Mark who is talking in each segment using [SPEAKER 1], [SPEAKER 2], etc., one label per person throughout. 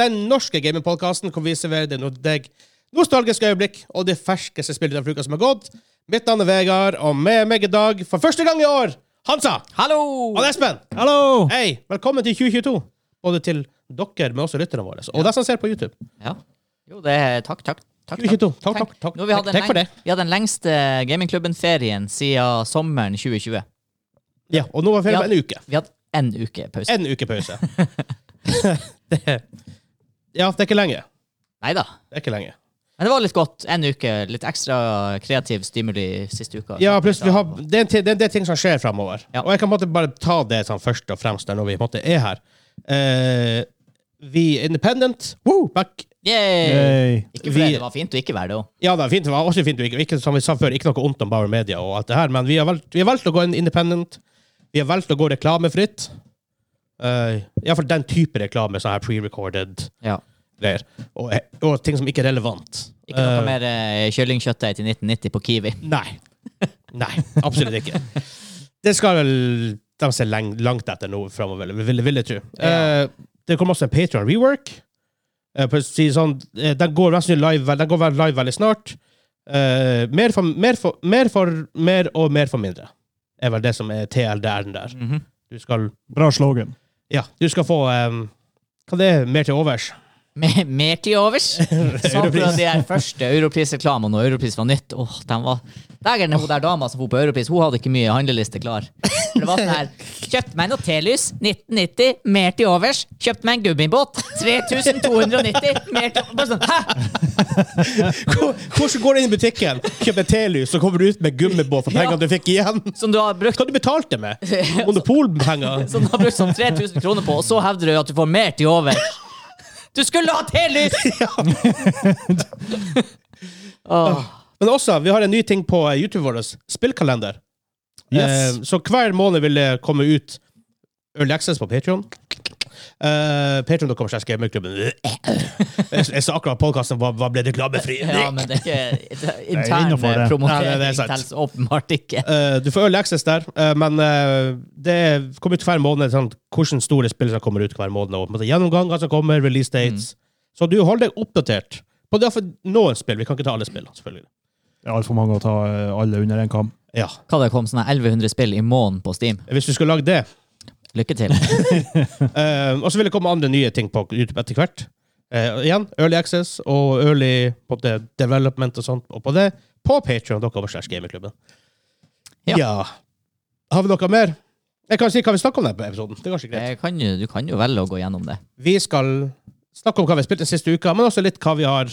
[SPEAKER 1] Den norske gamingpodkasten hvor vi serverer deg noe- deg nostalgiske øyeblikk og de ferskeste spillene av uka som har gått. Mitt navn er Vegard, og med meg i dag, for første gang i år, Hansa
[SPEAKER 2] Hallo!
[SPEAKER 1] og Espen.
[SPEAKER 3] Hallo!
[SPEAKER 1] Hei, velkommen til 2022. Både til dere, men også lytterne våre, og de som ser på YouTube.
[SPEAKER 2] Ja. Jo, det er takk, takk. Takk,
[SPEAKER 1] 22. Takk, takk, takk.
[SPEAKER 2] Nå, vi hadde en
[SPEAKER 1] Takk for
[SPEAKER 2] leng-
[SPEAKER 1] det.
[SPEAKER 2] Vi hadde den lengste gamingklubben-ferien siden sommeren 2020.
[SPEAKER 1] Ja, Og nå var vi ferdig med en uke.
[SPEAKER 2] Vi hadde en uke pause.
[SPEAKER 1] En uke pause. det, er- ja, det er ikke lenge.
[SPEAKER 2] Neida.
[SPEAKER 1] Det er ikke lenge.
[SPEAKER 2] Men det var litt godt. En uke. Litt ekstra kreativ stimuli siste uka.
[SPEAKER 1] Ja, pluss vi har, det, er en, ti- det, er- det er ting som skjer framover.
[SPEAKER 2] Altså, Ja.
[SPEAKER 1] Og jeg kan på en måte bare ta det sånn først og fremst der når vi på en måte er her. Eh, vi er independent. Woo, back.
[SPEAKER 2] Yay!
[SPEAKER 3] Hey.
[SPEAKER 2] Ikke fordi
[SPEAKER 1] Vi-
[SPEAKER 2] det var fint å ikke være det òg.
[SPEAKER 1] Ja, det, er fint, det var også fint. Ikke, ikke, som vi sa før, ikke noe ondt om Bauer Media og alt det her, men vi har valgt, vi har valgt å gå inn independent. Vi har valgt å gå reklamefritt. Uh, Iallfall den type reklame, sånn her pre-recorded
[SPEAKER 2] Ja.
[SPEAKER 1] greier. Og, og ting som ikke er relevant.
[SPEAKER 2] Ikke noe
[SPEAKER 1] Eh,
[SPEAKER 2] mer eh, kyllingkjøttdeig til 1990 på Kiwi.
[SPEAKER 1] Nei. Nei, absolutt ikke. Det skal vel de se leng, langt etter nå framover, vil, vil jeg tro. Eh, det kommer også en Patreon rework. Eh, på å si sånn, eh, den går mest sannsynlig live, vel- den går vel live veldig snart. Eh, mer, for, mer, for, mer for mer og mer for mindre, er vel det som er TLDR-en der.
[SPEAKER 2] Mhm.
[SPEAKER 1] Du skal,
[SPEAKER 3] Bra slogan.
[SPEAKER 1] ja, du skal få eh, Hva det er mer til overs?
[SPEAKER 2] Mer, mer til overs. Sa du
[SPEAKER 1] Europris.
[SPEAKER 2] de der første Europris-reklamene når eh, Europris var nytt? Åh, den var... Dægeren, hun der dama som bor på Europris, hun hadde ikke mye handleliste klar. For det var sånn her, kjøpt meg noe telys, 1990, mer til overs. Kjøpt meg en gummibåt, 3290, mer til... Bare sånn, hæ?
[SPEAKER 1] Hvordan går du inn i butikken, kjøper telys, så kommer du ut med gummibåt for pengene
[SPEAKER 2] Ja.
[SPEAKER 1] du fikk igjen?
[SPEAKER 2] Som du har brukt...
[SPEAKER 1] Hva du betalte med? Monopolpenger?
[SPEAKER 2] Som du har brukt sånn 3000 kroner på, og så hevder du at du får mer til overs. Du skulle ha telys! Åh,
[SPEAKER 1] Men også, vi har en ny ting på eh, YouTube vår. Spillkalender.
[SPEAKER 3] Yes.
[SPEAKER 1] Eh, så hver måned vil det komme ut Early Access på Patreon. Uh, Patreon.com slags gamerklubben. Jeg jeg sa akkurat podkasten var, var ble reklamefri.
[SPEAKER 2] ja, men det er ikke det er intern eh,
[SPEAKER 3] innenfor
[SPEAKER 1] Nei,
[SPEAKER 3] det.
[SPEAKER 1] det er
[SPEAKER 2] promotering.
[SPEAKER 1] sant.
[SPEAKER 2] tels åpenbart ikke.
[SPEAKER 1] Eh, du får Early Access der, eh, men eh, det kommer ut hver måned sånn, hvordan store spill som kommer ut hver måned. Og, på en måte gjennomganger som kommer, release dates. Så du holder deg oppdatert. På det for noen spill. Vi kan ikke ta alle spill, selvfølgelig.
[SPEAKER 3] Det er altfor mange å ta eh, alle under én kam.
[SPEAKER 1] Ja.
[SPEAKER 2] Hva det kom sånne 1100 spill i måneden på Steam.
[SPEAKER 1] Hvis du skulle lagd det
[SPEAKER 2] Lykke til.
[SPEAKER 1] Eh, og så vil det komme andre nye ting på YouTube etter hvert. Eh, og igjen, Early Access og Early på en måte, Development og sånt og på det, på Patreon.com slash Gamingklubben.
[SPEAKER 2] Ja.
[SPEAKER 1] Ja. Har vi noe mer? Jeg kan si hva vi snakker om i denne episoden. Det er kanskje greit.
[SPEAKER 2] Jeg kan jo, du kan jo velge å gå gjennom det.
[SPEAKER 1] Vi skal snakke om hva vi har spilt den siste uka, men også litt hva vi har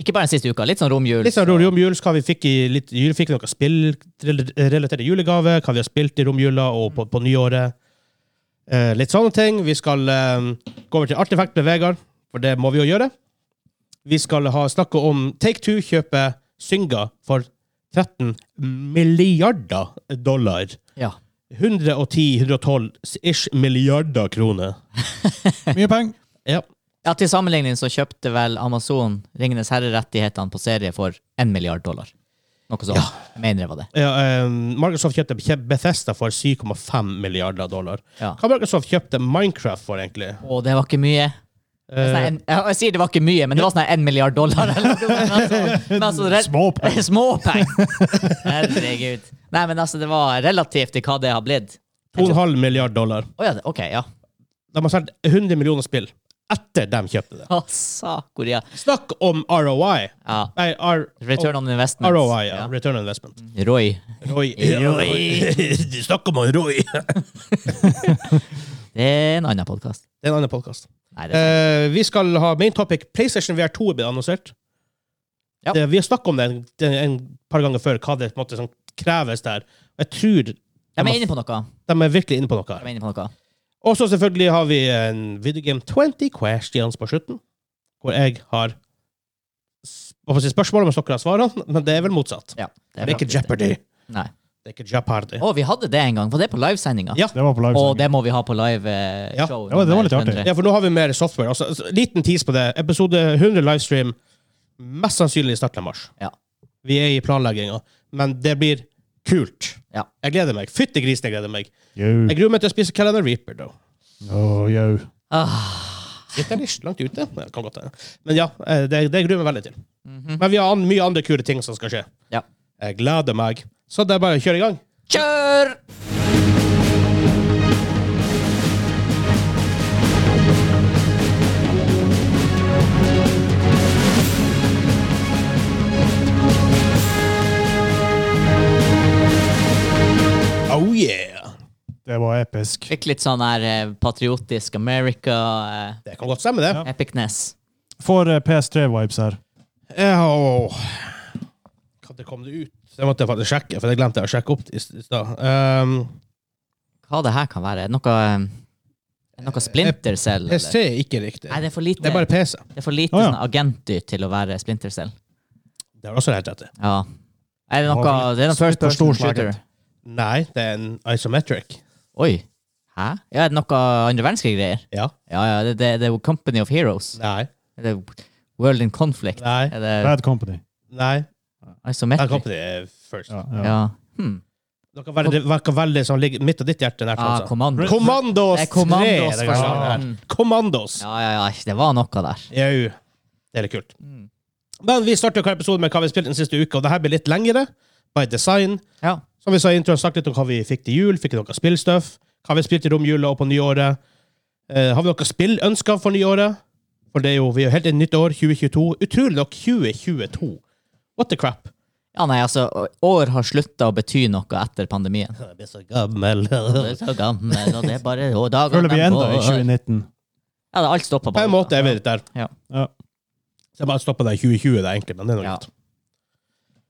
[SPEAKER 2] Ikke bare den siste uka. Litt sånn romjul.
[SPEAKER 1] Litt sånn romjul, hva vi fikk i litt jul, fikk vi noe spillrelaterte julegave, hva vi har spilt i romjula og på, på nyåret. Eh, litt sånne ting. Vi skal eh, gå over til Artefakt med Vegard, for det må vi jo gjøre. Vi skal ha, snakke om Take Two kjøper Synga for 13 milliarder dollar.
[SPEAKER 2] Ja.
[SPEAKER 1] 110-112-ish milliarder kroner.
[SPEAKER 3] Mye penger.
[SPEAKER 1] Ja.
[SPEAKER 2] ja, til sammenligning så kjøpte vel Amazon Ringenes herre-rettighetene på serie for 1 milliard dollar. Noe sånt. Mener jeg var det.
[SPEAKER 1] Ja, eh, Microsoft kjøpte Be- Bethesda for 7,5 milliarder dollar.
[SPEAKER 2] Ja.
[SPEAKER 1] Hva Microsoft kjøpte Minecraft for, egentlig?
[SPEAKER 2] Å, det var ikke mye.
[SPEAKER 1] Eh.
[SPEAKER 2] Det er sånn her en, jeg, jeg sier det var ikke mye, men det var sånn her 1 milliard dollar. eller noe sånt. Men altså- men altså, rel-
[SPEAKER 3] Småpenger.
[SPEAKER 2] Småpenger. Herregud. Nei, men altså, det var relativt til hva det har blitt.
[SPEAKER 1] 2,5 milliard dollar.
[SPEAKER 2] Å ja, det- OK, ja.
[SPEAKER 1] De har solgt 100 millioner spill etter de kjøpte det.
[SPEAKER 2] Altså, Korea.
[SPEAKER 1] Snakk om ROI!
[SPEAKER 2] Ja.
[SPEAKER 1] Nei, R
[SPEAKER 2] Return on investment.
[SPEAKER 1] ROI, ja. Return on investment.
[SPEAKER 2] Roy.
[SPEAKER 1] Roy.
[SPEAKER 2] Roy.
[SPEAKER 1] Du snakker om Roy! Det
[SPEAKER 2] Det er en annen podkast.
[SPEAKER 1] er en annen podkast.
[SPEAKER 2] Nei, det er
[SPEAKER 1] Eh, vi skal ha main topic. PlayStation VR2 er blitt annonsert.
[SPEAKER 2] Ja.
[SPEAKER 1] Det, vi har snakket om det en, det en par ganger før, hva det på en måte som kreves der. Jeg tror de,
[SPEAKER 2] de
[SPEAKER 1] har-
[SPEAKER 2] er inne på noe.
[SPEAKER 1] de er virkelig inne på noe
[SPEAKER 2] De
[SPEAKER 1] her.
[SPEAKER 2] er inne på noe.
[SPEAKER 1] Og så selvfølgelig har vi en videogame 20 questions på slutten. hvor jeg har s- hva får jeg si, spørsmål om dere har svarene, men det er vel motsatt.
[SPEAKER 2] Ja,
[SPEAKER 1] Det er ikke
[SPEAKER 2] faktisk
[SPEAKER 1] Jeopardy.
[SPEAKER 2] Nei.
[SPEAKER 1] Det er ikke Jeopardy.
[SPEAKER 2] Å, vi hadde det en gang. Var det på livesendinga?
[SPEAKER 1] Ja.
[SPEAKER 3] Det var på live.
[SPEAKER 2] Og det må vi ha på live eh,
[SPEAKER 1] Ja.
[SPEAKER 2] show.
[SPEAKER 3] Det var- det var litt
[SPEAKER 2] nummer
[SPEAKER 3] artig.
[SPEAKER 2] 100.
[SPEAKER 1] Ja, for nå har vi mer software. Altså, altså, liten tease på det. Episode 100 livestream mest sannsynlig i starten av mars.
[SPEAKER 2] Ja.
[SPEAKER 1] Vi er i planlegginga, men det blir kult.
[SPEAKER 2] Ja.
[SPEAKER 1] Jeg gleder meg. Fytti grisen, jeg gleder meg.
[SPEAKER 3] Yo,
[SPEAKER 1] Jeg gruer meg til å spise Calendar Reaper, da.
[SPEAKER 3] oh, yo.
[SPEAKER 1] Sitter jeg litt langt ute? Det kan godt hende. Men ja, eh, det, det gruer jeg meg veldig til.
[SPEAKER 2] Mhm.
[SPEAKER 1] Men vi har an, mye andre kule ting som skal skje.
[SPEAKER 2] Ja.
[SPEAKER 1] Jeg gleder meg. Så det er bare å kjøre i gang.
[SPEAKER 2] Kjør!
[SPEAKER 1] Oh yeah!
[SPEAKER 3] Det var episk.
[SPEAKER 2] Fikk litt sånn her eh, patriotisk America, eh,
[SPEAKER 1] Det kan godt stemme, det.
[SPEAKER 3] Ja.
[SPEAKER 2] epicness.
[SPEAKER 3] Får eh, PS3-vibes her.
[SPEAKER 1] Ja. Eh, åh. Når kom det ut? Det måtte jeg faktisk sjekke, for det glemte jeg å sjekke opp i s- i stad. Um,
[SPEAKER 2] Hva det her kan være? Er det Noe, eh, noe Splinter Cell?
[SPEAKER 1] PC
[SPEAKER 2] Eller?
[SPEAKER 1] er ikke riktig.
[SPEAKER 2] Nei, det er for lite,
[SPEAKER 1] Det er bare PC.
[SPEAKER 2] det er for lite
[SPEAKER 3] Å, ja.
[SPEAKER 2] sånn agentdyr til å være Splinter Cell.
[SPEAKER 1] Det har du også helt rett i.
[SPEAKER 2] Ja. Er det noe
[SPEAKER 3] Å,
[SPEAKER 2] Det er en first
[SPEAKER 3] på
[SPEAKER 2] person
[SPEAKER 3] storslaget.
[SPEAKER 2] shooter.
[SPEAKER 1] Nei, det er en isometric.
[SPEAKER 2] Oi. Hæ? Ja, er det noe andre verdenskrig-greier?
[SPEAKER 1] Ja.
[SPEAKER 2] Ja, ja, det, det, det er jo Company of Heroes.
[SPEAKER 1] Nei.
[SPEAKER 2] Er det World in Conflict?
[SPEAKER 1] Nei.
[SPEAKER 2] Er det
[SPEAKER 3] Bad Company.
[SPEAKER 1] Nei. Der kom
[SPEAKER 2] Isometric?
[SPEAKER 1] det eh, først.
[SPEAKER 3] Ja, ja.
[SPEAKER 2] Ja. Hmm.
[SPEAKER 1] Dere var veldig, dere var veldig sånn ligger midt av ditt hjerte. Nært,
[SPEAKER 2] Ah,
[SPEAKER 1] altså.
[SPEAKER 2] Commando.
[SPEAKER 1] Kommandos
[SPEAKER 2] Det
[SPEAKER 1] 3!
[SPEAKER 2] er Commandos
[SPEAKER 1] det
[SPEAKER 2] for
[SPEAKER 1] kan
[SPEAKER 2] sure.
[SPEAKER 1] være.
[SPEAKER 2] Mm.
[SPEAKER 1] Commandos.
[SPEAKER 2] Ja, ja, ja. Det var noe der.
[SPEAKER 1] Jau. Det er litt kult.
[SPEAKER 2] Mm.
[SPEAKER 1] Men vi starter hver episode med hva vi har spilt den siste uka, og det her blir litt lengre. By design.
[SPEAKER 2] Ja.
[SPEAKER 1] Som vi sa i introen, snakket litt om hva vi fikk til jul. Fikk vi noe spillstøff? Hva vi spilte i romjula og på nyåret? Eh, har vi noe spillønsker for nyåret? For det er jo, vi er jo helt i nytt år, 2022. Utrolig nok 2022. What the crap?
[SPEAKER 2] ja, nei, altså, år har slutta å bety noe etter pandemien.
[SPEAKER 1] Jeg blir så gammel.
[SPEAKER 2] Det er så gammel, og det er bare og dagene
[SPEAKER 3] Føler vi enda i
[SPEAKER 2] går.
[SPEAKER 3] 2019.
[SPEAKER 2] Ja, det er alt stoppa
[SPEAKER 1] På en måte er vi litt der.
[SPEAKER 3] Ja.
[SPEAKER 1] Så jeg bare stopper deg i 2020, det er egentlig, men det er noe
[SPEAKER 2] Ja.
[SPEAKER 1] greit.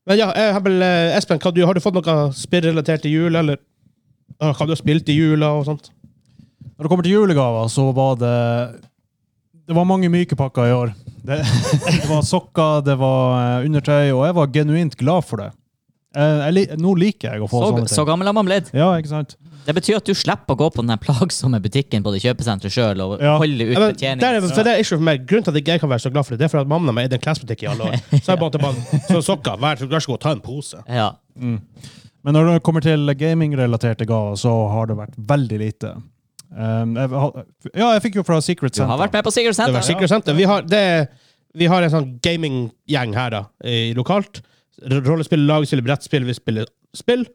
[SPEAKER 1] Men ja, jeg har vel, eh, Espen, hva du, har du fått noe spillrelatert til jul, eller eh, hva du har spilt i jula og sånt?
[SPEAKER 3] Når det kommer til julegaver, så var det Det var mange myke pakker i år. Det, det var sokker, det var eh, undertøy, og jeg var genuint glad for det. Eh, Jeg, li- nå liker jeg å få
[SPEAKER 2] Så,
[SPEAKER 3] sånne ting.
[SPEAKER 2] så gammel har man blitt.
[SPEAKER 3] Ja, ikke sant?
[SPEAKER 2] Det betyr at du slipper å gå på den her plagsomme butikken på det kjøpesenteret sjøl og
[SPEAKER 3] Ja.
[SPEAKER 2] holde ut
[SPEAKER 1] Ja, men, der er,
[SPEAKER 2] betjeningen.
[SPEAKER 1] for det er ikke for meg. Grunnen til at ikke jeg kan være så glad for det, det er for at mamma mi er i den klesbutikken i alle år. Så jeg bare, bare så sokker, vær så vær så god, ta en pose.
[SPEAKER 2] Ja.
[SPEAKER 3] Men når det kommer til gaming-relaterte gaver, så har det vært veldig lite. Um, jeg, har- ja, jeg fikk jo fra Secret
[SPEAKER 2] Du har
[SPEAKER 3] Center.
[SPEAKER 2] vært med på Sigurd
[SPEAKER 1] Det var
[SPEAKER 2] Senter.
[SPEAKER 1] sikkert sant. Vi har, det, vi har en sånn gaminggjeng her da, i lokalt. R- Rollespill, lagspill, brettspill, vi spiller spill.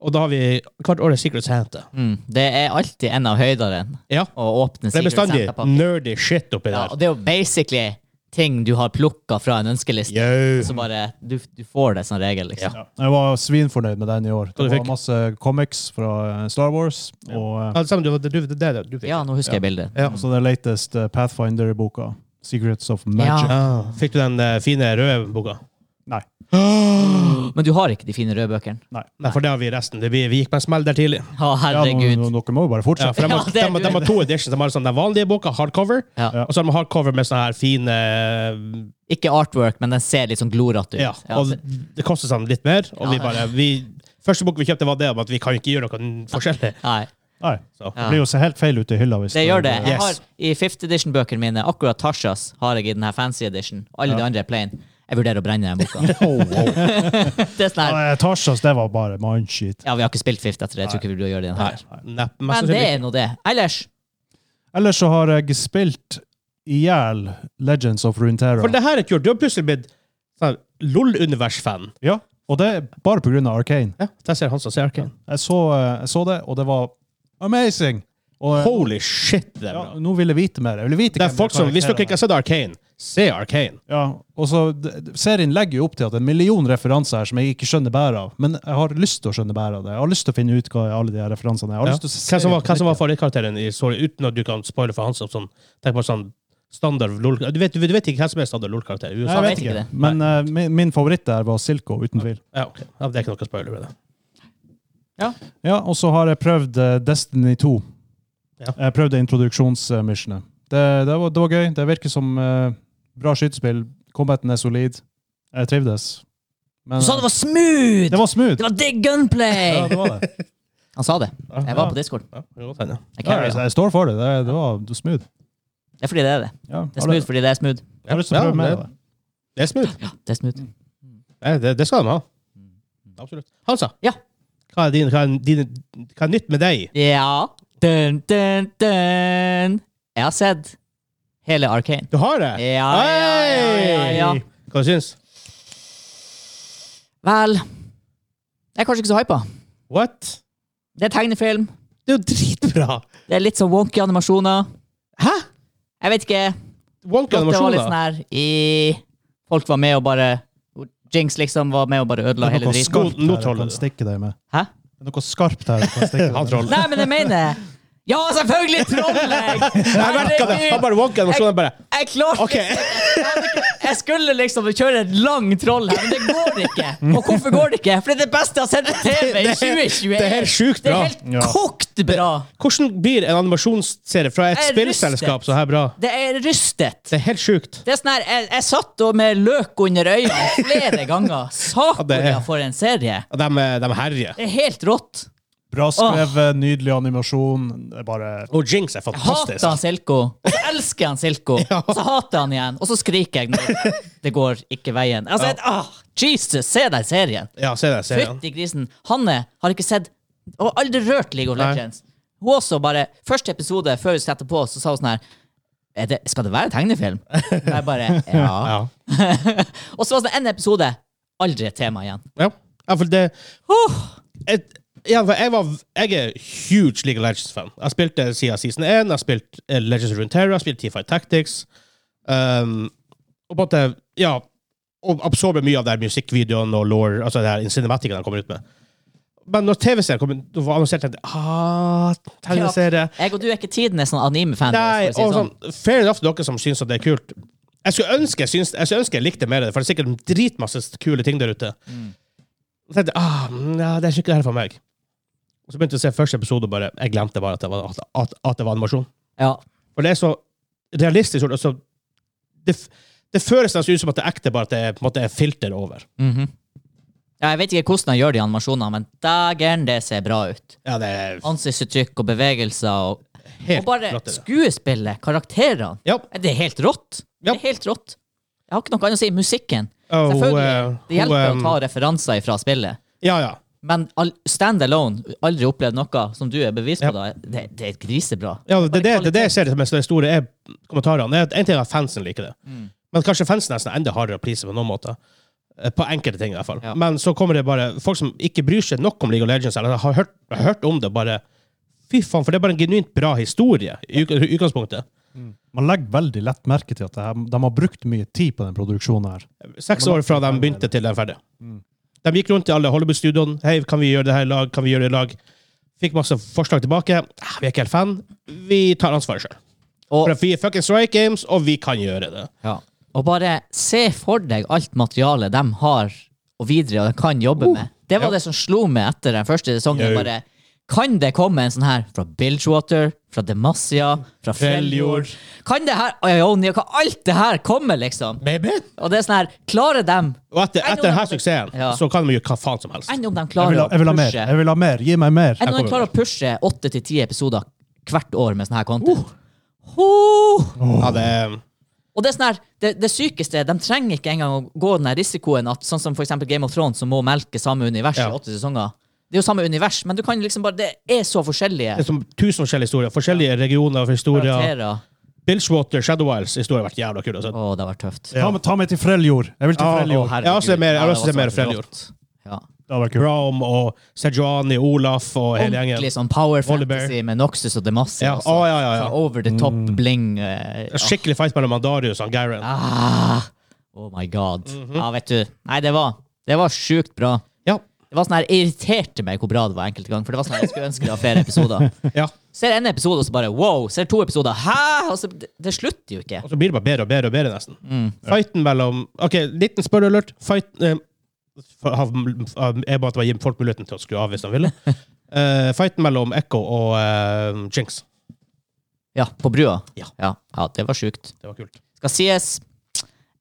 [SPEAKER 1] Og da har vi hvert år er Secret Santa.
[SPEAKER 2] Mm. Det er alltid en av høydene
[SPEAKER 1] Ja,
[SPEAKER 2] å åpne
[SPEAKER 1] det er
[SPEAKER 2] Sigurd
[SPEAKER 1] bestandig
[SPEAKER 2] Senter-pakken.
[SPEAKER 1] nerdy shit oppi
[SPEAKER 2] Ja,
[SPEAKER 1] der.
[SPEAKER 2] og det er jo basically ting du har plukka fra en ønskeliste.
[SPEAKER 1] Yo.
[SPEAKER 2] Så bare du, du får det som regel, liksom.
[SPEAKER 3] Ja, Jeg var svinfornøyd med den i år.
[SPEAKER 1] Hva
[SPEAKER 3] Det
[SPEAKER 1] du fikk?
[SPEAKER 3] var masse comics fra eh, Star Wars, og eh,
[SPEAKER 1] Alle sammen, du, du, det er det du fikk.
[SPEAKER 2] Ja, nå husker jeg bildet.
[SPEAKER 1] Ja.
[SPEAKER 3] også den lateste Pathfinder-boka. Secrets of
[SPEAKER 2] Ja.
[SPEAKER 3] Magic.
[SPEAKER 1] Ah, fikk du den eh, fine røde boka?
[SPEAKER 3] Nei.
[SPEAKER 2] Men du har ikke de fine røde bøkene.
[SPEAKER 3] Nei.
[SPEAKER 1] Nei, for det har vi i resten. Det, vi, vi gikk på en smell der tidlig.
[SPEAKER 2] Å,
[SPEAKER 3] Ja, nå,
[SPEAKER 2] herregud.
[SPEAKER 3] nå, dere må jo bare
[SPEAKER 1] Ja,
[SPEAKER 3] fortsette.
[SPEAKER 1] for de, har,
[SPEAKER 2] Ja, det
[SPEAKER 1] de,
[SPEAKER 2] er
[SPEAKER 1] har-
[SPEAKER 2] du.
[SPEAKER 1] de har to editions. De har sånn den vanlige boka, hardcover,
[SPEAKER 2] Ja.
[SPEAKER 3] Ja.
[SPEAKER 1] og så har de hardcover med sånne her fine eh,
[SPEAKER 2] Ikke artwork, men den ser litt sånn glorete ut.
[SPEAKER 1] Ja, og
[SPEAKER 2] det-
[SPEAKER 1] det koster sånn litt mer, og vi
[SPEAKER 2] Ja.
[SPEAKER 1] bare vi, Første bok vi kjøpte, var det om at vi kan ikke gjøre noe forskjellig.
[SPEAKER 2] Nei,
[SPEAKER 3] Nei,
[SPEAKER 1] Så.
[SPEAKER 3] det blir jo så helt feil ute i hylla. Hvis
[SPEAKER 2] det gjør det. Jeg
[SPEAKER 1] Yes.
[SPEAKER 2] har, I fifth edition-bøkene mine, akkurat Tashas har jeg i den her fancy edition. Alle de andre er plain. Jeg vurderer å brenne den boka.
[SPEAKER 3] Oh, wow.
[SPEAKER 2] Det er sånn her,
[SPEAKER 3] Nei, Tarsas, det var bare mindshit.
[SPEAKER 2] ja, vi har ikke spilt fifth etter det. Jeg tror ikke vi burde gjøre det i den her.
[SPEAKER 1] Nepp, mest
[SPEAKER 2] Men det
[SPEAKER 1] sannsynlig
[SPEAKER 2] er nå det. Ellers
[SPEAKER 3] Ellers så har jeg spilt i hjel Legends of
[SPEAKER 1] ikke.
[SPEAKER 3] Runeterra.
[SPEAKER 1] For det her er kult. Du har plutselig blitt sånn LOL-univers-fan.
[SPEAKER 3] Ja, og det er bare pga. Arcane.
[SPEAKER 1] Ja, der ser han som ser Arkane.
[SPEAKER 3] Jeg så, eh, jeg så det, og det var amazing! Og, eh,
[SPEAKER 1] Holy shit, det er
[SPEAKER 3] ja,
[SPEAKER 1] bra.
[SPEAKER 3] nå vil jeg vite mer. Jeg vil vite
[SPEAKER 1] Det
[SPEAKER 3] hvem
[SPEAKER 1] er folk
[SPEAKER 3] de
[SPEAKER 1] som, Hvis dere
[SPEAKER 3] karakterene
[SPEAKER 1] ikke har sett Arkane, se Arkane.
[SPEAKER 3] er. ja, og så, d- d- Serien legger jo opp til at det er en million referanser her som jeg ikke skjønner bæret av. Men jeg har lyst til å skjønne bæret av det. Jeg har lyst til å finne ut hva alle de her referansene er. Jeg har
[SPEAKER 1] Ja.
[SPEAKER 3] lyst til å se
[SPEAKER 1] Hvem som var,
[SPEAKER 3] serien på
[SPEAKER 1] hva som var
[SPEAKER 3] nytt igjen.
[SPEAKER 1] favorittkarakteren i Sorry, uten at du kan spoile for hans? Sånn, tenk på sånn standard LOL du vet, du vet ikke hvem som er standard LOL-karakter? i USA?
[SPEAKER 3] Jeg
[SPEAKER 2] vet
[SPEAKER 3] vet
[SPEAKER 2] ikke
[SPEAKER 3] ikke.
[SPEAKER 2] det.
[SPEAKER 3] Men eh, min, min favoritt der var Silco, uten tvil.
[SPEAKER 1] Ja, ok. ja, det er ikke noe spoiler med det.
[SPEAKER 3] Ja, og så har jeg prøvd eh, Destiny 2.
[SPEAKER 1] Ja.
[SPEAKER 3] Jeg prøvde introduksjonsmissionet. Det, det, var- det var gøy. Det virker som eh, Bra skytespill. Combaten er solid. Jeg trivdes. Men
[SPEAKER 2] Du sa det
[SPEAKER 3] eh,
[SPEAKER 2] var smooth!
[SPEAKER 3] det var smooth!
[SPEAKER 2] Det var digg gunplay!
[SPEAKER 3] Ja, det var det.
[SPEAKER 2] Han sa det. Jeg var på Discord.
[SPEAKER 1] Ja, det kan godt hende.
[SPEAKER 2] Jeg liksom.
[SPEAKER 3] Ja,
[SPEAKER 2] carrier
[SPEAKER 3] jeg,
[SPEAKER 2] han.
[SPEAKER 3] jeg står for det. Det, det var det var smooth.
[SPEAKER 2] Det er fordi det er det. Det
[SPEAKER 3] Ja,
[SPEAKER 2] er
[SPEAKER 3] har du-
[SPEAKER 2] smooth fordi det er smooth.
[SPEAKER 3] har du lyst til å
[SPEAKER 1] Ja,
[SPEAKER 3] prøve mer
[SPEAKER 1] det-
[SPEAKER 3] av det?
[SPEAKER 1] Det er smooth.
[SPEAKER 2] Det er smooth.
[SPEAKER 1] Nei, Det, det skal de ha. Absolutt. Hansa,
[SPEAKER 2] Ja.
[SPEAKER 1] hva er, din, hva, er din, hva er nytt med deg?
[SPEAKER 2] Ja. Dun, dun, dun. Jeg har sett hele Arcane.
[SPEAKER 1] Du har det?
[SPEAKER 2] Ja, ja, ja, ja, ja.
[SPEAKER 1] Hei! Hva syns?
[SPEAKER 2] Vel Jeg er kanskje ikke så hypa.
[SPEAKER 1] What?
[SPEAKER 2] Det er tegnefilm.
[SPEAKER 1] Det er jo dritbra!
[SPEAKER 2] Det er litt sånn wonky animasjoner.
[SPEAKER 1] Hæ?
[SPEAKER 2] Jeg vet ikke.
[SPEAKER 1] Wonky
[SPEAKER 2] Det var litt sånn
[SPEAKER 1] animasjoner.
[SPEAKER 2] her i Folk var med og bare Jinx liksom var med og bare ødela
[SPEAKER 3] Det er
[SPEAKER 2] hele
[SPEAKER 3] noe
[SPEAKER 2] driten.
[SPEAKER 1] skog-
[SPEAKER 3] skarpt her
[SPEAKER 1] Nå
[SPEAKER 3] jeg
[SPEAKER 1] troller
[SPEAKER 3] kan
[SPEAKER 1] du.
[SPEAKER 3] stikke deg med.
[SPEAKER 2] Hæ?
[SPEAKER 3] Det er noe skarpt her jeg kan stikke deg
[SPEAKER 1] Han
[SPEAKER 3] med.
[SPEAKER 1] troller.
[SPEAKER 2] Nei, men jeg mener Ja, selvfølgelig trolling!
[SPEAKER 1] Jeg merka det! Han bare wonky animasjoner. Bare.
[SPEAKER 2] Jeg klarte
[SPEAKER 1] OK.
[SPEAKER 2] Jeg skulle liksom kjøre en lang troll her, men det går ikke. Og hvorfor går det ikke? For det er det beste jeg har sett på TV i
[SPEAKER 1] Det er-
[SPEAKER 2] 2021.
[SPEAKER 1] det er helt sjukt
[SPEAKER 2] Det
[SPEAKER 1] bra.
[SPEAKER 2] er helt
[SPEAKER 3] Ja.
[SPEAKER 2] kokt bra.
[SPEAKER 1] Hvordan blir en animasjonsserie fra et
[SPEAKER 2] Jeg er
[SPEAKER 1] spillselskap
[SPEAKER 2] rystet.
[SPEAKER 1] så her bra?
[SPEAKER 2] Det er rystet.
[SPEAKER 1] Det er helt sjukt.
[SPEAKER 2] Det er sånn her, jeg, jeg satt da med løk under øynene flere
[SPEAKER 1] det er-
[SPEAKER 2] ganger. Sakoria for en serie.
[SPEAKER 1] Og De, de herjer.
[SPEAKER 2] Det er helt rått.
[SPEAKER 3] Bra skrevet, nydelig animasjon. Det er bare
[SPEAKER 1] Og Jinx er
[SPEAKER 2] Hater han
[SPEAKER 1] fantastisk.
[SPEAKER 2] Silko, og så elsker han Silko, og så hater han igjen, og så skriker jeg når det går ikke veien. Altså, jeg- ah, Jesus, se den serien!
[SPEAKER 1] Ja, se det, serien.
[SPEAKER 2] Fytti grisen. Hanne har ikke sett og aldri rørt League of
[SPEAKER 1] Nei.
[SPEAKER 2] Legends. Hun også bare, Første episode før vi setter på, så sa hun sånn her er det, Skal det være tegnefilm? Og jeg bare Ja.
[SPEAKER 1] Ja.
[SPEAKER 2] og så var det sånn en episode. Aldri et tema igjen.
[SPEAKER 1] Ja. ja, for det
[SPEAKER 2] Huh.
[SPEAKER 1] et, ja, for jeg, var, jeg er huge League of Legends-fan. Jeg spilte siden season 1, jeg har spilt eh, Legends of Runeterra, jeg har spilt T5 Tactics. Um, og på en måte, ja, og absorber mye av det her musikkvideoen og lore, altså det her cinematikken han kommer ut med. Men når TV-serien kom ut, da var annonsert, tenkte jeg, ah, tegneserie.
[SPEAKER 2] Jeg og du er ikke tidenes sånn anime-fan.
[SPEAKER 1] Nei,
[SPEAKER 2] for å si det
[SPEAKER 1] og
[SPEAKER 2] sånn.
[SPEAKER 1] sånn, fair enough dere som syns at det er kult. Jeg skulle ønske jeg, syns, jeg, skulle ønske jeg likte mer av det, for det er sikkert dritmasse kule ting der ute.
[SPEAKER 2] Mm.
[SPEAKER 1] Så tenkte jeg ah, ja, det er ikke det her for meg. Og så begynte jeg å se første episode, og bare, jeg glemte bare at det var, at, at, at det var animasjon.
[SPEAKER 2] Ja.
[SPEAKER 1] For det er så realistisk. og så- det, f- det føles nesten ut som at det er ekte, bare at det er, på en måte, er filter over.
[SPEAKER 2] Mhm. ja, Jeg vet ikke hvordan han gjør de animasjonene, men dægeren, det ser bra ut.
[SPEAKER 1] Ja, det er
[SPEAKER 2] Ansiktsuttrykk og bevegelser og
[SPEAKER 1] helt
[SPEAKER 2] Og bare
[SPEAKER 1] latterlig.
[SPEAKER 2] skuespillet, karakterene.
[SPEAKER 1] Ja.
[SPEAKER 2] Det er helt rått.
[SPEAKER 1] Ja.
[SPEAKER 2] Det er helt rått. Jeg har ikke noe annet å si. Musikken.
[SPEAKER 1] Ja, hun,
[SPEAKER 2] Selvfølgelig.
[SPEAKER 1] eh,
[SPEAKER 2] Det hjelper
[SPEAKER 1] hun,
[SPEAKER 2] å ta referanser fra spillet.
[SPEAKER 1] Ja, ja.
[SPEAKER 2] Men all, stand alone, aldri opplevd noe som du er bevis på,
[SPEAKER 1] Ja.
[SPEAKER 2] da. Det, det er grisebra.
[SPEAKER 1] Ja, det, det, det, det, er det jeg ser det som er det store, er kommentarene. Det er at En ting er at fansen liker det, men kanskje fansen er nesten enda hardere å please på noen måter. Eh, På enkelte ting, i hvert fall.
[SPEAKER 2] Ja.
[SPEAKER 1] Men så kommer det bare folk som ikke bryr seg nok om League of Legends, eller har hørt, har hørt om det, bare Fy faen, for det er bare en genuint bra historie i uk- i utgangspunktet.
[SPEAKER 3] Man legger veldig lett merke til at det her, de har brukt mye tid på den produksjonen her.
[SPEAKER 1] Seks år fra de begynte til de er ferdige. De gikk rundt til alle Hollywood-studioene. Hei, kan vi gjøre det her i lag? Kan vi gjøre det i lag? Fikk masse forslag tilbake. «Ah, Vi er ikke helt fan. Vi tar ansvaret sjøl.
[SPEAKER 2] Og,
[SPEAKER 1] Vi er fucking Strike Games, og vi kan gjøre det.
[SPEAKER 2] ja. og bare se for deg alt materialet de har og videre og de kan jobbe
[SPEAKER 3] Uh,
[SPEAKER 2] med. Det var
[SPEAKER 1] ja.
[SPEAKER 2] det som slo meg etter den første sesongen.
[SPEAKER 1] Jau.
[SPEAKER 2] Bare, kan det komme en sånn her fra Bilgewater, fra Demacia, fra Fjelljord?
[SPEAKER 1] Fjelljord.
[SPEAKER 2] Kan det her, Ionia, kan alt det her komme, liksom?
[SPEAKER 1] Baby?
[SPEAKER 2] Og det er sånn her, klarer dem
[SPEAKER 1] Og etter,
[SPEAKER 2] Nei, nå-
[SPEAKER 1] etter denne suksessen
[SPEAKER 2] Ja.
[SPEAKER 1] så kan de gjøre hva faen som helst.
[SPEAKER 2] Enn om de
[SPEAKER 3] Jeg
[SPEAKER 2] klarer
[SPEAKER 3] vil ha, jeg vil ha
[SPEAKER 2] å
[SPEAKER 3] mer!
[SPEAKER 2] pushe
[SPEAKER 3] Jeg vil ha mer! Gi meg mer!
[SPEAKER 2] Enn om
[SPEAKER 1] kommer
[SPEAKER 2] de klarer å pushe åtte til ti episoder hvert år med sånn her content.
[SPEAKER 3] Uh.
[SPEAKER 2] Ho!
[SPEAKER 1] Ja, det,
[SPEAKER 2] Og det er sånn her, det, det sykeste De trenger ikke engang å gå den her risikoen at sånn som for eksempel Game of Thrones, som må melke samme univers
[SPEAKER 1] Ja.
[SPEAKER 2] i åtte sesonger. Det er jo samme univers, men du kan liksom bare Det er så forskjellige
[SPEAKER 1] det er som tusen forskjellige historier. Forskjellige regioner for historier.
[SPEAKER 2] karakterer. Å,
[SPEAKER 1] Bilgewater, Shadow Wilds, historier har vært jævla altså. kule. Så.
[SPEAKER 2] det har vært tøft.
[SPEAKER 3] Ta, meg- ta meg til Freljord! Jeg vil til
[SPEAKER 1] Ja,
[SPEAKER 3] Freljord!
[SPEAKER 1] Jeg har også sett mer- jeg har også sett mer Freljord.
[SPEAKER 2] Ja.
[SPEAKER 3] Det hadde vært kult.
[SPEAKER 1] Brom og Sejuani, Olaf og hele
[SPEAKER 2] Ordentlig
[SPEAKER 1] gjengen.
[SPEAKER 2] sånn power
[SPEAKER 1] Volibear.
[SPEAKER 2] fantasy med Noxus og Demacia.
[SPEAKER 1] Ja,
[SPEAKER 2] altså.
[SPEAKER 1] å, ja, ja, Mm. ja.
[SPEAKER 2] Sånn Over the top bling. eh, ja.
[SPEAKER 1] Skikkelig fight mellom Mandarius og Garen.
[SPEAKER 2] Ah, oh my god. Ja, vet du. Nei, det var, det var sjukt bra.
[SPEAKER 1] Mhm. Ja.
[SPEAKER 2] Det var sånn her, Jeg irriterte meg hvor bra det var enkelte ganger. For det var sånn her, Jeg skulle ønske det var flere episoder.
[SPEAKER 1] ja.
[SPEAKER 2] Ser en episode, og så bare wow. Ser to episoder, hæ? Og så, det, det slutter jo ikke.
[SPEAKER 1] Og så blir det bare bedre og bedre og bedre, nesten.
[SPEAKER 2] Mm.
[SPEAKER 1] Fighten mellom OK, liten spørrealert. Fight eh, for- av- av- Jeg ba at det var gitt folk muligheten til å skru av hvis de ville. Eh, fighten mellom Echo og eh, Jinx.
[SPEAKER 2] Ja, På brua.
[SPEAKER 1] Ja.
[SPEAKER 2] ja, det var sjukt.
[SPEAKER 1] Det var kult.
[SPEAKER 2] Skal sies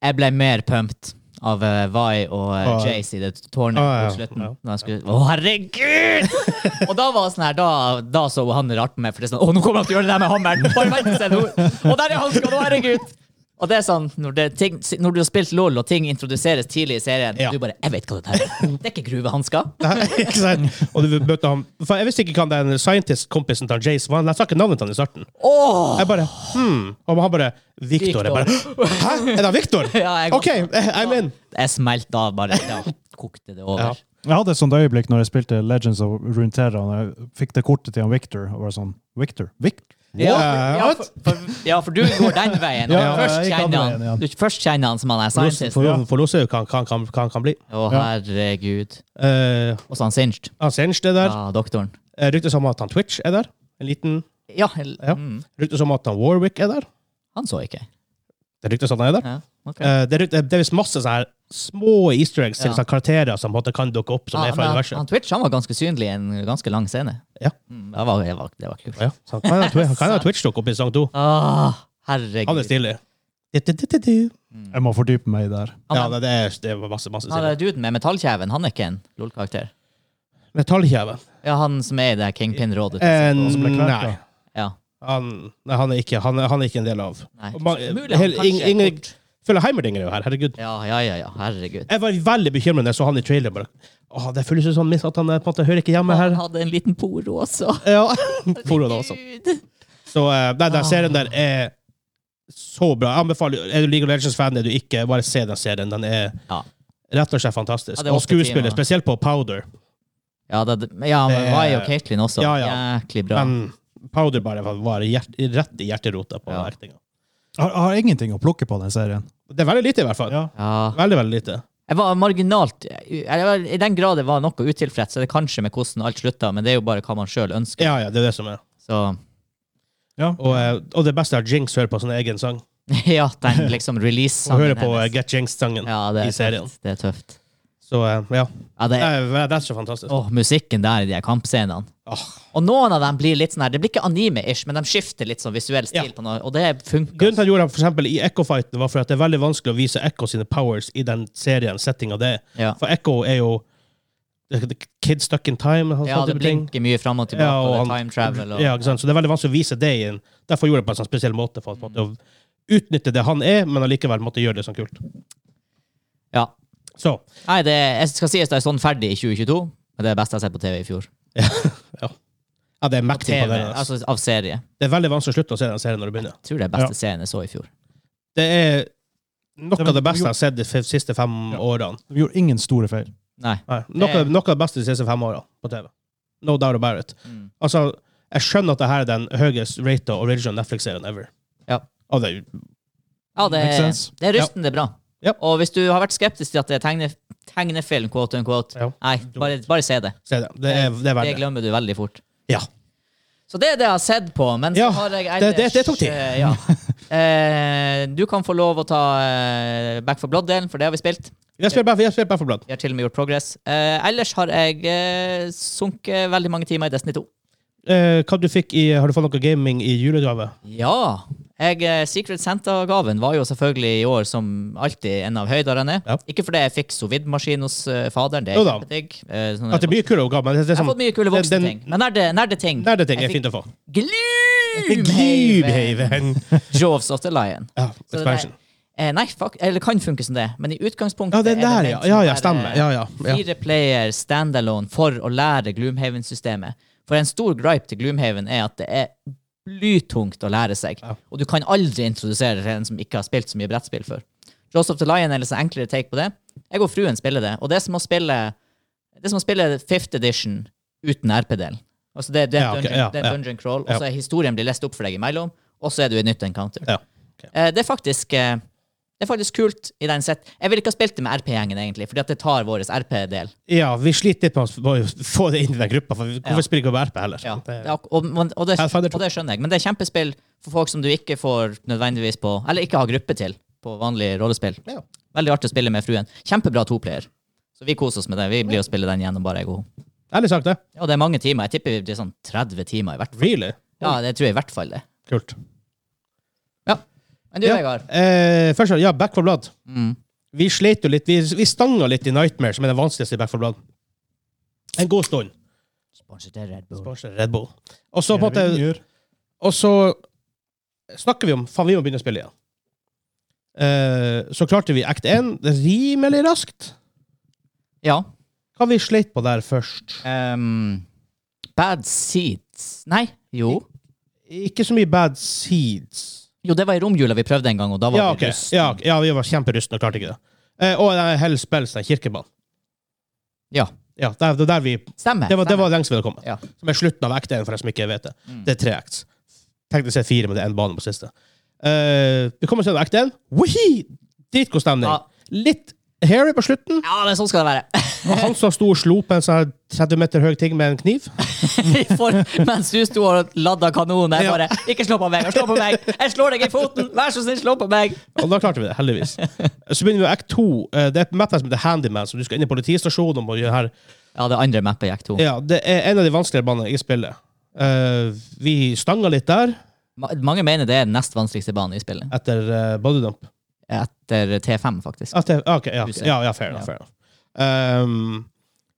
[SPEAKER 2] Jeg ble mer pumped av uh, Vai og uh,
[SPEAKER 1] Ah.
[SPEAKER 2] Jace i det tårnet
[SPEAKER 1] Ah, ja,
[SPEAKER 2] på slutten.
[SPEAKER 1] ja.
[SPEAKER 2] Når jeg skulle, å, herregud! og da var det sånn her, da, da så han rart på meg, for det er sånn Å, nå kommer han til å gjøre det der med hammeren! Bare vent seg nå! Og der er hanska! Å, herregud! Og det er sånn, når, det, ting, når du har spilt LOL, og ting introduseres tidlig i serien,
[SPEAKER 1] Ja.
[SPEAKER 2] du bare Jeg vet hva det der er. Det er ikke gruvehansker.
[SPEAKER 1] Nei, ikke sant? Og du møtte ham For jeg visste ikke hva den scientist-kompisen til Jace var. Jeg sa ikke navnet hans i starten.
[SPEAKER 2] Åh!
[SPEAKER 1] Jeg bare hmm. Og han bare Victor. Jeg bare Hæ? Er det Victor?
[SPEAKER 2] Ja, jeg-
[SPEAKER 1] OK, I'm in.
[SPEAKER 2] Jeg smelte av bare. Da kokte det over.
[SPEAKER 1] Ja.
[SPEAKER 3] Jeg hadde et sånt øyeblikk når jeg spilte Legends of Runeterra, og jeg fikk det kortet til han Victor. og var sånn, Victor? Victor?
[SPEAKER 2] Ja,
[SPEAKER 1] What?
[SPEAKER 2] ja, for, for, ja, for du går den veien.
[SPEAKER 3] Ja,
[SPEAKER 2] og først,
[SPEAKER 3] jeg gikk andre
[SPEAKER 2] kjenner han,
[SPEAKER 3] veien, ja.
[SPEAKER 2] du, først kjenner han som han er
[SPEAKER 1] For-
[SPEAKER 2] scientist. Å,
[SPEAKER 1] For for Lose kan kan, kan, kan, kan bli.
[SPEAKER 2] herregud.
[SPEAKER 1] Eh,
[SPEAKER 2] Og så han Singed.
[SPEAKER 1] han Sench er der.
[SPEAKER 2] Ja, doktoren.
[SPEAKER 1] Eh, Ryktes om at han Twitch er der. En liten
[SPEAKER 2] Ja, hel-
[SPEAKER 1] Ja.
[SPEAKER 2] Mm,
[SPEAKER 1] Ryktes om at han Warwick er der.
[SPEAKER 2] han så ikke.
[SPEAKER 1] Det ryktes at han er der.
[SPEAKER 2] Ja, ok.
[SPEAKER 1] Eh, det, rykt- det er visst masse sånne her små easter eggs til
[SPEAKER 2] Ja.
[SPEAKER 1] sånne karakterer som på en måte kan dukke opp, som
[SPEAKER 2] Ja,
[SPEAKER 1] er
[SPEAKER 2] men
[SPEAKER 1] fra
[SPEAKER 2] han,
[SPEAKER 1] universet.
[SPEAKER 2] han Twitch han var ganske synlig i en ganske lang scene.
[SPEAKER 1] Ja.
[SPEAKER 2] Mm, det, var, det, var, det var kult.
[SPEAKER 1] Ja, så han kan ha, Twi- han kan ha Twitch dukke opp i sesong to.
[SPEAKER 2] Åh,
[SPEAKER 1] Han er
[SPEAKER 2] herregud.
[SPEAKER 1] stilig. Du, du, du, du, du.
[SPEAKER 3] Jeg må fordype meg der.
[SPEAKER 1] Ja,
[SPEAKER 2] Han,
[SPEAKER 1] det, det er, det er masse, masse
[SPEAKER 2] han
[SPEAKER 1] stilig.
[SPEAKER 2] er duden med metallkjeven. Han er ikke en LOL-karakter.
[SPEAKER 1] Metallkjeve?
[SPEAKER 2] Ja, han som er i det her Kingpin-rådet.
[SPEAKER 1] Eh,
[SPEAKER 3] Og så ble jeg klart,
[SPEAKER 1] nei.
[SPEAKER 3] da.
[SPEAKER 2] Ja.
[SPEAKER 1] Han, nei han, er ikke, han, er, han er ikke en del av
[SPEAKER 2] Nei.
[SPEAKER 1] Og man-
[SPEAKER 2] Mulig han
[SPEAKER 1] hel-
[SPEAKER 2] kanskje
[SPEAKER 1] ing-
[SPEAKER 2] er
[SPEAKER 1] ingen-
[SPEAKER 2] kort.
[SPEAKER 1] Føler Heimerding er jo her, herregud.
[SPEAKER 2] Ja, ja, ja, ja. Herregud.
[SPEAKER 1] Jeg var veldig bekymret da jeg så han i traileren. Bare, Åh, det føles jo sånn miss at han eh, på en måte hører ikke hjemme her.
[SPEAKER 2] Han hadde en liten poro også.
[SPEAKER 1] Ja, Får hun det også.
[SPEAKER 2] Herregud.
[SPEAKER 1] Så eh, nei, den serien der er så bra. Jeg anbefaler, Er du League of Legends-fan, er du ikke, bare se den serien. Den er
[SPEAKER 2] Ja.
[SPEAKER 1] rett og slett fantastisk.
[SPEAKER 2] Ja, det er
[SPEAKER 1] og
[SPEAKER 2] åtte timer.
[SPEAKER 1] skuespillet, spesielt på Powder.
[SPEAKER 2] Ja, det, ja men
[SPEAKER 1] Det-
[SPEAKER 2] Vai og Caitlyn også.
[SPEAKER 1] Ja, ja.
[SPEAKER 2] Jæklig bra.
[SPEAKER 1] Men Powder bare var- var hjert, rett i hjerterota på
[SPEAKER 2] Ja.
[SPEAKER 1] actinga.
[SPEAKER 3] Jeg har, jeg har ingenting å plukke på den serien.
[SPEAKER 1] Det er veldig lite, i hvert fall.
[SPEAKER 3] Ja.
[SPEAKER 2] ja.
[SPEAKER 1] Veldig, veldig lite.
[SPEAKER 2] Jeg var marginalt jeg var, I den grad jeg var noe utilfreds, så er det kanskje med hvordan alt slutta, men det er jo bare hva man sjøl ønsker.
[SPEAKER 1] Ja, ja, det er det som er.
[SPEAKER 2] Så
[SPEAKER 3] Ja.
[SPEAKER 1] Og, eh, og det beste er at Jinx hører på sin egen sang.
[SPEAKER 2] ja, den liksom
[SPEAKER 1] Og
[SPEAKER 2] release-sangen
[SPEAKER 1] hører på eh, Get Jinx-sangen
[SPEAKER 2] ja, det
[SPEAKER 1] i
[SPEAKER 2] er
[SPEAKER 1] serien.
[SPEAKER 2] tøft. Det er tøft.
[SPEAKER 1] Så eh, ja.
[SPEAKER 2] Ja, det
[SPEAKER 1] Det
[SPEAKER 2] er,
[SPEAKER 1] er, det er så fantastisk.
[SPEAKER 2] åh, musikken der i de her kampscenene.
[SPEAKER 1] Åh.
[SPEAKER 2] Og noen av dem blir litt sånn her, det blir ikke anime-ish, men de skifter litt sånn visuell stil
[SPEAKER 1] Ja.
[SPEAKER 2] på noe, og det funker.
[SPEAKER 1] Grunnen til at jeg gjorde det for eksempel, i Echo-fighten, var for at det er veldig vanskelig å vise Echo sine powers i den serien. settinga det er.
[SPEAKER 2] Ja.
[SPEAKER 1] For Echo er jo det- det- Kid stuck in time. Han
[SPEAKER 2] ja,
[SPEAKER 1] sånn
[SPEAKER 2] det
[SPEAKER 1] type ting.
[SPEAKER 2] blinker mye fram og tilbake,
[SPEAKER 1] Ja, og
[SPEAKER 2] og det er
[SPEAKER 1] han-
[SPEAKER 2] time travel og
[SPEAKER 1] Ja, ikke sant? Så det er veldig vanskelig å vise det i en Derfor gjorde jeg det på en sånn spesiell måte. for at- på en måte
[SPEAKER 2] Mm.
[SPEAKER 1] å Utnytte det han er, men allikevel måtte gjøre det sånn kult.
[SPEAKER 2] ja.
[SPEAKER 1] Så
[SPEAKER 2] Nei, det, jeg skal sies det er sånn ferdig i 2022, men det er det beste jeg har sett på TV i fjor.
[SPEAKER 1] ja, det er mektig
[SPEAKER 2] TV,
[SPEAKER 1] på det. Altså.
[SPEAKER 2] altså av serie.
[SPEAKER 1] Det er veldig vanskelig å slutte å se den serien når du begynner.
[SPEAKER 2] Jeg tror det er beste serien jeg så i fjor.
[SPEAKER 1] Det er noe
[SPEAKER 3] Det var-
[SPEAKER 1] av det beste jeg har sett de f- siste fem årene.
[SPEAKER 3] De gjorde ingen store feil.
[SPEAKER 2] Nei.
[SPEAKER 1] Nei, noe,
[SPEAKER 2] Det-
[SPEAKER 1] noe av det beste de siste fem årene på TV. No doubt about it.
[SPEAKER 2] Mm.
[SPEAKER 1] Altså, jeg skjønner at det her er den høyest rata original Netflix-serien ever.
[SPEAKER 2] Ja.
[SPEAKER 1] Og det,
[SPEAKER 2] Ja, det,
[SPEAKER 3] Makes sense.
[SPEAKER 2] det er rystende bra.
[SPEAKER 1] Ja.
[SPEAKER 2] Og hvis du har vært skeptisk til at det er tegne, tegnefilm, quote unquote,
[SPEAKER 1] Ja.
[SPEAKER 2] nei, bare, bare se det.
[SPEAKER 1] se det. Det er, det er
[SPEAKER 2] Det
[SPEAKER 1] verdt det.
[SPEAKER 2] glemmer du veldig fort.
[SPEAKER 1] Ja.
[SPEAKER 2] Så det er det jeg har sett på. Men så
[SPEAKER 1] Ja,
[SPEAKER 2] har jeg
[SPEAKER 1] det- det- det tok tid.
[SPEAKER 2] eh, Ja. Eh, du kan få lov å ta eh, Back for Blood-delen, for det har vi spilt.
[SPEAKER 1] Jeg spiller bare, jeg spiller bare for blant.
[SPEAKER 2] Vi har til og med gjort progress. Eh, ellers har jeg eh, sunket veldig mange timer i Destiny 2.
[SPEAKER 1] Eh, hva du fikk i, har du fått noe gaming i julegave?
[SPEAKER 2] Ja. Jeg, eh, Secret Santa-gaven var jo selvfølgelig i år som alltid en av høydene.
[SPEAKER 1] Ja.
[SPEAKER 2] Ikke fordi jeg fikk sovidmaskin hos eh, faderen. det
[SPEAKER 1] Jo da.
[SPEAKER 2] er digg. Eh, sånn-
[SPEAKER 1] At det er mye kule oppgaver, men det, det
[SPEAKER 2] Jeg
[SPEAKER 1] er
[SPEAKER 2] har
[SPEAKER 1] sånn...
[SPEAKER 2] fått mye kule voksne
[SPEAKER 1] den-
[SPEAKER 2] ting. Men nerde- nerdeting.
[SPEAKER 1] Nei, det ting er
[SPEAKER 2] Jeg
[SPEAKER 1] fint å få.
[SPEAKER 2] Gloomhaven!
[SPEAKER 1] Gloomhaven.
[SPEAKER 2] Jaws of the Lion.
[SPEAKER 1] Ja,
[SPEAKER 2] Så det
[SPEAKER 1] expansion.
[SPEAKER 2] der- eh, nei, fuck, eller kan funke som det, men i utgangspunktet
[SPEAKER 1] Ja, den
[SPEAKER 2] er
[SPEAKER 1] der,
[SPEAKER 2] ment
[SPEAKER 1] ja.
[SPEAKER 2] som
[SPEAKER 1] Ja,
[SPEAKER 2] å
[SPEAKER 1] ja,
[SPEAKER 2] være
[SPEAKER 1] stemmer. Ja, ja. ja.
[SPEAKER 2] Fire player standalone for å lære Gloomhaven-systemet. For en stor gripe til Gloomhaven er at det er blytungt å lære seg. Og du kan aldri introdusere det til en som ikke har spilt så mye brettspill før. Jaws of the Lion er en litt sånn enklere take på det. Jeg og fruen spiller det, og det er som å spille det er som å spille fifth edition uten RP-del. Altså det, det, er
[SPEAKER 1] Ja, ok,
[SPEAKER 2] et dungeon,
[SPEAKER 1] ja,
[SPEAKER 2] det er et
[SPEAKER 1] ja.
[SPEAKER 2] dungeon crawl, og så er historien blir lest opp for deg imellom, og så er du i nytt encounter.
[SPEAKER 1] Ja.
[SPEAKER 2] Eh, det, er faktisk, eh, det er faktisk kult i den sett. Jeg ville ikke ha spilt det med RP-gjengen, egentlig, fordi at det tar vår RP-del.
[SPEAKER 1] Ja, vi sliter litt med å få- få det inn i den gruppa, for vi-
[SPEAKER 2] Ja.
[SPEAKER 1] hvorfor spiller ikke vi på RP heller?
[SPEAKER 2] Ja. Det
[SPEAKER 1] Det-
[SPEAKER 2] er ak- og, men- og, det,
[SPEAKER 1] Pathfinder to.
[SPEAKER 2] og det skjønner jeg, men det er kjempespill for folk som du ikke får nødvendigvis på, eller ikke har gruppe til på vanlig rollespill.
[SPEAKER 1] Ja.
[SPEAKER 2] Veldig artig å spille med fruen. Kjempebra toplayer. Så vi koser oss med det. Vi blir å spille den gjennom bare jeg og hun.
[SPEAKER 1] Ærlig sagt, det.
[SPEAKER 2] Ja, det er mange timer. Jeg tipper det er sånn 30 timer i hvert fall.
[SPEAKER 1] Really?
[SPEAKER 2] Ja, det tror jeg i hvert fall det.
[SPEAKER 1] Kult.
[SPEAKER 2] Ja. Men du,
[SPEAKER 1] Ja.
[SPEAKER 2] Vegard.
[SPEAKER 1] Eh, først, ja, Back for Blood.
[SPEAKER 2] Mm.
[SPEAKER 1] Vi slet jo litt. Vi, vi stanga litt i Nightmare, som er den vanskeligste i Back for Blood. En god stund.
[SPEAKER 2] Sponset er Red Bull.
[SPEAKER 1] Sponset Red Bull. Og så på en måte Og så snakker vi om faen, vi må begynne å spille igjen. Eh, så klarte vi act 1 rimelig raskt.
[SPEAKER 2] Ja.
[SPEAKER 1] Hva vi sleit på der først?
[SPEAKER 2] Ehm, bad Seeds Nei, jo.
[SPEAKER 1] Ikke så mye bad seeds.
[SPEAKER 2] Jo, det var i romjula vi prøvde en gang, og da var
[SPEAKER 1] Ja,
[SPEAKER 2] vi
[SPEAKER 1] ok.
[SPEAKER 2] russ.
[SPEAKER 1] ja, ok. ja, vi var kjemperustne og klarte ikke det. Eh, og det er Hell's Bells, den kirkebanen.
[SPEAKER 2] Ja.
[SPEAKER 1] sånn Ja, det er- det er der vi,
[SPEAKER 2] Stemmer.
[SPEAKER 1] det var, det
[SPEAKER 2] stemmer.
[SPEAKER 1] var lengst vi hadde kommet.
[SPEAKER 2] Ja. Mm.
[SPEAKER 1] Som er slutten av act 1, for deg som ikke vet det. Det er tre acts. Teknisk sett fire, men det er en bane på siste. Eh, vi kommer til act 1. Wihi! Dritgod stemning.
[SPEAKER 2] Ja.
[SPEAKER 1] Litt hairy på slutten.
[SPEAKER 2] ja, men sånn skal det være.
[SPEAKER 1] Og han som sto og slo på en sånn her 30 meter høy ting med en kniv.
[SPEAKER 2] For, mens du sto og ladda kanonen, jeg
[SPEAKER 1] Ja.
[SPEAKER 2] bare Ikke slå på meg! Slå på meg! Jeg slår deg i foten! Vær så snill, slå på meg!
[SPEAKER 1] Og da klarte vi det, heldigvis. Så begynner vi med act 2. Eh, Det er et map her som heter Handyman, så du skal inn i politistasjonen og gjøre her.
[SPEAKER 2] Ja, det andre mappet gikk to.
[SPEAKER 1] Ja, det er en av de vanskeligere banene i spillet. Eh, vi stanga litt der
[SPEAKER 2] Ma- Mange mener det er den nest vanskeligste banen i spillet.
[SPEAKER 1] etter eh, bodydump.
[SPEAKER 2] Etter T5, faktisk.
[SPEAKER 1] At det- ah, ok, ja,
[SPEAKER 2] Huset.
[SPEAKER 1] ja, ja, fair enough.
[SPEAKER 2] Ja.
[SPEAKER 1] Fair enough. Um,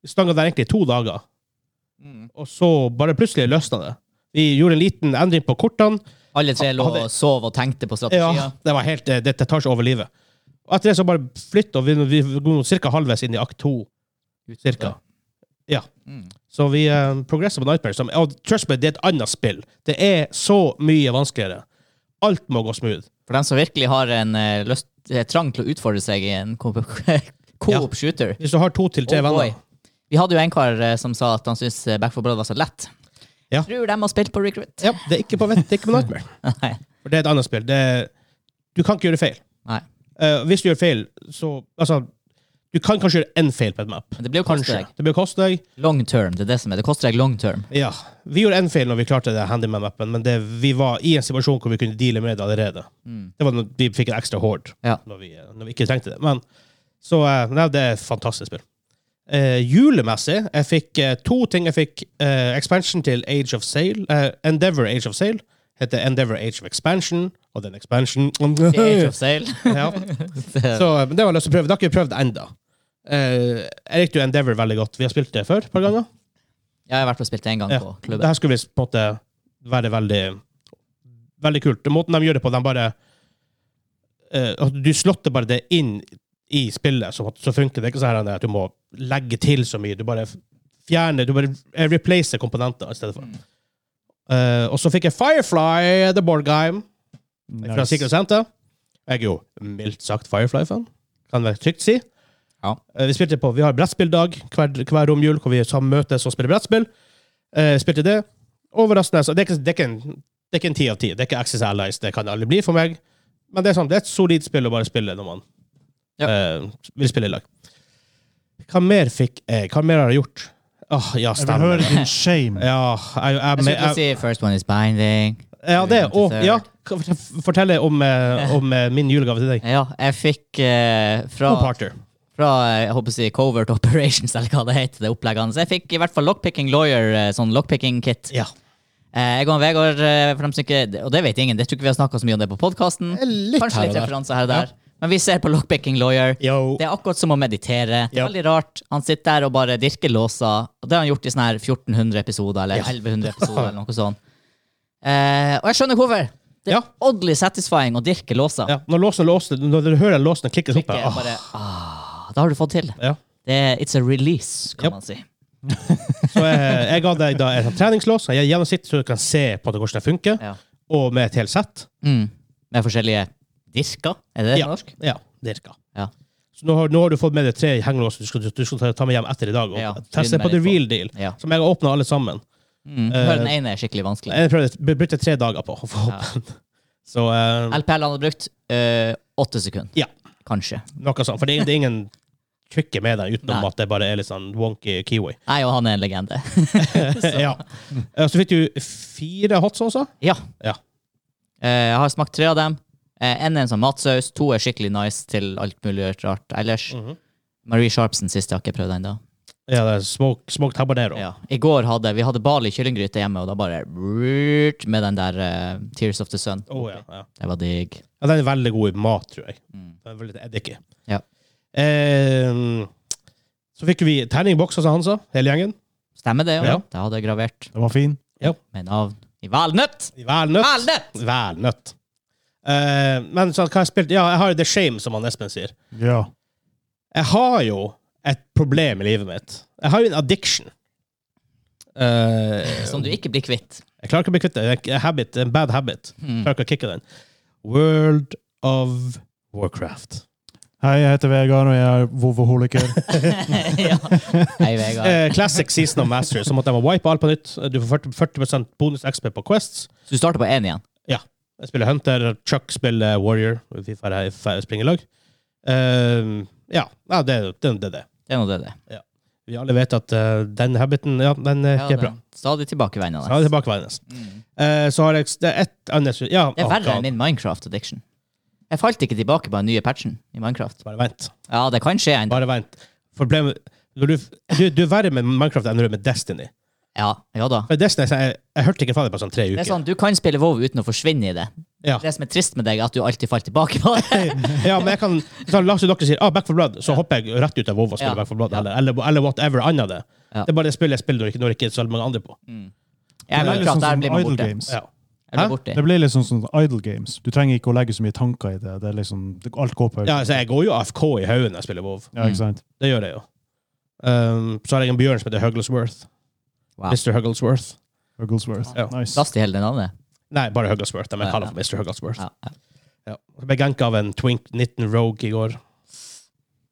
[SPEAKER 1] vi stanga der egentlig i to dager,
[SPEAKER 2] Mm.
[SPEAKER 1] og så bare plutselig løsna det. Vi gjorde en liten endring på kortene.
[SPEAKER 2] Alle tre lå
[SPEAKER 1] Hadde-
[SPEAKER 2] og sov og tenkte på
[SPEAKER 1] Ja,
[SPEAKER 2] strategier.
[SPEAKER 1] det var helt, eh, det, det tar ikke over livet. Og etter det så bare flytta vi, vi går cirka halvveis inn i akt to. Cirka. Ja.
[SPEAKER 2] Mm.
[SPEAKER 1] Så vi eh, progresser på Nightmare. Som, og trust me, det er et annet spill. Det er så mye vanskeligere. Alt må gå smooth.
[SPEAKER 2] For dem som virkelig har en eh, lyst, eh, trang til å utfordre seg i en co- coop shooter.
[SPEAKER 1] Hvis du har to til tre
[SPEAKER 2] Oh boy.
[SPEAKER 1] venner
[SPEAKER 2] Vi hadde jo en kar eh, som sa at han syntes eh, Back 4 Blood var så lett.
[SPEAKER 1] Ja.
[SPEAKER 2] Tror de har spilt på Recruit.
[SPEAKER 1] ja, Det er ikke på vett, det er ikke på Nightmare.
[SPEAKER 2] Nei.
[SPEAKER 1] For det er et annet spill. Det, er- du kan ikke gjøre feil.
[SPEAKER 2] Nei.
[SPEAKER 1] Eh, hvis du gjør feil, så Altså, du kan kanskje gjøre én feil på et map.
[SPEAKER 2] Men det blir jo koste
[SPEAKER 1] Kanskje.
[SPEAKER 2] deg.
[SPEAKER 1] Det blir å koste deg.
[SPEAKER 2] Long term. Det er det som er. Det koster deg long term.
[SPEAKER 1] Ja. Vi gjorde én feil når vi klarte det handyman-mappen, men det, vi var i en situasjon hvor vi kunne deale med det allerede. Det var når vi fikk en ekstra horde
[SPEAKER 2] Mm. Ja.
[SPEAKER 1] når, vi, når vi ikke trengte det. Men så eh, Nei, det er et fantastisk spill. Eh, julemessig jeg fikk eh, to ting. Jeg fikk eh, expansion til Age of Sail. eh, Endeavor Age of Sail heter Endeavor Age of Expansion, og den expansion
[SPEAKER 2] Age of Sail.
[SPEAKER 1] ja. Så eh, men det var lyst til å prøve. Det har ikke jeg prøvd ennå. jeg likte jo Endeavor veldig godt. Vi har spilt det før et par ganger.
[SPEAKER 2] Jeg har vært og spilt en gang
[SPEAKER 1] Ja.
[SPEAKER 2] på
[SPEAKER 1] Det
[SPEAKER 2] klubben.
[SPEAKER 1] her skulle visst på en måte være veldig Veldig kult. Måten de gjør det på, de bare eh, at Du slotter bare det inn i spillet, så, så funker det. Det er ikke sånn her at du må legge til så mye. Du bare fjerner Du bare eh, replacer komponenter i stedet for. Eh, og så fikk jeg Firefly The Board Game fra Secret Center. Jeg er jo mildt sagt Firefly-fan. Kan være trygt si.
[SPEAKER 2] Ja.
[SPEAKER 1] Eh, Vi spilte på, vi har brettspilldag hver, hver romjul, hvor vi sammen møtes og spiller brettspill. Eh, spilte det. Overraskende. Så det, er ikke- det, er ikke en- det er ikke en ti av ti. Det er ikke Access Allies. Det kan det aldri bli for meg. Men det er, sånn, det er et solid spill å bare spille når man
[SPEAKER 2] Ja.
[SPEAKER 1] eh, vil spille i lag. Hva mer fikk jeg? Hva mer har jeg gjort? Åh, ja,
[SPEAKER 3] Jeg vil
[SPEAKER 1] stemmer.
[SPEAKER 3] høre din shame.
[SPEAKER 1] Ja, jeg, jeg,
[SPEAKER 2] Jeg
[SPEAKER 1] jeg,
[SPEAKER 2] skulle
[SPEAKER 1] jeg,
[SPEAKER 2] si first one is binding.
[SPEAKER 1] ja, det. Og
[SPEAKER 2] Interessert.
[SPEAKER 1] ja, fortell om, eh, om eh, min julegave til deg.
[SPEAKER 2] Ja, jeg fikk eh, fra,
[SPEAKER 1] Og Parter.
[SPEAKER 2] fra eh, jeg håper å si covert operations, eller hva det heter, det oppleggene. Så jeg fikk i hvert fall lockpicking lawyer, eh, sånn lockpicking kit.
[SPEAKER 1] Ja.
[SPEAKER 2] Eh, jeg og Vegard, eh, for dem som ikke, og det vet ingen, det tror ikke vi har snakka så mye om det på podkasten.
[SPEAKER 1] Litt
[SPEAKER 2] Kanskje litt referanser her og der. Men vi ser på lockpicking lawyer.
[SPEAKER 1] Yo.
[SPEAKER 2] Det er akkurat som å meditere. Det er
[SPEAKER 1] Ja.
[SPEAKER 2] veldig rart. Han sitter der og bare dirker låser. Og det har han gjort i sånn her 1400 episoder, eller
[SPEAKER 1] Ja.
[SPEAKER 2] 1100 episoder, eller noe sånt. Eh, og jeg skjønner hvorfor. Det er
[SPEAKER 1] Ja.
[SPEAKER 2] oddly satisfying å dirke låser.
[SPEAKER 1] Ja, når låsen låser, når du hører låsen klikkes opp
[SPEAKER 2] Ikke
[SPEAKER 1] her, åh,
[SPEAKER 2] bare, ah, da har du fått til det.
[SPEAKER 1] ja.
[SPEAKER 2] Det er, it's a release, kan
[SPEAKER 1] Yep.
[SPEAKER 2] man si.
[SPEAKER 1] Så jeg, jeg ga deg da et sånt treningslås, jeg gjennom sitt, så du kan se på det, hvordan det funker,
[SPEAKER 2] Ja.
[SPEAKER 1] og med et helt sett.
[SPEAKER 2] Mm. Med forskjellige dirker. Er det
[SPEAKER 1] Ja.
[SPEAKER 2] norsk?
[SPEAKER 1] Ja, dirka.
[SPEAKER 2] Ja.
[SPEAKER 1] Så nå har, nå har du fått med deg tre hengelåser du skal, du skal ta- ta med hjem etter i dag, og
[SPEAKER 2] Ja,
[SPEAKER 1] teste
[SPEAKER 2] begynn
[SPEAKER 1] på
[SPEAKER 2] med
[SPEAKER 1] the
[SPEAKER 2] litt på.
[SPEAKER 1] real deal,
[SPEAKER 2] Ja.
[SPEAKER 1] som jeg har åpnet alle sammen.
[SPEAKER 2] Mm.
[SPEAKER 1] Eh,
[SPEAKER 2] Hør, den ene er skikkelig vanskelig.
[SPEAKER 1] Jeg prøvde, brukte tre dager på å få
[SPEAKER 2] Ja.
[SPEAKER 1] åpne den. Så eh,
[SPEAKER 2] LPL han har brukt eh, åtte sekunder.
[SPEAKER 1] Ja.
[SPEAKER 2] Kanskje.
[SPEAKER 1] noe sånt, for det, er- det er ingen trikke med den, utenom
[SPEAKER 2] Nei.
[SPEAKER 1] at det bare er litt sånn wonky kiwi.
[SPEAKER 2] Nei, og han er en legende.
[SPEAKER 1] ja. Eh, Så fikk du fire hot saucer.
[SPEAKER 2] ja.
[SPEAKER 1] Ja.
[SPEAKER 2] Eh, jeg har smakt tre av dem. Eh, en er en sånn matsaus, to
[SPEAKER 1] Mhm.
[SPEAKER 2] er skikkelig nice til alt mulig rart ellers. Marie Sharpsen siste har jeg ikke prøvd ennå.
[SPEAKER 1] Ja, det er smoke, smoked habanero.
[SPEAKER 2] Ja. I går hadde vi hadde Bali kyllinggryte hjemme, og da bare brrrt, med den der eh, Tears of the Sun.
[SPEAKER 1] Å, ja, ja.
[SPEAKER 2] Det var digg.
[SPEAKER 1] ja, den er veldig god i mat, tror jeg. Den er veldig eddiky.
[SPEAKER 2] Mm. Ja.
[SPEAKER 1] Eh, så fikk vi terningbokser, som han sa, hele gjengen.
[SPEAKER 2] Stemmer det?
[SPEAKER 1] Ja.
[SPEAKER 2] Ja. Det hadde jeg gravert
[SPEAKER 3] Den var fin.
[SPEAKER 2] med navn i valnøtt.
[SPEAKER 1] I Valnøtt.
[SPEAKER 2] Valnøtt!
[SPEAKER 1] Valnøtt. Eh, men så, hva har jeg spilt? Ja, jeg har jo The Shame, som han Espen sier.
[SPEAKER 3] Ja.
[SPEAKER 1] Jeg har jo et problem i livet mitt. Jeg har jo en addiction. Eh,
[SPEAKER 2] Som du ikke blir kvitt.
[SPEAKER 1] jeg klarer ikke å bli kvitt det. Det er En habit, en bad habit.
[SPEAKER 2] Hmm.
[SPEAKER 1] Jeg klarer ikke å kicke den. World of Warcraft.
[SPEAKER 3] Hei, jeg heter Vegard, og jeg er vovoholiker.
[SPEAKER 2] ja. Hei, Vegard.
[SPEAKER 1] Eh, classic Season of Mastery, som at de må wipe alt på nytt. Du får 40 40 bonus XP på Quests.
[SPEAKER 2] Så du starter på én igjen?
[SPEAKER 1] Jeg spiller Hunter, Chuck spiller Warrior. Vi får her- får springe i lag. Eh, ja, ja, det det- det er det.
[SPEAKER 2] Det er nå det, det.
[SPEAKER 1] Vi alle vet at eh, den habiten, ja, den eh, er
[SPEAKER 2] Ja,
[SPEAKER 1] ikke
[SPEAKER 2] det-
[SPEAKER 1] bra.
[SPEAKER 2] Stadig tilbakevendende.
[SPEAKER 1] Så har jeg tilbakevendende.
[SPEAKER 2] Mm.
[SPEAKER 1] Eh, så har jeg det er ett annet ja,
[SPEAKER 2] Det er
[SPEAKER 1] å,
[SPEAKER 2] verre
[SPEAKER 1] God,
[SPEAKER 2] enn min Minecraft-addiction. Jeg falt ikke tilbake på den nye patchen i Minecraft.
[SPEAKER 1] Bare vent.
[SPEAKER 2] Ja, det kan skje ennå.
[SPEAKER 1] Bare vent. Problemet når du, du, du er verre med Minecraft enn du er med Destiny.
[SPEAKER 2] Ja, ja da.
[SPEAKER 1] For Destiny, så jeg, jeg hørte ikke fra deg på sånn tre
[SPEAKER 2] Det
[SPEAKER 1] uker.
[SPEAKER 2] er sånn, Du kan spille WoW uten å forsvinne i det.
[SPEAKER 1] Ja.
[SPEAKER 2] Det som er trist med deg, er at du alltid faller tilbake på det.
[SPEAKER 1] ja, men jeg kan sånn, La oss si dere sier ah, Back for Blood, så hopper jeg rett ut av WoW og spiller
[SPEAKER 2] Ja.
[SPEAKER 1] Back for Blood, eller, eller, eller whatever annet det.
[SPEAKER 2] Ja.
[SPEAKER 1] Det er bare det spillet jeg spiller når ikke, når ikke er så mange andre på.
[SPEAKER 2] Mm. Ja,
[SPEAKER 3] Det er litt
[SPEAKER 2] Minecraft,
[SPEAKER 3] sånn
[SPEAKER 2] der
[SPEAKER 3] som
[SPEAKER 2] blir man
[SPEAKER 3] Idle
[SPEAKER 2] borte.
[SPEAKER 3] Games.
[SPEAKER 1] Ja.
[SPEAKER 2] Jeg blir
[SPEAKER 1] Hæ?
[SPEAKER 2] borte.
[SPEAKER 3] Det blir litt sånn som Idle Games. Du trenger ikke å legge så mye tanker i det. Det er liksom, Alt går på
[SPEAKER 1] ja, så jeg går jo AFK i haugen når jeg spiller WoW.
[SPEAKER 3] Ja, ikke sant?
[SPEAKER 1] Det gjør jeg jo. Um, så har jeg en bjørn som heter Hugglesworth.
[SPEAKER 2] Wow.
[SPEAKER 1] Mr. Hugglesworth.
[SPEAKER 3] Hugglesworth.
[SPEAKER 1] Ja.
[SPEAKER 3] Nice.
[SPEAKER 2] Plass til hele det navnet.
[SPEAKER 1] Nei, bare Hugglesworth. De
[SPEAKER 2] Ja,
[SPEAKER 1] kaller
[SPEAKER 2] ja.
[SPEAKER 1] ham Mr. Hugglesworth.
[SPEAKER 2] Ja, ja.
[SPEAKER 1] Ja. Jeg ble ganka av en Twink 19 Rogue i går.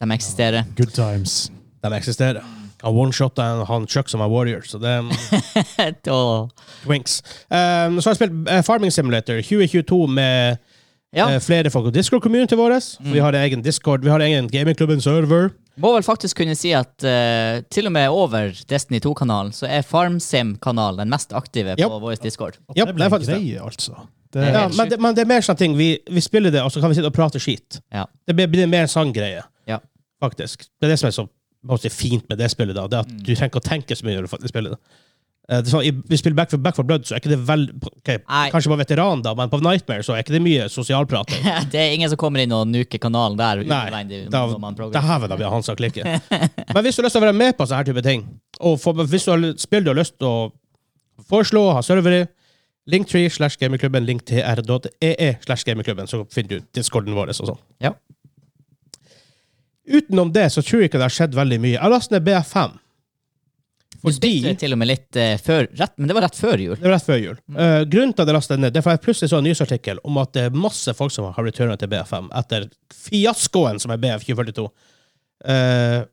[SPEAKER 2] De eksisterer.
[SPEAKER 3] Good times.
[SPEAKER 1] De eksisterer. Han one-shotta en han Chuck som er warrior, så det er mm,
[SPEAKER 2] Åh.
[SPEAKER 1] Twinks. Um, så har jeg spilt eh, Farming Simulator 2022 med
[SPEAKER 2] Ja,
[SPEAKER 1] eh, flere folk i Discord-communityen vår. Vi har en egen Discord, vi har en egen gamingklubben-server.
[SPEAKER 2] må vel faktisk kunne si at eh, til og med over Destiny 2-kanalen, så er FarmSim-kanalen den mest aktive på
[SPEAKER 1] Ja.
[SPEAKER 2] vår Discord.
[SPEAKER 1] Ja, det er faktisk det.
[SPEAKER 3] greie, altså. Det,
[SPEAKER 2] Det er
[SPEAKER 1] Ja,
[SPEAKER 2] helt
[SPEAKER 1] men, det, men det er mer sånne ting. Vi, vi spiller det, og så kan vi sitte og prate skit.
[SPEAKER 2] Ja.
[SPEAKER 1] Det blir, blir mer en sånn greie,
[SPEAKER 2] Ja.
[SPEAKER 1] faktisk. Det er det som er så hva skal jeg si, fint med det spillet, da. Det er at du trenger ikke å tenke så mye når du faktisk spiller det. Eh, det er sånn, i- vi spiller Back for, Back for Blood, så er ikke det vel ok,
[SPEAKER 2] Nei.
[SPEAKER 1] Kanskje på veteran, da, men på Nightmare så er ikke det mye sosialprat.
[SPEAKER 2] Det er ingen som kommer inn og nuker kanalen der.
[SPEAKER 1] Nei,
[SPEAKER 2] unødvendig
[SPEAKER 1] da,
[SPEAKER 2] når man
[SPEAKER 1] da
[SPEAKER 2] programmerer.
[SPEAKER 1] hever de han som klikker. Men hvis du har lyst til å være med på sånne her type ting, og få- hvis du har spill du har lyst til å foreslå, ha server i, linktree slash gamingklubben, linktr.ee E slash gamingklubben, så finner du discorden vår og sånn.
[SPEAKER 2] Ja.
[SPEAKER 1] Utenom det så tror jeg ikke det har skjedd veldig mye. Jeg har lastet ned BF5.
[SPEAKER 2] Du spilte
[SPEAKER 1] Fordi
[SPEAKER 2] til Mm. og med litt eh, før rett, Men det var rett før jul.
[SPEAKER 1] det var rett før jul. Eh, grunnen til at jeg lastet den ned, det er for jeg plutselig så en nyhetsartikkel om at det er masse folk som har returnet til BF5 etter fiaskoen som er BF2042. Eh,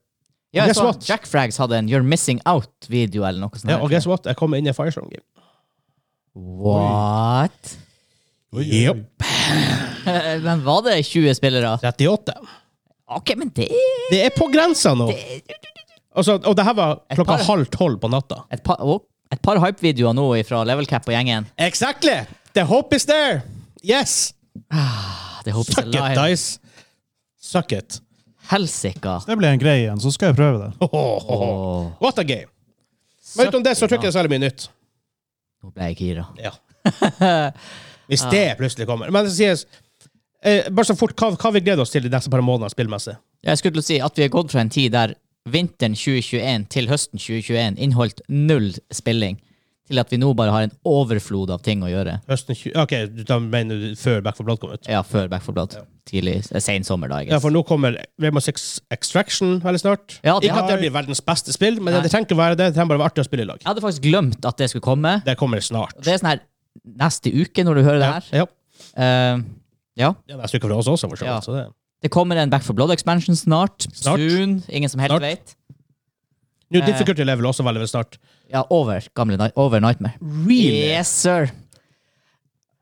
[SPEAKER 2] Ja,
[SPEAKER 1] Guess
[SPEAKER 2] jeg så
[SPEAKER 1] what?
[SPEAKER 2] Jack Frags hadde en You're Missing Out-video eller noe sånt.
[SPEAKER 1] Ja,
[SPEAKER 2] her.
[SPEAKER 1] og guess what? Jeg kommer inn i Firestorm Game.
[SPEAKER 2] What? Eh,
[SPEAKER 1] Yep.
[SPEAKER 2] men var det 20 spillere?
[SPEAKER 1] 38.
[SPEAKER 2] OK, men det
[SPEAKER 1] Det er på grensa nå! Altså, og det her var
[SPEAKER 2] Et
[SPEAKER 1] klokka
[SPEAKER 2] par-
[SPEAKER 1] halv tolv på natta.
[SPEAKER 2] Et par, å, et par hype-videoer nå fra Level Cap og gjengen.
[SPEAKER 1] Exactly! The hope is there! Yes!
[SPEAKER 2] Ah, Det håper
[SPEAKER 1] Suck
[SPEAKER 2] jeg
[SPEAKER 1] it,
[SPEAKER 2] live.
[SPEAKER 1] Dice. Suck it.
[SPEAKER 2] Helsika.
[SPEAKER 3] det blir en greie igjen, så skal jeg prøve det.
[SPEAKER 1] Ho, ho, ho, ho.
[SPEAKER 2] Åh,
[SPEAKER 1] What a game. Men utenom det så tror jeg ikke det er særlig mye nytt.
[SPEAKER 2] nå ble jeg gira.
[SPEAKER 1] Ja. Hvis
[SPEAKER 2] Ah.
[SPEAKER 1] det plutselig kommer. Men det sies eh, bare så fort, hva, hva vi gleder oss til de neste par månedene spillmessig?
[SPEAKER 2] Jeg skulle til å si at vi har gått fra en tid der vinteren 2021 til høsten 2021 inneholdt null spilling, til at vi nå bare har en overflod av ting å gjøre.
[SPEAKER 1] Høsten 20... OK, du- da mener du før Back for Blood kom ut?
[SPEAKER 2] Ja, før Back 4 Blood. Tidlig, eh, sen sommer, da. I
[SPEAKER 1] Ja,
[SPEAKER 2] guess.
[SPEAKER 1] for nå kommer Rainbow Six Extraction veldig snart.
[SPEAKER 2] Ja, det
[SPEAKER 1] ikke at det
[SPEAKER 2] har-
[SPEAKER 1] blir verdens beste spill, men
[SPEAKER 2] Nei.
[SPEAKER 1] det trenger ikke å være det. Det trenger bare å være artig å spille i lag.
[SPEAKER 2] Jeg hadde faktisk glemt at det skulle komme.
[SPEAKER 1] Det kommer snart.
[SPEAKER 2] Det er sånn her neste uke når du hører det her.
[SPEAKER 1] Ja, ja.
[SPEAKER 2] Eh, ja.
[SPEAKER 1] Det er neste uke for oss også, for så
[SPEAKER 2] Ja.
[SPEAKER 1] vidt. Så det-
[SPEAKER 2] Det kommer en Back 4 Blood-expansion snart.
[SPEAKER 1] Snart.
[SPEAKER 2] Soon. Ingen som helt
[SPEAKER 1] Snart.
[SPEAKER 2] vet.
[SPEAKER 1] New
[SPEAKER 2] Eh.
[SPEAKER 1] Difficulty Level også veldig snart.
[SPEAKER 2] Ja, over gamle Ni- over Nightmare.
[SPEAKER 1] Really?
[SPEAKER 2] Yes, sir.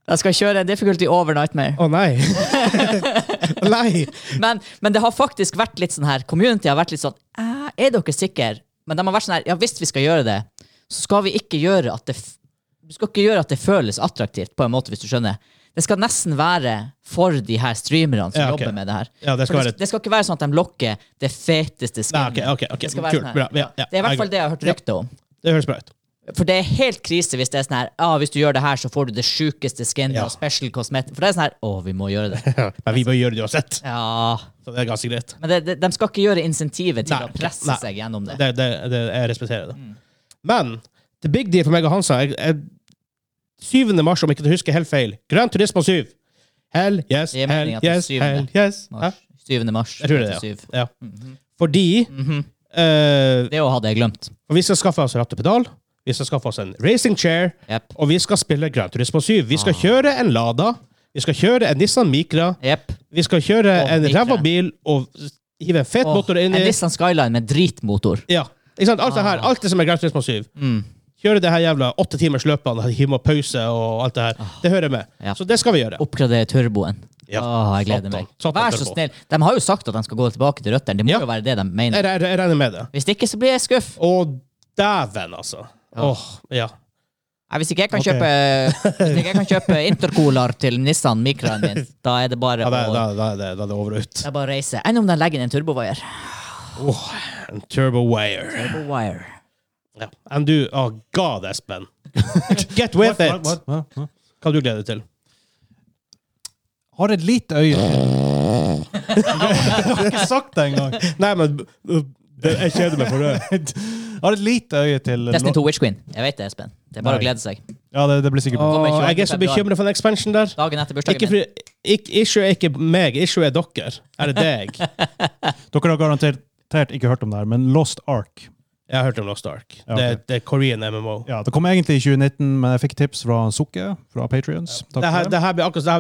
[SPEAKER 2] Jeg skal kjøre en difficulty over Nightmare.
[SPEAKER 1] Å nei! nei!
[SPEAKER 2] Men, men det har faktisk vært litt sånn her Community har vært litt sånn "Eh, Er dere sikre? Men de har vært sånn her Ja, hvis vi skal gjøre det, så skal vi ikke gjøre at det f- Du skal ikke gjøre at det føles attraktivt, på en måte, hvis du skjønner. Det skal nesten være for de her streamerne som
[SPEAKER 1] Ja, ok.
[SPEAKER 2] jobber med det her.
[SPEAKER 1] Ja, det
[SPEAKER 2] For
[SPEAKER 1] skal
[SPEAKER 2] det,
[SPEAKER 1] være
[SPEAKER 2] det skal ikke være sånn at de lokker det
[SPEAKER 1] Nei,
[SPEAKER 2] feteste skinnet.
[SPEAKER 1] ok, ok, ok.
[SPEAKER 2] Det skal være
[SPEAKER 1] kult.
[SPEAKER 2] sånn her.
[SPEAKER 1] Bra. Ja, ja.
[SPEAKER 2] Det er i hvert fall det jeg har hørt
[SPEAKER 1] Ja.
[SPEAKER 2] rykter om.
[SPEAKER 1] Det høres bra ut.
[SPEAKER 2] For det er helt krise hvis det er sånn her ah, Hvis du gjør det her, så får du det sjukeste skinnet
[SPEAKER 1] Ja.
[SPEAKER 2] og special cosmetic. For det er sånn her Å, vi må gjøre det.
[SPEAKER 1] Men vi bør gjøre det uansett.
[SPEAKER 2] Ja.
[SPEAKER 1] Så det er ganske greit.
[SPEAKER 2] Men det, det, de skal ikke gjøre insentivet til
[SPEAKER 1] Nei,
[SPEAKER 2] å presse
[SPEAKER 1] nei.
[SPEAKER 2] seg gjennom det. Mm.
[SPEAKER 1] Det, det, det, jeg respekterer det. Men the big deal for meg og Hansa jeg, jeg, 7. mars, om jeg ikke husker helt feil. Grønn turisme 7. Hell yes,
[SPEAKER 2] Det er
[SPEAKER 1] hell
[SPEAKER 2] meningen at det er
[SPEAKER 1] yes,
[SPEAKER 2] syvende
[SPEAKER 1] hell yes. Hæ?
[SPEAKER 2] Mars. 7. mars.
[SPEAKER 1] Jeg tror det, ja.
[SPEAKER 2] 87.
[SPEAKER 1] ja.
[SPEAKER 2] Mhm.
[SPEAKER 1] Fordi eh,
[SPEAKER 2] Det hadde jeg glemt.
[SPEAKER 1] vi skal skaffe oss ratt og pedal. Vi skal skaffe oss en racing chair.
[SPEAKER 2] Jepp.
[SPEAKER 1] Og vi skal spille Gran Turismo 7. Vi
[SPEAKER 2] Ah.
[SPEAKER 1] skal kjøre en Lada. Vi skal kjøre en Nissan Micra.
[SPEAKER 2] Jepp.
[SPEAKER 1] Vi skal kjøre
[SPEAKER 2] Å,
[SPEAKER 1] en
[SPEAKER 2] Micra.
[SPEAKER 1] ræva bil og hive en fet
[SPEAKER 2] Åh,
[SPEAKER 1] motor
[SPEAKER 2] en
[SPEAKER 1] inn i.
[SPEAKER 2] Nissan Skyline med dritmotor.
[SPEAKER 1] Ja. Ikke sant? Alt det her. Alt det som er Gran Turismo 7. Kjøre det her jævla åtte timers løpene, hive og pause og alt det her. Det hører med.
[SPEAKER 2] Ja.
[SPEAKER 1] Så det skal vi gjøre.
[SPEAKER 2] Oppgradere turboen.
[SPEAKER 1] Ja.
[SPEAKER 2] Åh, jeg gleder
[SPEAKER 1] Satan.
[SPEAKER 2] meg.
[SPEAKER 1] Satan
[SPEAKER 2] Vær så
[SPEAKER 1] turbo.
[SPEAKER 2] snill. De har jo sagt at de skal gå tilbake til røttene. Det må
[SPEAKER 1] Ja.
[SPEAKER 2] jo være det de
[SPEAKER 1] Jeg,
[SPEAKER 2] mener.
[SPEAKER 1] jeg, jeg regner med det.
[SPEAKER 2] Hvis ikke, så blir jeg skuff.
[SPEAKER 1] Og dæven, altså. Åh, ja.
[SPEAKER 2] Nei, Hvis ikke jeg kan
[SPEAKER 1] Ok.
[SPEAKER 2] kjøpe Hvis ikke jeg kan kjøpe intercooler til Nissan Micraen min, da er det bare
[SPEAKER 1] ja da,
[SPEAKER 2] å
[SPEAKER 1] da, da, da, da er det over og ut.
[SPEAKER 2] det er bare å reise. Enn om de legger inn en turbowire?
[SPEAKER 1] En turbo wire.
[SPEAKER 2] Turbowire.
[SPEAKER 1] Ja. Enn du Å, god, Espen. Get with
[SPEAKER 3] Hva-
[SPEAKER 1] it!
[SPEAKER 3] hva- hva- hva?
[SPEAKER 1] Hva du gleder deg til?
[SPEAKER 3] Har et lite øye Jeg har ikke sagt det engang.
[SPEAKER 1] Nei, men jeg kjeder meg for det.
[SPEAKER 3] Har et lite øye til
[SPEAKER 2] Destiny 2 Witch Queen. Jeg vet det, Espen. Det er bare
[SPEAKER 3] Nei.
[SPEAKER 2] å glede seg.
[SPEAKER 3] Ja, det, det blir sikkert bra.
[SPEAKER 2] Kommer ikke
[SPEAKER 1] jeg er så
[SPEAKER 2] i februar.
[SPEAKER 1] bekymret for den expansion der.
[SPEAKER 2] Dagen etter
[SPEAKER 1] Ikke
[SPEAKER 2] bursdagen min.
[SPEAKER 1] for, ikke, issue er ikke meg, issue er dere. Er det deg?
[SPEAKER 3] Dere har garantert ikke hørt om det her, men Lost Ark.
[SPEAKER 1] Jeg har hørt om Lost Ark.
[SPEAKER 3] Ja, ok.
[SPEAKER 1] Det, det er Korean MMO.
[SPEAKER 3] Ja, Det kom egentlig i 2019, men jeg fikk tips fra Sukke, fra Patrions. Takk
[SPEAKER 1] Det her,
[SPEAKER 3] for det.
[SPEAKER 1] det her blir akkurat, det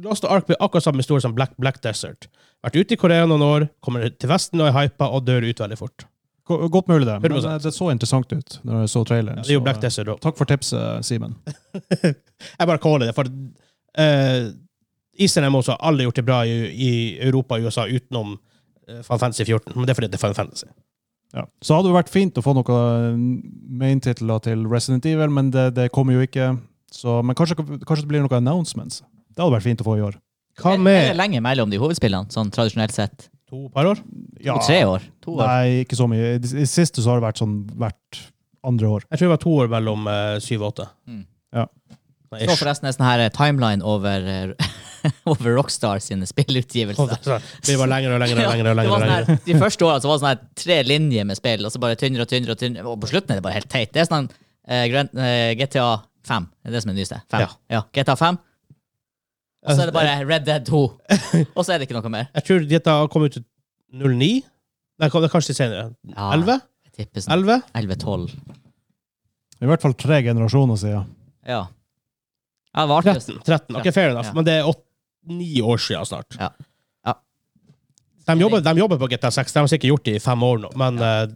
[SPEAKER 1] her, Lost Ark blir akkurat samme historie som Black, Black Desert. Vært ute i Korea noen år, kommer til Vesten og er hypa og dør ut veldig fort.
[SPEAKER 3] Go- Godt mulig, det. Men
[SPEAKER 1] 100%.
[SPEAKER 3] eh, det så interessant ut når jeg så traileren.
[SPEAKER 1] Det er jo
[SPEAKER 3] så,
[SPEAKER 1] Black
[SPEAKER 3] eh,
[SPEAKER 1] Desert også.
[SPEAKER 3] Takk for tipset, Simen.
[SPEAKER 1] Jeg bare caller det, for uh, Isen MMO så har alle gjort det bra i, i Europa og USA utenom uh, Final Fantasy 14. Men det er fordi det er Final Fantasy.
[SPEAKER 3] Ja. Så hadde det vært fint å få noen maintitler til Resident Evil, men det, det kommer jo ikke. Så, men kanskje, kanskje det blir noen announcements. Det hadde vært fint å få i år.
[SPEAKER 1] Hva
[SPEAKER 2] Er er det
[SPEAKER 1] med
[SPEAKER 2] lenge mellom de hovedspillene, sånn tradisjonelt sett?
[SPEAKER 1] to par år?
[SPEAKER 3] Ja.
[SPEAKER 2] To-tre år? To år.
[SPEAKER 3] Nei, ikke så mye. I det i det siste så har det vært sånn hvert andre år.
[SPEAKER 1] Jeg tror det var to år mellom eh, syv og åtte.
[SPEAKER 2] Mm.
[SPEAKER 3] Ja.
[SPEAKER 1] Nei,
[SPEAKER 2] Så
[SPEAKER 1] ish.
[SPEAKER 2] forresten en sånn her eh, timeline over, eh, over Rockstar sine spillutgivelser.
[SPEAKER 1] Det var lengre og lengre og lengre. og lengre, og
[SPEAKER 2] Ja, det var sånn
[SPEAKER 1] lengre.
[SPEAKER 2] her, de første årene så var det sånn her tre linjer med spill, og så bare tynnere og tynnere. Og tynnere, og på slutten er det bare helt teit. Det er sånn eh, Grand, eh, GTA 5. Det er det som er det nyeste. 5.
[SPEAKER 1] Ja. Eh,
[SPEAKER 2] Ja. GTA 5. Og så er det bare Red Dead 2. Og så er det ikke noe mer.
[SPEAKER 1] Jeg tror dette kom ut i 09. Nei, kom- det er kanskje litt senere.
[SPEAKER 2] Ja.
[SPEAKER 1] 11?
[SPEAKER 2] Jeg tipper sånn
[SPEAKER 1] 11?
[SPEAKER 2] 11-12.
[SPEAKER 3] I hvert fall tre generasjoner siden.
[SPEAKER 2] Ja. Ja, det var artig.
[SPEAKER 1] 13? 13. Ok, fair enough.
[SPEAKER 2] Ja.
[SPEAKER 1] Men det er åt- ni år siden snart.
[SPEAKER 2] Ja. Ja.
[SPEAKER 1] De, jobber, de jobber på GTA 6. De har sikkert gjort det i fem år nå. Men eh,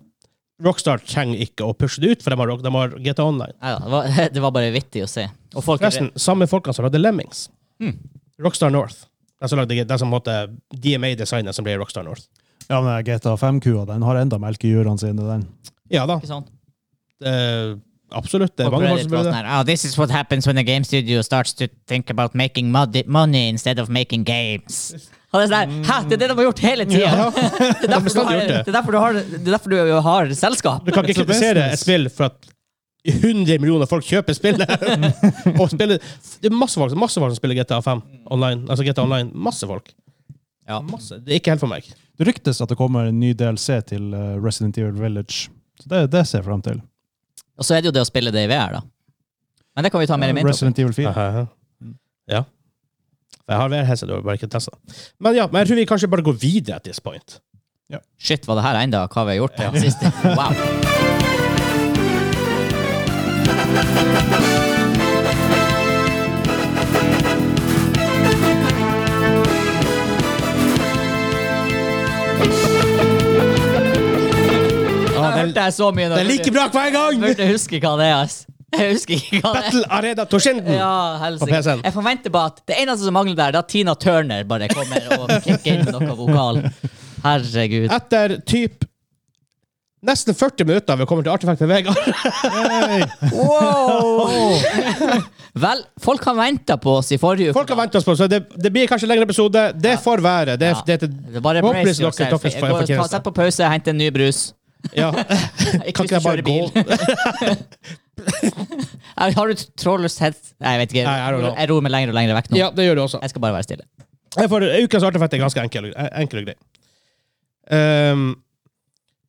[SPEAKER 1] Rockstar trenger ikke å pushe det ut, for de har, de har GTA Online.
[SPEAKER 2] Neida, det, var, det var bare vittig å se. Og folk er
[SPEAKER 1] Forresten, samme folkene som lagde Lemmings. Rockstar North. De som lagde de som måtte DMA-designet som ble Rockstar North.
[SPEAKER 3] Ja, men GTA 5-kua, den har enda melk i jurene sine, den.
[SPEAKER 1] Ja da.
[SPEAKER 2] ikke sånn.
[SPEAKER 1] Eh, absolutt. Det er
[SPEAKER 2] Folk
[SPEAKER 1] mange folk
[SPEAKER 2] på Reddit
[SPEAKER 1] som
[SPEAKER 2] var
[SPEAKER 1] burde
[SPEAKER 2] sånn
[SPEAKER 1] det.
[SPEAKER 2] her, oh, this is what happens when a game studio starts to think about making mod- money instead of making games. Og det er sånn her, hæ, det er det de har gjort hele tida!
[SPEAKER 1] Ja.
[SPEAKER 2] Det, er derfor du
[SPEAKER 1] bestandig
[SPEAKER 2] har-
[SPEAKER 1] gjort det.
[SPEAKER 2] det er derfor du har- det er derfor du har selskap.
[SPEAKER 1] Du kan ikke
[SPEAKER 3] It's a
[SPEAKER 1] kritisere et
[SPEAKER 3] business.
[SPEAKER 1] spill for at 100 millioner folk kjøper spillet. og spiller, det er masse folk, masse folk som spiller GTA 5 online. Altså GTA Online. Masse folk.
[SPEAKER 2] Ja.
[SPEAKER 1] Masse. Det er ikke helt for meg.
[SPEAKER 3] Det ryktes at det kommer en ny DLC til eh, Resident Evil Village. Så det, det ser jeg frem til.
[SPEAKER 2] Og så er det jo det å spille det i VR, da. Men det kan vi ta mer i mindre.
[SPEAKER 3] Resident Evil 4.
[SPEAKER 1] Aha. Ja. Jeg har vært hese, du har bare ikke testa. Men ja, men jeg tror vi kanskje bare går videre at this point.
[SPEAKER 2] Shit, var det her enda hva vi har gjort på den siste? Wow. Da
[SPEAKER 1] Ah, det,
[SPEAKER 2] hørte jeg så mye. nå.
[SPEAKER 1] er like bra hver gang!
[SPEAKER 2] Jeg burde huske hva det er, ass. Jeg husker ikke hva det er.
[SPEAKER 1] Battle Arena Toshinden!
[SPEAKER 2] Ja,
[SPEAKER 1] På
[SPEAKER 2] helsike.
[SPEAKER 1] PC-en.
[SPEAKER 2] Jeg forventer bare at det eneste som mangler der, det er at Tina Turner bare kommer og kicker inn med noe vokal. Herregud.
[SPEAKER 1] Etter typ nesten 40 minutter vi kommer til Artefakt med Vegard.
[SPEAKER 2] Wow! Vel, folk har venta på oss i forrige uke.
[SPEAKER 1] Folk har ventet oss på, så det, det blir kanskje en lengre episode. Det får være. Det,
[SPEAKER 2] Ja.
[SPEAKER 1] det, det,
[SPEAKER 2] Det er bare brace
[SPEAKER 1] Håpeligvis dere
[SPEAKER 2] yourself.
[SPEAKER 1] takkes for-
[SPEAKER 2] Gå-
[SPEAKER 1] for
[SPEAKER 2] ta-
[SPEAKER 1] tjeneste.
[SPEAKER 2] Sett på pause, hent en ny brus.
[SPEAKER 1] ja.
[SPEAKER 2] Ikke
[SPEAKER 1] Kan
[SPEAKER 2] hvis
[SPEAKER 1] ikke
[SPEAKER 2] du
[SPEAKER 1] jeg bare
[SPEAKER 2] kjører
[SPEAKER 1] gå?
[SPEAKER 2] bil. Har du trådløs head... Nei, jeg vet ikke.
[SPEAKER 1] Nei, I don't know.
[SPEAKER 2] Jeg ror meg lenger og lenger vekk nå.
[SPEAKER 1] ja, det gjør du også.
[SPEAKER 2] Jeg skal bare være stille.
[SPEAKER 1] Jeg får, ukas artefakt er ganske enkel, enkel og grei. Ehm,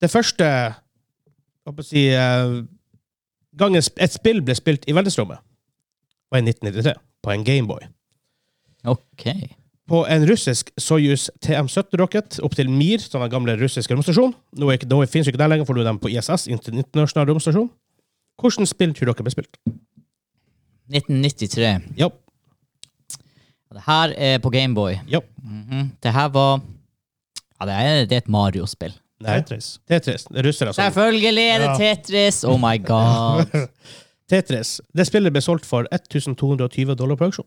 [SPEAKER 1] det første hva skal jeg si, eh, gangen sp- et spill ble spilt i verdensrommet, var i 1993, på en Gameboy.
[SPEAKER 2] Ok.
[SPEAKER 1] På en russisk Soyuz TM-17-rocket opp til Mir, som var den gamle russiske romstasjonen. Nå, er ikke- nå finnes jo ikke der lenger, for nå er de på ISS, Inter- internasjonal romstasjon. Hvordan spill tror dere ble spilt?
[SPEAKER 2] 1993.
[SPEAKER 1] Ja.
[SPEAKER 2] Det her er på Gameboy.
[SPEAKER 1] Ja.
[SPEAKER 2] Mhm. Det her var Ja, det er, det er et Mario-spill.
[SPEAKER 1] Nei.
[SPEAKER 3] Tetris.
[SPEAKER 1] Tetris. Det er russere altså. som
[SPEAKER 2] Selvfølgelig er det Tetris! Oh my god.
[SPEAKER 1] Tetris. Det spillet ble solgt for 1220 dollar på auksjon.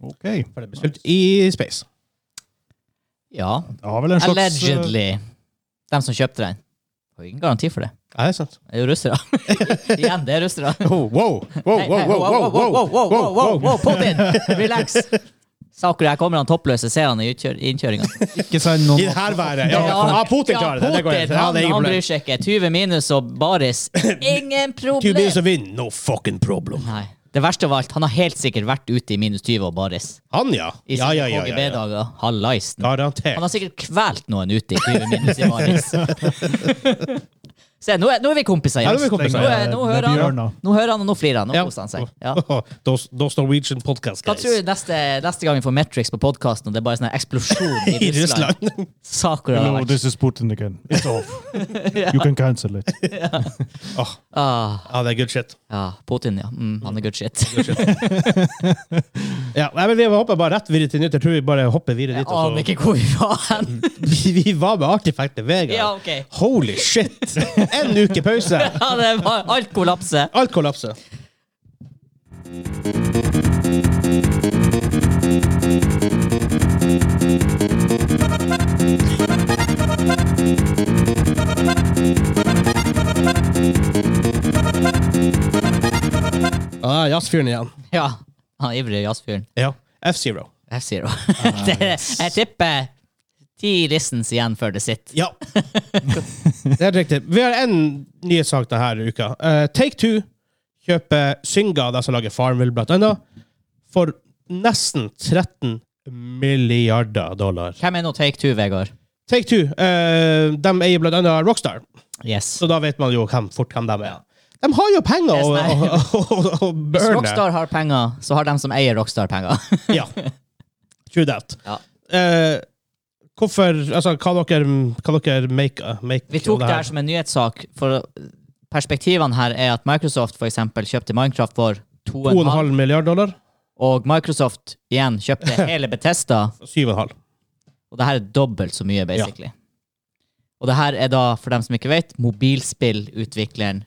[SPEAKER 3] Ok.
[SPEAKER 1] For det ble spilt i space.
[SPEAKER 2] Ja.
[SPEAKER 3] Det har vel en slags
[SPEAKER 2] Allegedly. De som kjøpte den. Har ingen garanti for det.
[SPEAKER 1] Ja, det er sant.
[SPEAKER 2] Det er jo russere. Igjen, det er russere.
[SPEAKER 1] Oh, wow, wow,
[SPEAKER 2] Hei, hei, Pop in! Relax. Saker, her kommer han toppløse seerne i utkjør- innkjøringa.
[SPEAKER 3] eh, Ikke send noen
[SPEAKER 1] I det her været. Ja, ja, Putin klarer det. Det går
[SPEAKER 2] Putin,
[SPEAKER 1] greit. Ja, det er
[SPEAKER 2] han,
[SPEAKER 1] ingen
[SPEAKER 2] han bryr
[SPEAKER 1] problem.
[SPEAKER 2] seg ikke. 20 minus og baris. Ingen
[SPEAKER 1] Two
[SPEAKER 2] problem!
[SPEAKER 1] minutes of win, no fucking problem.
[SPEAKER 2] Nei. Det verste av alt, han har helt sikkert vært ute i minus 20 og baris.
[SPEAKER 1] Han, ja.
[SPEAKER 2] I
[SPEAKER 1] Ja, ja, ja. ja, ja.
[SPEAKER 2] KGB-dager. Hallais. Han
[SPEAKER 1] Garantert.
[SPEAKER 2] har sikkert kvelt noen ute i 20 minus i baris. Se, nå er, nå er vi kompiser
[SPEAKER 1] Ja,
[SPEAKER 2] igjen.
[SPEAKER 1] nå er vi kompiser.
[SPEAKER 2] Nå, er- nå,
[SPEAKER 3] Det er
[SPEAKER 2] hører han,
[SPEAKER 3] bjørner.
[SPEAKER 2] nå hører han, og nå flirer han. Nå
[SPEAKER 1] Ja.
[SPEAKER 2] koser han seg. Ja.
[SPEAKER 1] Those, those Norwegian podcast
[SPEAKER 2] Hva
[SPEAKER 1] guys.
[SPEAKER 2] tror du neste, neste gang vi får Metrix på podkasten, og det er bare sånn her eksplosjon i
[SPEAKER 1] I
[SPEAKER 2] Russland?
[SPEAKER 1] Russland.
[SPEAKER 2] Saker har
[SPEAKER 3] No,
[SPEAKER 2] vært.
[SPEAKER 3] this is Putin again. It's off. You can cancel it.
[SPEAKER 1] Åh,
[SPEAKER 2] Ah,
[SPEAKER 1] Ja, det er good shit.
[SPEAKER 2] ja, Putin, ja. Mm, han er good shit.
[SPEAKER 1] Ja, nei, men vi hopper bare rett videre til nytt. Jeg tror vi bare hopper videre dit.
[SPEAKER 2] Jeg
[SPEAKER 1] og
[SPEAKER 2] aner ikke hvor vi var hen.
[SPEAKER 1] så- Vi var med artefektet Vegard.
[SPEAKER 2] Ja, ok.
[SPEAKER 1] Holy shit! En uke pause.
[SPEAKER 2] Ja, det var alt kollapser.
[SPEAKER 1] Alt kollapser. Ah, Jazzfyren igjen.
[SPEAKER 2] Ja, han ivrige jazzfyren.
[SPEAKER 1] Ja. F-Zero.
[SPEAKER 2] F-Zero. Det- Jeg tipper ti listens igjen før det sitter.
[SPEAKER 1] Ja. det er riktig. Vi har én nyhetssak denne uka. Eh, Take Two kjøper Synga, de som lager Farmville, blant annet, for nesten 13 milliarder dollar.
[SPEAKER 2] Hvem er nå Take Two, Vegard?
[SPEAKER 1] Take Two eh, de eier blant annet Rockstar,
[SPEAKER 2] Yes.
[SPEAKER 1] så da vet man jo hvem, fort hvem de er. De har jo penger å,
[SPEAKER 2] Det er
[SPEAKER 1] å, å, å, å
[SPEAKER 2] Hvis
[SPEAKER 1] burne.
[SPEAKER 2] Rockstar har penger, så har de som eier Rockstar penger.
[SPEAKER 1] Ja. True that.
[SPEAKER 2] Ja.
[SPEAKER 1] Eh, hvorfor Altså, hva dere, hva dere make, make
[SPEAKER 2] Vi tok
[SPEAKER 1] av
[SPEAKER 2] det her som en nyhetssak, for perspektivene her er at Microsoft for eksempel kjøpte Minecraft for 2,5,
[SPEAKER 1] 2,5 milliarder dollar?
[SPEAKER 2] og Microsoft igjen kjøpte hele Betesta,
[SPEAKER 1] 7,5.
[SPEAKER 2] og det her er dobbelt så mye, basically. Og det her er da, for dem som ikke vet, mobilspillutvikleren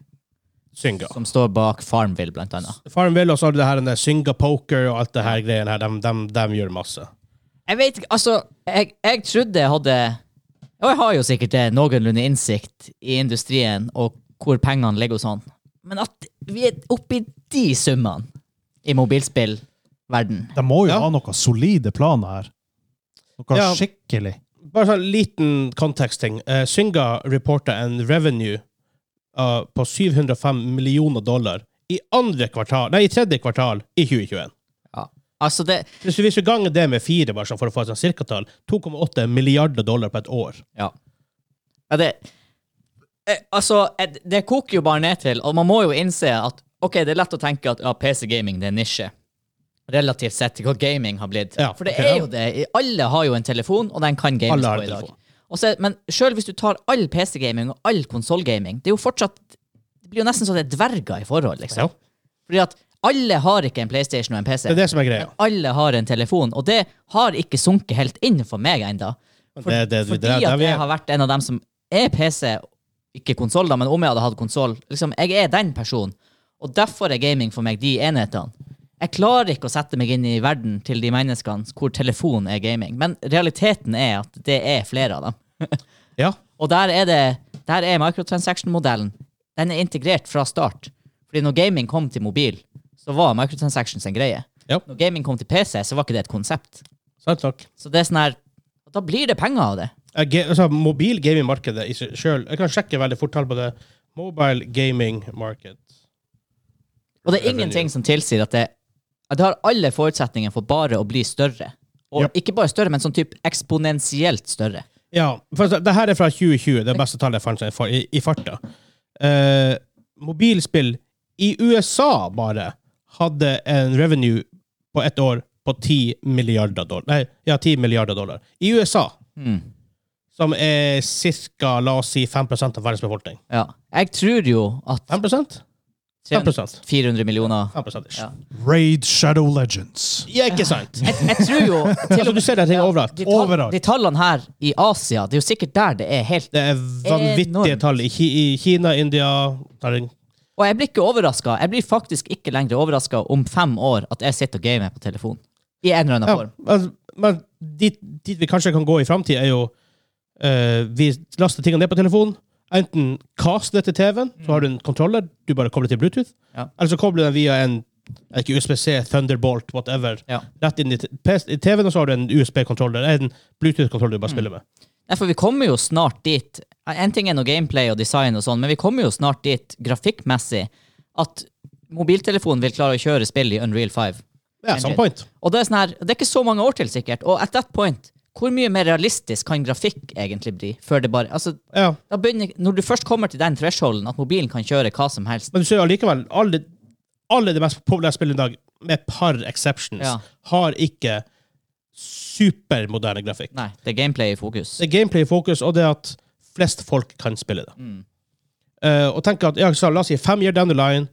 [SPEAKER 1] Synga.
[SPEAKER 2] som står bak Farmville, blant annet.
[SPEAKER 1] Farmville, og så har du det her den der Synga Poker og alt det her greiene her. De, gjør masse.
[SPEAKER 2] Jeg vet ikke, altså, jeg, jeg trodde jeg hadde, og jeg har jo sikkert det, noenlunde innsikt i industrien, og hvor pengene ligger og sånn. Men at vi er oppe i de summene i mobilspillverden,
[SPEAKER 3] De må jo
[SPEAKER 1] Ja.
[SPEAKER 3] ha noen solide planer her. Noe
[SPEAKER 1] Ja.
[SPEAKER 3] skikkelig.
[SPEAKER 1] Bare sånn liten kontekstting. Uh, Synga reporta en revenue eh, på 705 millioner dollar i andre kvartal, nei, i tredje kvartal i 2021.
[SPEAKER 2] Altså, det
[SPEAKER 1] Hvis du, hvis du ganger det med fire, bare sånn for å få et sånn cirkatall, 2,8 milliarder dollar på et år.
[SPEAKER 2] Ja. ja det eh, Altså, eh, det koker jo bare ned til, og man må jo innse at OK, det er lett å tenke at ja, PC-gaming det er nisje. Relativt sett til hva gaming har blitt.
[SPEAKER 1] Ja,
[SPEAKER 2] For det
[SPEAKER 1] ok, ja.
[SPEAKER 2] er jo det. I- Alle har jo en telefon, og den kan games
[SPEAKER 1] Alle har
[SPEAKER 2] på
[SPEAKER 1] en
[SPEAKER 2] i dag.
[SPEAKER 1] telefon.
[SPEAKER 2] Og så- men sjøl hvis du tar all PC-gaming og all konsollgaming, det er jo fortsatt Det blir jo nesten så det er dverger i forhold, liksom.
[SPEAKER 1] Ja.
[SPEAKER 2] Fordi at alle har ikke en PlayStation og en PC.
[SPEAKER 1] Det er det som er greia.
[SPEAKER 2] Alle har en telefon, og det har ikke sunket helt inn for meg ennå. For,
[SPEAKER 1] Det- det-
[SPEAKER 2] fordi
[SPEAKER 1] det- det-
[SPEAKER 2] at
[SPEAKER 1] vi er-
[SPEAKER 2] jeg har vært en av dem som er PC, ikke konsoll, da, men om jeg hadde hatt konsoll liksom, Jeg er den personen, og derfor er gaming for meg de enhetene. Jeg klarer ikke å sette meg inn i verden til de menneskene hvor telefon er gaming, men realiteten er at det er flere av dem.
[SPEAKER 1] Ja.
[SPEAKER 2] Og der er det Der er microtransaction-modellen Den er integrert fra start. Fordi når gaming kom til mobil, så var microtransactions en greie.
[SPEAKER 1] Ja.
[SPEAKER 2] Når gaming kom til PC, så var ikke det et konsept.
[SPEAKER 1] Sant nok.
[SPEAKER 2] Så det er sånn her Da blir det penger av det.
[SPEAKER 1] Eh, ga- altså, mobil gaming-markedet i seg sjøl Jeg kan sjekke veldig fort tall på det. Mobile gaming market.
[SPEAKER 2] Og det er ingenting som tilsier at det at det har alle forutsetninger for bare å bli større. Og
[SPEAKER 1] Ja.
[SPEAKER 2] ikke bare større, men sånn type eksponentielt større.
[SPEAKER 1] Ja, for altså, det her er fra 2020, det beste tallet jeg fant seg for, i, i farta. Eh, mobilspill i USA bare hadde en revenue på ett år på 10 milliarder dollar. Nei, ja, 10 milliarder dollar. I USA.
[SPEAKER 2] Hmm.
[SPEAKER 1] Som er ca. la oss si 5 av verdens befolkning.
[SPEAKER 2] Ja. Jeg tror jo at
[SPEAKER 1] 5 5 300.
[SPEAKER 2] 400 millioner
[SPEAKER 1] -ish.
[SPEAKER 2] Ja.
[SPEAKER 3] Raid Shadow Legends.
[SPEAKER 1] ja, ikke sant?
[SPEAKER 2] Jeg, jeg tror jo til
[SPEAKER 1] Altså,
[SPEAKER 2] og
[SPEAKER 1] du
[SPEAKER 2] med
[SPEAKER 1] ser det ting overalt.
[SPEAKER 2] de, tall,
[SPEAKER 3] Overalt.
[SPEAKER 2] de tallene her i Asia, det er jo sikkert der det er helt
[SPEAKER 1] Det er vanvittige
[SPEAKER 2] Eh, Enormt.
[SPEAKER 1] tall i, Ki i Kina, India tar en-
[SPEAKER 2] Og jeg blir ikke overraska. Jeg blir faktisk ikke lenger overraska om fem år at jeg sitter og gamer på telefon. I en eller annen
[SPEAKER 1] ja,
[SPEAKER 2] form.
[SPEAKER 1] men, men dit, dit vi kanskje kan gå i framtida, er jo eh, Vi laster tingene ned på telefonen. Enten cast det til TV-en, så har du en kontroller, du bare kobler til Bluetooth.
[SPEAKER 2] Ja.
[SPEAKER 1] Eller så kobler du den via en ikke USB-C, Thunderbolt, whatever,
[SPEAKER 2] Ja.
[SPEAKER 1] rett inn i t- PS i TV-en, og så har du en USB-kontroller. En Bluetooth-kontroller
[SPEAKER 2] Mm.
[SPEAKER 1] du bare spiller med.
[SPEAKER 2] Nei, for vi kommer jo snart dit. En ting er noe gameplay og design, og sånn, men vi kommer jo snart dit grafikkmessig at mobiltelefonen vil klare å kjøre spill i Unreal 5.
[SPEAKER 1] Ja,
[SPEAKER 2] Engine.
[SPEAKER 1] samme point.
[SPEAKER 2] Og det er, sånn her, det er ikke så mange år til, sikkert. Og at that point, hvor mye mer realistisk kan grafikk egentlig bli? Før det bare, altså,
[SPEAKER 1] Ja.
[SPEAKER 2] da begynner, når du først kommer til den thresholden at mobilen kan kjøre hva som helst
[SPEAKER 1] Men du ser jo allikevel, alle, alle de mest populære spillene i dag, med et par exceptions,
[SPEAKER 2] Ja.
[SPEAKER 1] har ikke supermoderne grafikk.
[SPEAKER 2] Nei, det er gameplay i fokus.
[SPEAKER 1] Det er gameplay i fokus, og det at flest folk kan spille det. Eh, og tenk at, ja, så la oss si fem year down the line,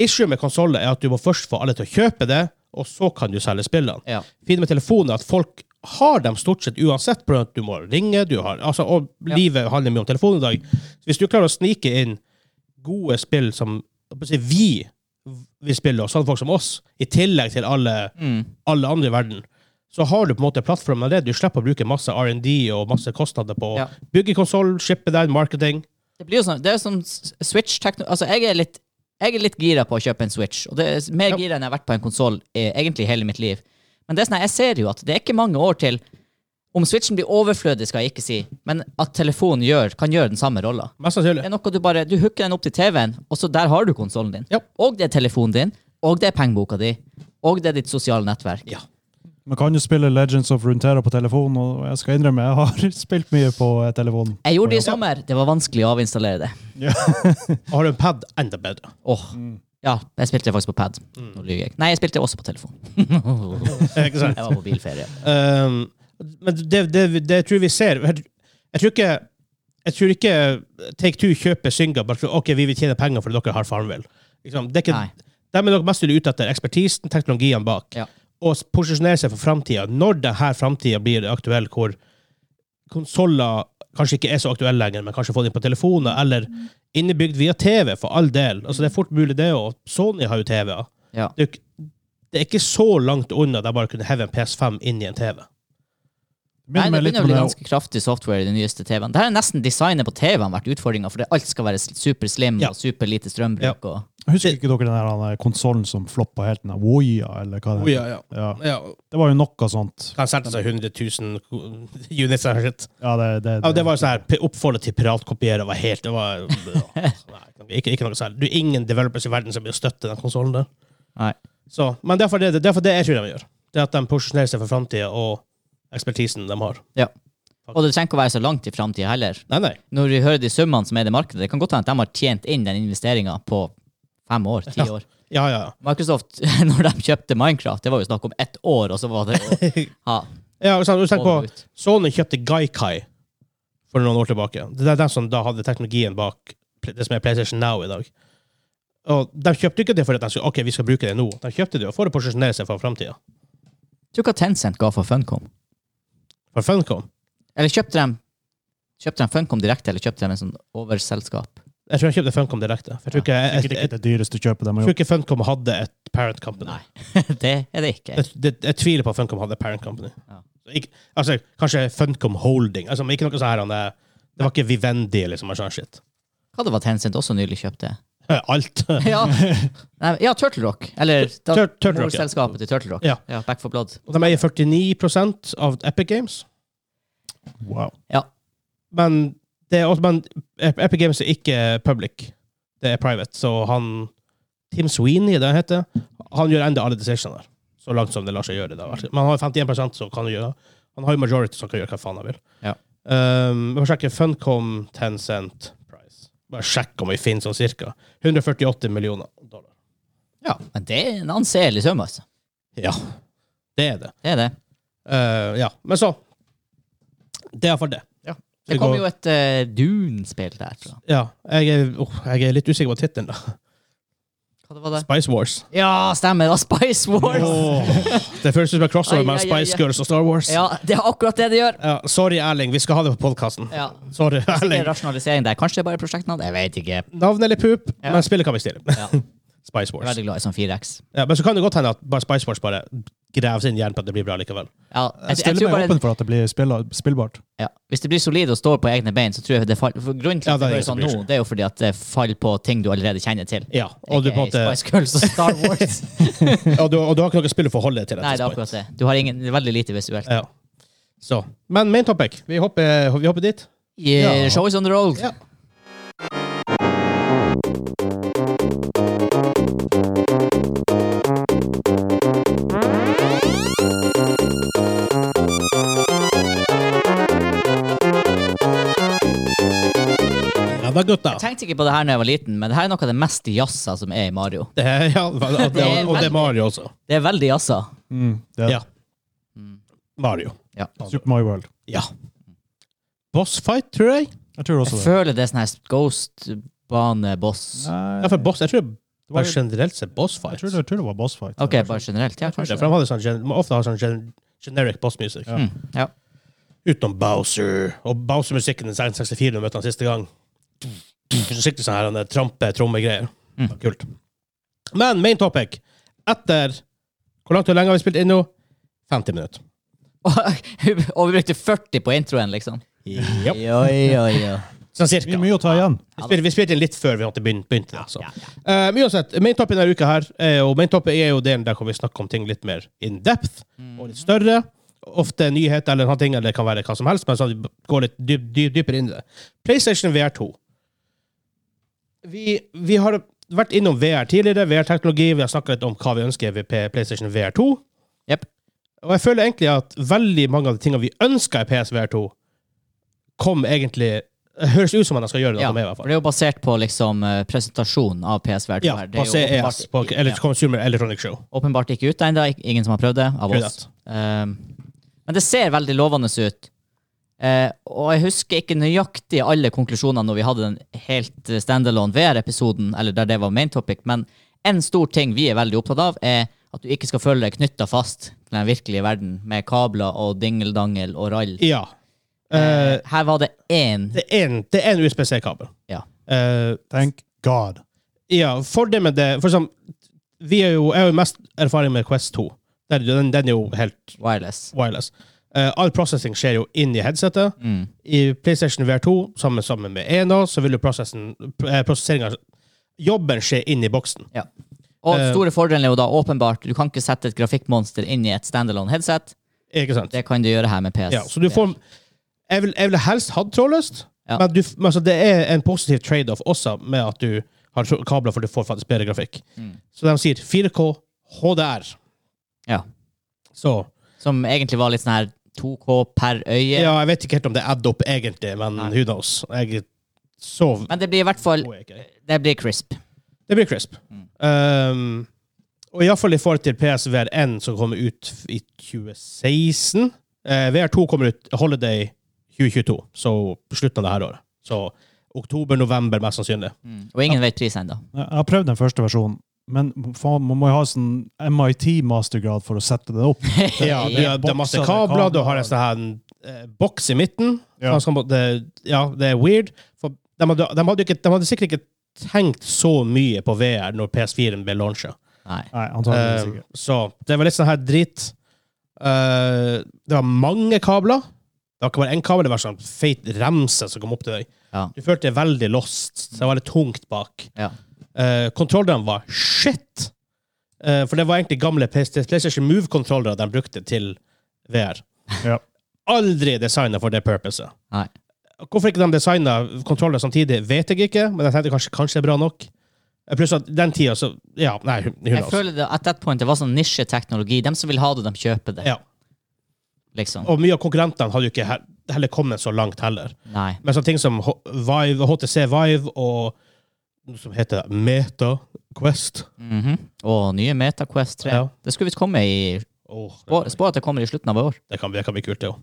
[SPEAKER 1] issue med konsoler er at du må først få alle til å kjøpe det, og så kan du selge spillene.
[SPEAKER 2] Ja.
[SPEAKER 1] Fint med telefonen er at folk har dem stort sett uansett, på grunn av at du må ringe, du har, altså, og
[SPEAKER 2] Ja.
[SPEAKER 1] livet handler mye om telefonen i dag. Så hvis du klarer å snike inn gode spill som jeg håper å si, vi vil spille, og sånne folk som oss, i tillegg til alle,
[SPEAKER 2] Mm.
[SPEAKER 1] alle andre i verden, så har du på en måte plattformen allerede. Du slipper å bruke masse R&D og masse kostnader på å
[SPEAKER 2] Ja.
[SPEAKER 1] bygge konsoll, shippe den, marketing.
[SPEAKER 2] Det blir jo sånn, det er jo som s- Switch tekno... Altså, jeg er litt jeg er litt gira på å kjøpe en Switch, og det er s- mer
[SPEAKER 1] Ja.
[SPEAKER 2] gira enn jeg har vært på en konsoll egentlig hele mitt liv. Men det er sånn, her, jeg ser jo at det er ikke mange år til Om Switchen blir overflødig, skal jeg ikke si, men at telefonen gjør, kan gjøre den samme rolla.
[SPEAKER 1] Mest
[SPEAKER 2] Det
[SPEAKER 1] sannsynlig.
[SPEAKER 2] er noe du bare Du hooker den opp til TV-en, og så der har du konsollen din.
[SPEAKER 1] Ja.
[SPEAKER 2] Og det er telefonen din, og det er pengeboka di, og det er ditt sosiale nettverk.
[SPEAKER 1] Ja.
[SPEAKER 3] Man kan jo spille Legends of Runeterra på telefonen, og jeg skal innrømme, jeg har spilt mye på eh, telefonen.
[SPEAKER 2] Jeg gjorde det i sommer. Det var vanskelig å avinstallere det.
[SPEAKER 1] Og har du en pad, enda bedre.
[SPEAKER 2] Åh.
[SPEAKER 1] Mm.
[SPEAKER 2] Ja, jeg spilte det faktisk på pad. Nå lyver jeg. Nei, jeg spilte det også på telefon.
[SPEAKER 1] Ikke sant?
[SPEAKER 2] Jeg var på bilferie.
[SPEAKER 1] Um, men det, det, det tror vi ser Jeg, jeg tror ikke jeg tror ikke Take Two kjøper Synga bare for ok, vi vil tjene penger fordi dere har Farmville. Liksom, det er ikke,
[SPEAKER 2] Nei.
[SPEAKER 1] dem er dere mest ute etter ekspertisen, teknologien bak,
[SPEAKER 2] Ja.
[SPEAKER 1] og s- posisjonere seg for framtida. Når denne framtida blir aktuell, hvor konsoller kanskje ikke er så aktuelle lenger, men kanskje få dem på telefoner, eller innebygd via TV, for all del. Altså, det er fort mulig, det òg. Sony har jo TV-er.
[SPEAKER 2] Ja.
[SPEAKER 1] Det er, jo ikke- det er ikke så langt unna de bare kunne heve en PS5 inn i en TV.
[SPEAKER 2] Nei,
[SPEAKER 3] Minner
[SPEAKER 2] det
[SPEAKER 3] meg litt
[SPEAKER 2] begynner å
[SPEAKER 3] om
[SPEAKER 2] bli
[SPEAKER 3] det-
[SPEAKER 2] ganske kraftig software i den nyeste TV-en. Der er nesten designet på TV-en vært utfordringa, for det- alt skal være s- super slim
[SPEAKER 1] Ja.
[SPEAKER 2] og super lite strømbruk. Og...
[SPEAKER 3] Husker ikke dere den her, den her eh, konsollen som floppa helt? Den her Woya, eller hva det heter?
[SPEAKER 1] Oh, ja.
[SPEAKER 3] Ja, det var jo noe sånt.
[SPEAKER 1] Han solgte seg 100 000 ko- units eller shit.
[SPEAKER 3] Ja, det, det,
[SPEAKER 1] Ja, det var jo sånn her, p- Oppfordret til piratkopiere var helt det var, nei, ikke, ikke noe særlig. Du er ingen developers i verden som vil støtte den konsollen der.
[SPEAKER 2] Nei.
[SPEAKER 1] Så, men derfor det, derfor det jeg tror de gjør. Det er at de posisjonerer seg for framtida og ekspertisen de har.
[SPEAKER 2] Ja. og det trenger ikke å være så langt i framtida heller.
[SPEAKER 1] Nei, nei.
[SPEAKER 2] Når vi hører de summene som er i det markedet, det kan godt hende at de har tjent inn den investeringa på fem år, ti år.
[SPEAKER 1] Ja, ja.
[SPEAKER 2] Microsoft, når de kjøpte Minecraft, det var jo snakk om ett år, og så var det ja,
[SPEAKER 1] ja og sånn, og tenk på,
[SPEAKER 2] over ut.
[SPEAKER 1] Sony kjøpte Gaikai for noen år tilbake. Det er den som da hadde teknologien bak det som er PlayStation Now i dag. Og De kjøpte ikke det fordi at de skulle, ok, vi skal bruke det nå. De kjøpte det for å posisjonere seg for framtida.
[SPEAKER 2] Tror du hva Tencent ga for Funcom?
[SPEAKER 1] For Funcom.
[SPEAKER 2] Eller kjøpte de, kjøpte de Funcom direkte, eller kjøpte de en sånn overselskap?
[SPEAKER 1] Jeg tror jeg kjøpte Funcom direkte. For jeg tror ikke, jeg,
[SPEAKER 3] Sikkert
[SPEAKER 1] jeg,
[SPEAKER 3] ikke
[SPEAKER 1] jeg,
[SPEAKER 3] det dyreste kjøpet de har
[SPEAKER 1] tror
[SPEAKER 3] gjort.
[SPEAKER 1] ikke Funcom hadde et parent company.
[SPEAKER 2] det er det ikke.
[SPEAKER 1] Jeg, det, jeg tviler på at Funcom hadde et parent company.
[SPEAKER 2] Ja.
[SPEAKER 1] Så Ikke, altså, kanskje Funcom Holding. Altså, men ikke noe sånn her han er- Det var ikke Vivendi eller sånn sånn shit.
[SPEAKER 2] Hva det var Tencent også nylig kjøpte?
[SPEAKER 1] Alt.
[SPEAKER 2] ja. Nei, ja, Turtle Rock. Eller Eh, da-
[SPEAKER 1] Tur- Turtle Rock, ja.
[SPEAKER 2] morselskapet til Turtle Rock.
[SPEAKER 1] Ja.
[SPEAKER 2] Back for Blood.
[SPEAKER 1] Og de eier 49 av Epic Games.
[SPEAKER 3] Wow.
[SPEAKER 2] Ja.
[SPEAKER 1] Men, det er, også- men Epic Games er ikke public. Det er private. Så han Tim Sweeney, det han heter, han gjør enda alle decisionene der. Så langt som det lar seg gjøre. Da. Men han har 51 som kan gjøre Han har jo majority som kan gjøre hva faen han vil.
[SPEAKER 2] Ja.
[SPEAKER 1] Um, bare sjekke Funcom 10 cent price. Bare sjekk om vi finner sånn cirka. 148 millioner dollar.
[SPEAKER 2] ja. Men det er en anselig sum, altså.
[SPEAKER 1] Ja. Det er det.
[SPEAKER 2] Det er det.
[SPEAKER 1] Eh, ja. Men så Det er iallfall det.
[SPEAKER 2] Ja.
[SPEAKER 1] Vi
[SPEAKER 2] Det kom
[SPEAKER 1] går-
[SPEAKER 2] jo et eh, Dune-spill der, tror jeg.
[SPEAKER 1] Ja, jeg er, oh, jeg er litt usikker på tittelen, da.
[SPEAKER 2] Hva det var det?
[SPEAKER 1] Spice Wars.
[SPEAKER 2] Ja, stemmer! Det var Spice Wars!
[SPEAKER 1] Det føles som en crossover
[SPEAKER 2] Ai,
[SPEAKER 1] mellom
[SPEAKER 2] ai, ai,
[SPEAKER 1] Spice
[SPEAKER 2] ai.
[SPEAKER 1] Girls og Star Wars.
[SPEAKER 2] Ja, det er akkurat det det gjør.
[SPEAKER 1] Ja, sorry, Erling. Vi skal ha det på podkasten.
[SPEAKER 2] Ja.
[SPEAKER 1] Sorry,
[SPEAKER 2] Det
[SPEAKER 1] Erling.
[SPEAKER 2] er rasjonalisering der. Kanskje det er bare prosjektnavn? Jeg vet ikke.
[SPEAKER 1] Navnet eller pup,
[SPEAKER 2] Ja.
[SPEAKER 1] men spillet kan vi stille.
[SPEAKER 2] Ja. Jeg
[SPEAKER 1] Spice
[SPEAKER 2] er
[SPEAKER 1] Wars.
[SPEAKER 2] veldig glad i sånn 4X.
[SPEAKER 1] Ja, men så kan det godt hende at bare Spice Wars bare graver sin hjerne på at det blir bra likevel.
[SPEAKER 2] Ja, jeg,
[SPEAKER 3] Jeg
[SPEAKER 2] jeg
[SPEAKER 3] stiller
[SPEAKER 2] tror
[SPEAKER 3] meg
[SPEAKER 2] bare,
[SPEAKER 3] åpen for at det blir spill- spillbart.
[SPEAKER 2] ja. Hvis det blir solid og står på egne bein, så tror jeg det faller for Grunnen til
[SPEAKER 1] Ja,
[SPEAKER 2] at
[SPEAKER 1] det er ingen
[SPEAKER 2] det blir
[SPEAKER 1] som
[SPEAKER 2] sånn
[SPEAKER 1] bryr
[SPEAKER 2] nå,
[SPEAKER 1] seg.
[SPEAKER 2] det er jo fordi at det faller på ting du allerede kjenner til.
[SPEAKER 1] Ja, og du, på en
[SPEAKER 2] Ikke
[SPEAKER 1] måte,
[SPEAKER 2] Spice Girls og Star Wars.
[SPEAKER 1] og, du, og du har ikke noe spill å forholde deg til.
[SPEAKER 2] Nei, det er akkurat det. Du har ingen, det er veldig lite visuelt.
[SPEAKER 1] Ja. Så. Men main topic. Vi hopper, vi hopper dit.
[SPEAKER 2] Yeah,
[SPEAKER 1] Ja.
[SPEAKER 2] eh, Show is on the road.
[SPEAKER 1] Ja. Ja da, gutta.
[SPEAKER 2] Jeg tenkte ikke på det her da jeg var liten, men det her er noe av det mest jazza som er i Mario.
[SPEAKER 1] Det er, ja, og det, og det er Mario også.
[SPEAKER 2] Det er veldig jazza.
[SPEAKER 3] Mm, det er
[SPEAKER 1] Ja. Mario.
[SPEAKER 2] Ja.
[SPEAKER 3] Super Mario World.
[SPEAKER 1] Ja. Boss fight, tror jeg.
[SPEAKER 3] Jeg tror
[SPEAKER 2] Jeg
[SPEAKER 3] også det.
[SPEAKER 2] føler det er sånn her Ghost-bane-boss.
[SPEAKER 1] Ja, for boss, jeg tror bare
[SPEAKER 3] jo-
[SPEAKER 1] generelt sett boss
[SPEAKER 3] Jeg
[SPEAKER 1] fight.
[SPEAKER 3] tror det, jeg tror det var bossfight.
[SPEAKER 2] Ok, bare generelt. Ja,
[SPEAKER 1] For
[SPEAKER 2] kanskje.
[SPEAKER 1] de hadde sånn, gen- må ofte har sånn gen, generic boss music.
[SPEAKER 3] Ja.
[SPEAKER 2] Mm, ja.
[SPEAKER 1] Utenom Bowser. Og Bowser-musikken i 64 når vi møtte han siste gang. Skikkelig sånn her, han der trampe, trommegreier.
[SPEAKER 2] Mm.
[SPEAKER 1] Det var Kult. Men main topic. Etter Hvor langt og lenge har vi spilt inn nå? 50 minutter.
[SPEAKER 2] Og vi brukte 40 på introen, liksom.
[SPEAKER 1] Yep.
[SPEAKER 2] Ja, ja, ja.
[SPEAKER 1] Sånn
[SPEAKER 3] Det
[SPEAKER 1] cirka.
[SPEAKER 3] er mye å ta igjen.
[SPEAKER 1] Vi spilte, vi spilte inn litt før vi hadde begynt. begynt det, så. Eh, men uansett, main topic denne uka her, er jo, main topic er jo delen der hvor vi snakker om ting litt mer in depth, og litt større. Ofte nyheter eller noe ting, eller det kan være hva som helst, men så vi går litt dyp, dyp, dypere inn i det. PlayStation VR 2. Vi, vi har vært innom VR tidligere, VR-teknologi, vi har snakket litt om hva vi ønsker ved P- PlayStation VR 2.
[SPEAKER 2] Jep.
[SPEAKER 1] Og jeg føler egentlig at veldig mange av de tingene vi ønsker i PSVR 2, kom egentlig Høres ut som man skal gjøre noe
[SPEAKER 2] Ja,
[SPEAKER 1] med, i hvert
[SPEAKER 2] for
[SPEAKER 1] fall.
[SPEAKER 2] det er jo basert på liksom eh, presentasjon av PSVR2
[SPEAKER 1] Ja,
[SPEAKER 2] her. Det
[SPEAKER 1] på
[SPEAKER 2] er jo
[SPEAKER 1] CES, på
[SPEAKER 2] åpenbart-
[SPEAKER 1] eller,
[SPEAKER 2] ja,
[SPEAKER 1] Consumer Electronic Show.
[SPEAKER 2] åpenbart ikke ute ennå. Ik- Ingen som har prøvd det av
[SPEAKER 1] Prøvd
[SPEAKER 2] oss. Um, men det ser veldig lovende ut. Eh, og jeg husker ikke nøyaktig alle konklusjonene når vi hadde den helt eh, standalone VR-episoden, eller der det var main topic, men en stor ting vi er veldig opptatt av, er at du ikke skal føle deg knytta fast til den virkelige verden med kabler og dingeldangel og rall.
[SPEAKER 1] Ja.
[SPEAKER 2] Eh,
[SPEAKER 1] Eh,
[SPEAKER 2] her var det én
[SPEAKER 1] det er en- det er en USB-C-kabel.
[SPEAKER 2] Ja.
[SPEAKER 1] Eh,
[SPEAKER 3] Thank God.
[SPEAKER 1] ja, fordelen med det For eksempel, vi er jo, jeg har jo mest erfaring med Quest 2. Den, den, den er jo helt
[SPEAKER 2] wireless.
[SPEAKER 1] wireless. Eh, all processing skjer jo inn i headsetet.
[SPEAKER 2] Mm.
[SPEAKER 1] I PlayStation VR2, sammen, sammen med ENA, så vil jo prosessen- eh, prosesseringen Jobben skjer inn i boksen.
[SPEAKER 2] Og
[SPEAKER 1] Eh,
[SPEAKER 2] den store fordelen er jo da åpenbart du kan ikke sette et grafikkmonster inn i et standalone headset.
[SPEAKER 1] Ikke sant?
[SPEAKER 2] Det kan du gjøre her med PS.
[SPEAKER 1] Ja, så du får Jeg vil, jeg vil helst hatt trådløst,
[SPEAKER 2] Ja.
[SPEAKER 1] men, du, men altså, det er en positiv trade-off også med at du har tro- kabler, for du får faktisk bedre grafikk.
[SPEAKER 2] Mm.
[SPEAKER 1] Så de sier 4K HDR.
[SPEAKER 2] Ja.
[SPEAKER 1] Så
[SPEAKER 2] Som egentlig var litt sånn her 2K per øye.
[SPEAKER 1] Ja, jeg vet ikke helt om det er add up egentlig, men
[SPEAKER 2] Nei.
[SPEAKER 1] who knows? Jeg sov
[SPEAKER 2] Men det blir i hvert fall
[SPEAKER 1] tror jeg ikke.
[SPEAKER 2] Det blir crisp.
[SPEAKER 1] Det blir crisp. Um, og iallfall i forhold til PSVR1, som kommer ut i 2016. Eh, VR2 kommer ut holiday 2022, så på slutten av det her året. Så oktober-november, mest sannsynlig.
[SPEAKER 2] Og ingen vet pris ennå.
[SPEAKER 3] Jeg har prøvd den første versjonen, men faen, man må jo ha sånn MIT-mastergrad for å sette det opp.
[SPEAKER 1] Ja, du har, det er masse kabler, du har en sånn her eh, boks i midten.
[SPEAKER 3] Ja.
[SPEAKER 1] Så han skal- det, ja, det er weird. For de, hadde, de, hadde ikke, de hadde sikkert ikke tenkt så mye på VR når PS4-en ble launcha.
[SPEAKER 2] Nei.
[SPEAKER 3] Nei, antageligvis
[SPEAKER 1] Eh,
[SPEAKER 3] ikke.
[SPEAKER 1] Ehm, så det var litt sånn her drit. Eh, det var mange kabler. Det var ikke bare en kabel, det var sånn feit remse som kom opp til deg.
[SPEAKER 2] Ja.
[SPEAKER 1] Du følte deg veldig lost. så Det var litt tungt bak.
[SPEAKER 2] Ja.
[SPEAKER 1] Eh, Kontrollerne var shit! Eh, for det var egentlig gamle PS- PlayStation Move-kontrollere de brukte til VR.
[SPEAKER 3] Ja.
[SPEAKER 1] Aldri designa for det purposet.
[SPEAKER 2] Nei.
[SPEAKER 1] Hvorfor ikke de designa kontroller samtidig, vet jeg ikke, men jeg tenkte kanskje, kanskje det er bra nok. Eh, Pluss at den tida, så Ja, nei, hun
[SPEAKER 2] Jeg
[SPEAKER 1] altså.
[SPEAKER 2] føler det, at that point, det var sånn nisjeteknologi. De som vil ha det, de kjøper det.
[SPEAKER 1] Ja.
[SPEAKER 2] Liksom.
[SPEAKER 1] Og mye av konkurrentene hadde jo ikke he- heller kommet så langt heller.
[SPEAKER 2] Nei.
[SPEAKER 1] Men sånne ting som H- Vive, HTC Vive og noe som heter Meta Quest
[SPEAKER 2] Mhm. Og nye MetaQuest 3.
[SPEAKER 1] Ja.
[SPEAKER 2] Det skulle visst komme i
[SPEAKER 1] Åh,
[SPEAKER 2] spå- Spå at det kommer i slutten av år.
[SPEAKER 1] det, kan, det kan bli kult, det òg.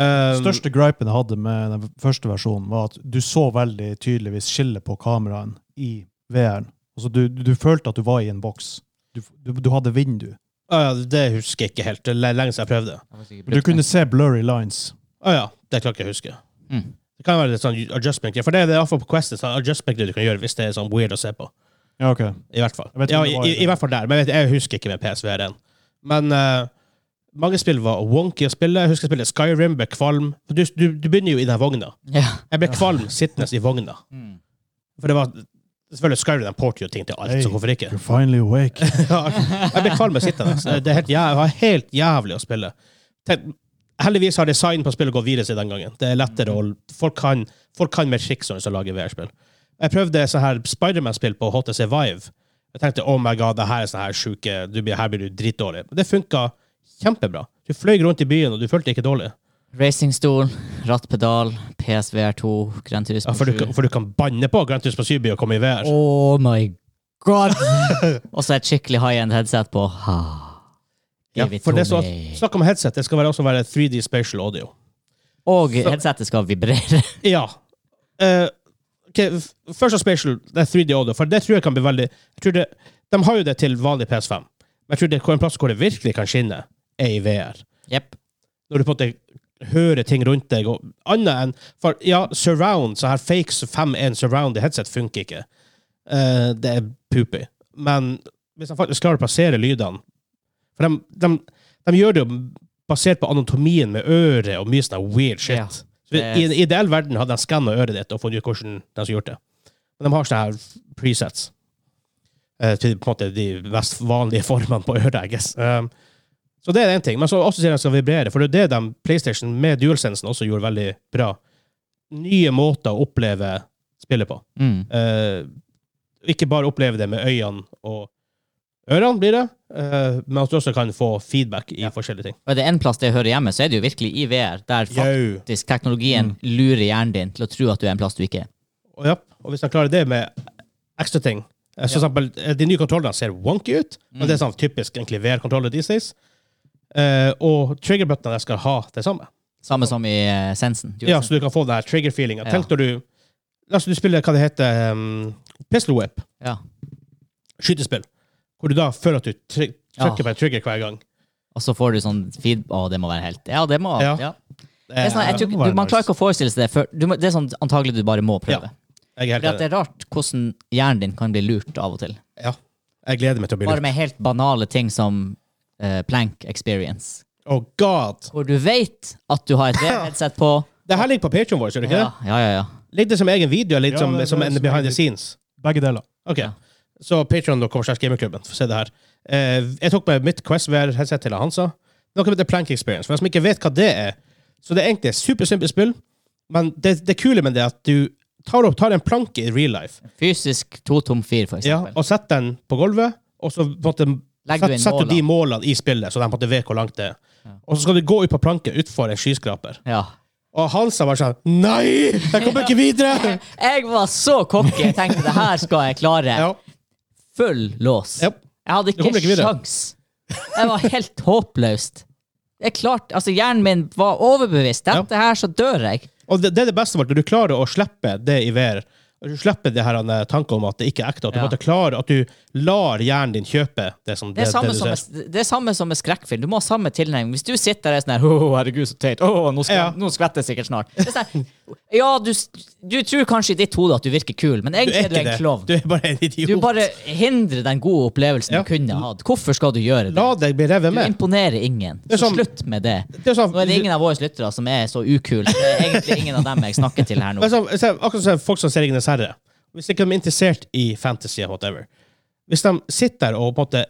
[SPEAKER 1] Um,
[SPEAKER 3] Største gripen jeg hadde med den første versjonen, var at du så veldig tydeligvis skillet på kameraen i VR-en. Altså, du, du, du følte at du var i en boks. Du, du, du hadde vindu.
[SPEAKER 1] ah, ja, det husker jeg ikke helt. Det er le- lenge siden jeg prøvde.
[SPEAKER 3] Du kunne se blurry lines.
[SPEAKER 1] Å ja, det klarer ikke jeg å huske.
[SPEAKER 2] Mm.
[SPEAKER 1] Det kan være litt sånn adjustment For det er det iallfall på Quest. det er Sånn adjustment du kan gjøre hvis det er sånn weird å se på.
[SPEAKER 3] Ja, ok.
[SPEAKER 1] I hvert fall.
[SPEAKER 3] Jeg vet ikke
[SPEAKER 1] Ja,
[SPEAKER 3] om det var
[SPEAKER 1] i,
[SPEAKER 3] i
[SPEAKER 1] i,
[SPEAKER 3] det.
[SPEAKER 1] I hvert fall der. Men jeg, vet, jeg husker ikke med PSVR-en. Men eh, mange spill var wonky å spille. Jeg husker jeg spilte Skyrim, ble kvalm. Du, du, du begynner jo i den vogna.
[SPEAKER 2] Ja.
[SPEAKER 1] Jeg ble kvalm sittende i vogna.
[SPEAKER 2] Mm.
[SPEAKER 1] For det var Selvfølgelig Skyrim den porter jo ting til alt,
[SPEAKER 3] Hey.
[SPEAKER 1] så hvorfor ikke?
[SPEAKER 3] You're finally awake.
[SPEAKER 1] Ja, jeg ble kvalm av å sitte der. så Det er helt, jæv- det var helt jævlig å spille. Tenk, heldigvis har design på spillet gått videre siden den gangen. Det er lettere å, Folk kan, folk kan mer triks når de skal lage VR-spill. Jeg prøvde sånn her Spiderman-spill på HTC Vive. Jeg tenkte oh my god, det her er sånn her sjuke du blir, Her blir du dritdårlig. Men det funka kjempebra. Du fløy rundt i byen, og du følte deg ikke dårlig.
[SPEAKER 2] Racingstol, rattpedal, PSVR 2, Grand Turismo
[SPEAKER 1] Ja, for, du,
[SPEAKER 2] 7.
[SPEAKER 1] kan- for du kan banne på Grand Turismo 7 og komme i VR.
[SPEAKER 2] Oh my god! Og så et skikkelig high-end headset på. Ha.
[SPEAKER 1] ja,
[SPEAKER 2] Evig
[SPEAKER 1] for det er så,
[SPEAKER 2] Tommy.
[SPEAKER 1] snakk om headset. Det skal være, også være 3D spatial audio.
[SPEAKER 2] Og headsetet skal vibrere.
[SPEAKER 1] Ja. Eh, ok, f- Først av Spatial, det er 3D Audio, for det tror jeg kan bli veldig jeg tror det, De har jo det til vanlig PS5, men jeg tror det er en plass hvor det virkelig kan skinne, er i VR.
[SPEAKER 2] Jepp.
[SPEAKER 1] Når du på en måte hører ting rundt deg, og annet enn For ja, surround, så her fake 5.1 surround i headset funker ikke. Eh, det er poopy. Men hvis de faktisk klarer å plassere lydene For de, de, de gjør det jo basert på anatomien med øret og mye sånn weird shit.
[SPEAKER 2] Ja.
[SPEAKER 1] Så I en ideell verden hadde de skanna øret ditt og funnet ut hvordan de skulle gjort det. Men de har sånne her presets. Eh, til på en måte de mest vanlige formene på øret, I guess. Um, så det er én ting. Men så også sier de skal vibrere, for det er det de PlayStation med DualSensen også gjorde veldig bra. Nye måter å oppleve spillet på.
[SPEAKER 2] Mm.
[SPEAKER 1] Eh, ikke bare oppleve det med øynene og ørene, blir det, eh, men at du også kan få feedback i forskjellige ting.
[SPEAKER 2] Og er det en plass det hører hjemme, så er det jo virkelig i VR, der
[SPEAKER 1] Jau. Mm.
[SPEAKER 2] faktisk teknologien lurer hjernen din til å tro at du er en plass du ikke er.
[SPEAKER 1] Og, ja, og hvis han klarer det med ekstra ting eh, så for eksempel, eh, De nye kontrollene ser wonky ut, men det er
[SPEAKER 2] Mm.
[SPEAKER 1] sånn typisk egentlig VR-kontroller these days. Eh, og trigger-buttene skal ha det samme.
[SPEAKER 2] Samme som i eh, Sensen. Du
[SPEAKER 1] Ja, Så
[SPEAKER 2] vet
[SPEAKER 1] du kan få den her trigger-feelinga.
[SPEAKER 2] Ja.
[SPEAKER 1] Tenk når du La oss si du spiller hva det heter um, Pistol Whip,
[SPEAKER 2] sen- ja.
[SPEAKER 1] skytespill, hvor du da føler at du tri
[SPEAKER 2] Ja.
[SPEAKER 1] trykker på en trigger hver gang.
[SPEAKER 2] Og så får du sånn feed... Å, det må være helt Ja, det må
[SPEAKER 1] Ja. Eh,
[SPEAKER 2] ja. Det er sånn, jeg tror, ikke- du, Man klarer ikke å forestille seg det før du, må- Det er sånn antagelig du bare må prøve.
[SPEAKER 1] Jeg er helt
[SPEAKER 2] Fordi at
[SPEAKER 1] enig.
[SPEAKER 2] det er rart hvordan hjernen din kan bli lurt av og til.
[SPEAKER 1] Ja. Jeg gleder meg til å bli
[SPEAKER 2] Bare
[SPEAKER 1] lurt.
[SPEAKER 2] med helt banale ting som eh, plank experience.
[SPEAKER 1] Oh god!
[SPEAKER 2] Hvor du vet at du har et VR-headset på.
[SPEAKER 1] Det her ligger på Patreon vår, gjør det ikke
[SPEAKER 2] Ja,
[SPEAKER 1] det?
[SPEAKER 2] ja, ja. ja.
[SPEAKER 1] Ligger det som egen video, eller litt
[SPEAKER 3] Ja,
[SPEAKER 1] som,
[SPEAKER 3] det- det er
[SPEAKER 1] som en
[SPEAKER 3] som
[SPEAKER 1] behind
[SPEAKER 3] egen
[SPEAKER 1] the scenes?
[SPEAKER 3] Begge deler.
[SPEAKER 1] Ok. Så patreon.com slash gamingklubben. Få se det her. Eh, jeg tok med mitt Quest VR-headset til Hansa. Noe som heter Plank Experience. For de som ikke vet hva det er Så det er egentlig et supersimpelt spill, men det, det kule med det er at du tar, opp, tar en planke i real life
[SPEAKER 2] Fysisk totom fir, for
[SPEAKER 1] ja,
[SPEAKER 2] eksempel.
[SPEAKER 1] og setter den på gulvet, og så på en måte
[SPEAKER 2] Legger
[SPEAKER 1] set-
[SPEAKER 2] du inn
[SPEAKER 1] setter
[SPEAKER 2] målene.
[SPEAKER 1] de målene i spillet, så de på en måte vet hvor langt det er. Og så skal du gå ut på planken utfor en skyskraper.
[SPEAKER 2] Ja.
[SPEAKER 1] Og Hansa bare sånn Nei! Jeg kommer ikke videre!
[SPEAKER 2] Jeg var så cocky. Jeg tenkte det her skal jeg klare.
[SPEAKER 1] Ja.
[SPEAKER 2] Full lås.
[SPEAKER 1] Japp.
[SPEAKER 2] Jeg hadde
[SPEAKER 1] kommer ikke
[SPEAKER 2] ikke,
[SPEAKER 1] videre.
[SPEAKER 2] sjans. Det var helt håpløst. Jeg klarte, altså Hjernen min var overbevist. Dette her, så dør jeg.
[SPEAKER 1] Og det, det er det beste med at du klarer å slippe det i VR. Du slipper det her eh, tanken om at det ikke er ekte. At du
[SPEAKER 2] Ja.
[SPEAKER 1] måtte klare at du lar hjernen din kjøpe det som
[SPEAKER 2] Det er, samme
[SPEAKER 1] du
[SPEAKER 2] som
[SPEAKER 1] ser.
[SPEAKER 2] med, det er samme som med skrekkfilm. Du må ha samme tilnærming. Hvis du sitter der og er sånn her Å, herregud, så teit. Å, nå, skal,
[SPEAKER 1] Ja.
[SPEAKER 2] nå skvetter jeg sikkert snart. Det er sånn, her, ja, du, s- du tror kanskje i ditt hode at du virker kul, men
[SPEAKER 1] Du er
[SPEAKER 2] egentlig er du
[SPEAKER 1] ikke
[SPEAKER 2] en
[SPEAKER 1] det.
[SPEAKER 2] klovn.
[SPEAKER 1] Du er bare en idiot.
[SPEAKER 2] Du bare hindrer den gode opplevelsen
[SPEAKER 1] Ja.
[SPEAKER 2] du kunne hatt. Hvorfor skal du gjøre det?
[SPEAKER 1] La deg bli revet
[SPEAKER 2] Du
[SPEAKER 1] med.
[SPEAKER 2] imponerer ingen.
[SPEAKER 1] Det er sånn- som-
[SPEAKER 2] Så slutt med det.
[SPEAKER 1] Det er sånn,
[SPEAKER 2] Nå er det ingen av våre lyttere som er så ukule. Det er egentlig ingen av dem jeg snakker til her nå.
[SPEAKER 1] Men så, så, sånn- akkurat som folk som ser Ringenes herre. Hvis ikke de er interessert i fantasy og whatever Hvis de sitter der og på en måte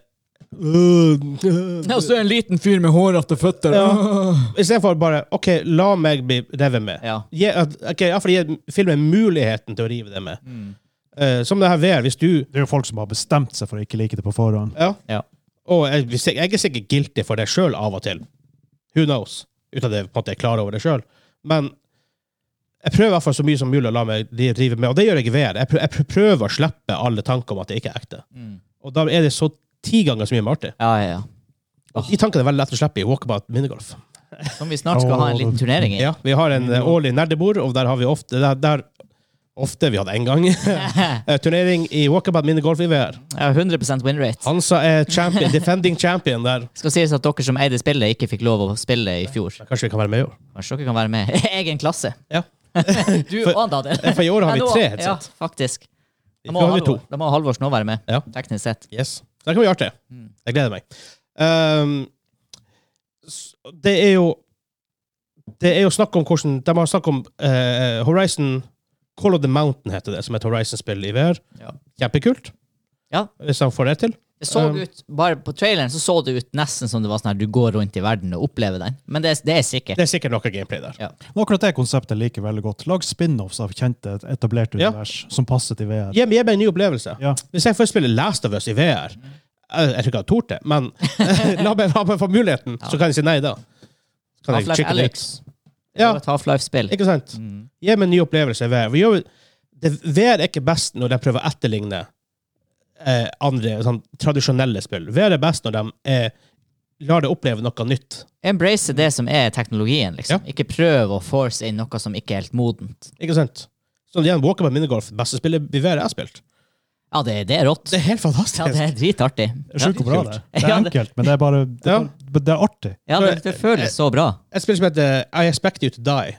[SPEAKER 1] øh, sånn-
[SPEAKER 2] Og så en liten fyr med hårete føtter.
[SPEAKER 1] I stedet for bare OK, la meg bli revet med.
[SPEAKER 2] Ja.
[SPEAKER 1] Gi, at- ok, Iallfall gi filmen muligheten til å rive det med.
[SPEAKER 2] Mm.
[SPEAKER 1] Eh, som det her VR, hvis du
[SPEAKER 3] Det er jo folk som har bestemt seg for å ikke like det på forhånd.
[SPEAKER 1] Ja.
[SPEAKER 2] Ja.
[SPEAKER 1] Og jeg, hvis jeg, jeg er sikkert guilty for det sjøl av og til. Who knows? Uten at jeg på en måte er klar over det sjøl. Men jeg prøver i hvert fall så mye som mulig å la meg dri- drive med, og det gjør jeg i VR. Jeg prøver, jeg prøver å slippe alle tanker om at det ikke er ekte.
[SPEAKER 2] Mm.
[SPEAKER 1] Og da er det så ti ganger så mye mer artig.
[SPEAKER 2] Ja, ja, ja.
[SPEAKER 1] Og de tankene er veldig lett å slippe i walkabout minigolf.
[SPEAKER 2] Som vi snart skal ha en liten turnering i.
[SPEAKER 1] Ja, vi har en eh, årlig nerdebord, og der har vi ofte der, der, Ofte vi hadde én gang. eh, Turnering i walkabout minigolf i VR.
[SPEAKER 2] Ja, 100 win rate.
[SPEAKER 1] Hansa er champion, defending champion der.
[SPEAKER 2] Skal sies at dere som eide spillet, ikke fikk lov å spille i fjor.
[SPEAKER 1] Kanskje vi kan være med i år?
[SPEAKER 2] Kanskje dere kan være med. Egen klasse.
[SPEAKER 1] Ja.
[SPEAKER 2] Du og han, Daniel.
[SPEAKER 1] Eh, For i år har
[SPEAKER 2] Nei,
[SPEAKER 1] vi
[SPEAKER 2] nå-
[SPEAKER 1] tre, helt
[SPEAKER 2] Ja,
[SPEAKER 1] sant?
[SPEAKER 2] faktisk.
[SPEAKER 1] I
[SPEAKER 2] Da
[SPEAKER 1] fjor
[SPEAKER 2] må,
[SPEAKER 1] har vi
[SPEAKER 2] Halvor, da må Halvors nå være med,
[SPEAKER 1] Ja.
[SPEAKER 2] teknisk sett.
[SPEAKER 1] Yes. Så det kan bli artig.
[SPEAKER 2] Mm.
[SPEAKER 1] Jeg gleder meg. Ehm, s- det er jo Det er jo snakk om hvordan De har snakk om eh, Horizon Call of the Mountain, heter det, som er et Horizon-spill i VR.
[SPEAKER 2] Ja.
[SPEAKER 1] Kjempekult.
[SPEAKER 2] Ja.
[SPEAKER 1] Hvis de får det til.
[SPEAKER 2] Det så
[SPEAKER 1] Um,
[SPEAKER 2] ut, bare På traileren så så det ut nesten som det var sånn her du går rundt i verden og opplever den. Men det, er- det er sikkert.
[SPEAKER 1] Det er sikkert noe gameplay der.
[SPEAKER 2] Ja.
[SPEAKER 3] Men akkurat det konseptet liker jeg veldig godt. Lag spin-offs av kjente, etablerte
[SPEAKER 1] Ja.
[SPEAKER 3] univers som passer til VR.
[SPEAKER 1] Gi meg gi meg en ny opplevelse.
[SPEAKER 3] Ja.
[SPEAKER 1] Hvis jeg får spille Last of Us i VR eh, Jeg tror ikke jeg har tort det, men la meg, la meg få muligheten, så kan jeg si nei da. Så Kan jeg
[SPEAKER 2] Half-Life
[SPEAKER 1] chicken
[SPEAKER 2] Alex. Det
[SPEAKER 1] sånn Ja.
[SPEAKER 2] var et Half-Life-spill.
[SPEAKER 1] Ikke sant?
[SPEAKER 2] Mm.
[SPEAKER 1] Gi meg en ny opplevelse i VR. Vi gjør, det, VR er ikke best når de prøver å etterligne eh, andre sånn, tradisjonelle spill. VR er best når de eh, lar det oppleve noe nytt.
[SPEAKER 2] Embrace det som er teknologien, liksom.
[SPEAKER 1] Ja.
[SPEAKER 2] Ikke prøv å force inn noe som ikke er helt modent.
[SPEAKER 1] Ikke sant? Så igjen, Walkerman minigolf, beste spillet i VR jeg har spilt.
[SPEAKER 2] Ja, det, det er rått.
[SPEAKER 1] Det er helt fantastisk.
[SPEAKER 2] Ja, det er dritartig.
[SPEAKER 3] Det er Sjukt hvor bra
[SPEAKER 1] kult.
[SPEAKER 3] det er. Det er
[SPEAKER 2] Ja, det-
[SPEAKER 3] enkelt, men det er bare Det er,
[SPEAKER 1] Ja.
[SPEAKER 3] bare, det er artig.
[SPEAKER 2] Ja, det, det føles så bra.
[SPEAKER 1] Et spill som heter I Expect You To Die.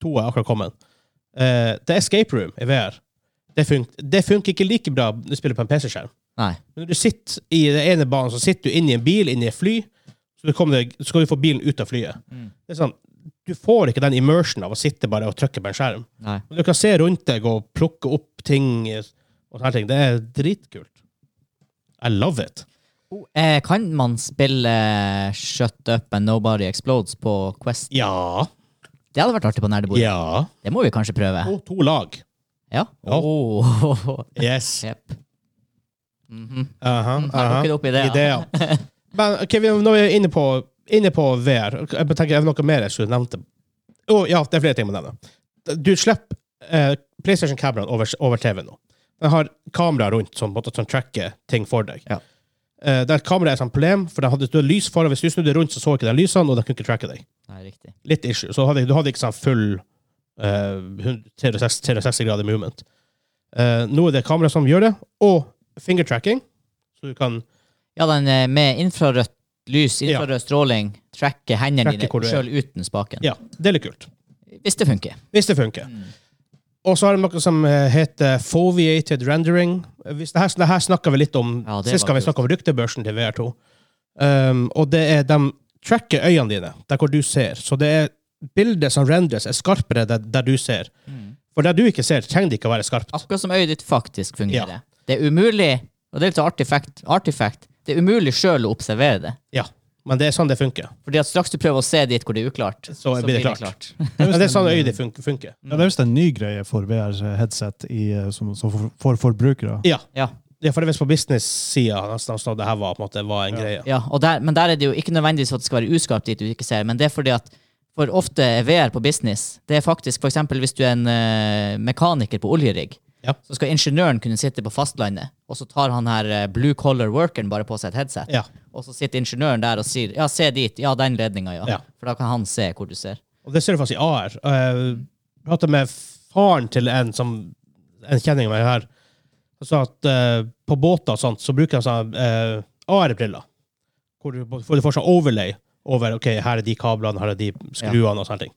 [SPEAKER 1] To er akkurat kommet. Eh, det er Escape Room i VR. Det, fun det funker ikke like bra når du spiller på en PC-skjerm.
[SPEAKER 2] Nei.
[SPEAKER 1] Men når du sitter i den ene banen, så sitter du inni en bil, inni et fly, så, du kommer deg, så skal du få bilen ut av flyet. Det er sånn, du får ikke den immersion av å sitte bare og trykke på en skjerm.
[SPEAKER 2] Nei.
[SPEAKER 1] Men du kan se rundt deg og plukke opp ting eh, og sånne ting. Det er dritkult. I love it.
[SPEAKER 2] Eh, kan man spille Shut Up and Nobody Explodes på Quest?
[SPEAKER 1] Ja.
[SPEAKER 2] Det hadde vært artig på nerdebordet.
[SPEAKER 1] Ja.
[SPEAKER 2] Det må vi kanskje prøve.
[SPEAKER 1] Og to lag.
[SPEAKER 2] Ja.
[SPEAKER 1] Ja.
[SPEAKER 2] Oh.
[SPEAKER 1] Yes.
[SPEAKER 2] Jepp. Mhm.
[SPEAKER 1] Aha,
[SPEAKER 2] Mm, her
[SPEAKER 1] aha.
[SPEAKER 2] dukker det opp ideer.
[SPEAKER 1] Ideer. Men ok, vi, når vi er inne på, inne på VR, jeg bare tenker er det noe mer jeg skulle nevnt? Å, ja, det er flere ting med denne. Du slipper eh, PlayStation-kameraen over, over TV nå. Den har kamera rundt som, måtte- som tracker ting for deg.
[SPEAKER 2] Ja.
[SPEAKER 1] Eh, der kameraet er et sånt problem, for den hadde du hadde lys foran. Hvis du snudde rundt, så så ikke den lysene, og den kunne ikke tracke deg.
[SPEAKER 2] Nei, riktig.
[SPEAKER 1] Litt issue. Så hadde, du hadde ikke sånn full eh, 100 360 360 grader movement. Eh, nå er det kamera som gjør det, og finger tracking. Så du kan
[SPEAKER 2] Ja, den eh, med infrarødt lys, infrarød stråling, tracker hendene
[SPEAKER 1] Tracker
[SPEAKER 2] dine
[SPEAKER 1] hvor du er.
[SPEAKER 2] sjøl uten spaken.
[SPEAKER 1] Ja, det er litt kult.
[SPEAKER 2] Hvis det funker.
[SPEAKER 1] Hvis det funker.
[SPEAKER 2] Mm.
[SPEAKER 1] Og så har de noe som eh, heter foviated rendering. Eh, Hvis det, her, det her snakka vi litt om
[SPEAKER 2] Ja, det
[SPEAKER 1] sist
[SPEAKER 2] var
[SPEAKER 1] gang vi
[SPEAKER 2] kult.
[SPEAKER 1] snakka om ryktebørsen til VR2. Um, og det er de tracker øynene dine, der hvor du ser. Så det er bildet som rendres, er skarpere der, der du ser.
[SPEAKER 2] Mm.
[SPEAKER 1] For der du ikke ser, trenger det ikke å være skarpt.
[SPEAKER 2] Akkurat som øyet ditt faktisk fungerer.
[SPEAKER 1] Ja.
[SPEAKER 2] Det er umulig, og det er litt artifact, artifact. Det er umulig sjøl å observere det.
[SPEAKER 1] Ja, Men det er sånn det funker.
[SPEAKER 2] Fordi at straks du prøver å se dit hvor det er uklart,
[SPEAKER 1] Så blir det klart. Men
[SPEAKER 3] visst
[SPEAKER 1] det er sånn
[SPEAKER 3] en-
[SPEAKER 1] øyet ditt fun- funker.
[SPEAKER 3] Ja, det er visst en ny greie for VR-headset eh, som, som for, for forbrukere.
[SPEAKER 1] Ja.
[SPEAKER 2] Ja.
[SPEAKER 1] ja, for det er visst på business-sida det her var, på en måte, var en greie.
[SPEAKER 2] Ja, og der, men der er det jo ikke nødvendigvis for at det skal være uskarpt dit du ikke ser, men det er fordi at for ofte er VR på business Det er faktisk for eksempel hvis du er en eh, mekaniker på oljerigg,
[SPEAKER 1] Ja.
[SPEAKER 2] så skal ingeniøren kunne sitte på fastlandet, og så tar han her eh, blue collar workeren bare på seg et headset,
[SPEAKER 1] Ja.
[SPEAKER 2] og så sitter ingeniøren der og sier ja, se dit, ja, den ledninga, ja.
[SPEAKER 1] Ja.
[SPEAKER 2] For da kan han se hvor du ser.
[SPEAKER 1] Eh, Og det ser du faktisk i AR. Jeg pratet med faren til en som en kjenning av meg her. Han sa at eh, på båter og sånt, så bruker han sånne eh, AR-briller. Hvor du får, du får sånn overlay over ok, her er de kablene, her er de skruene og sånne ting.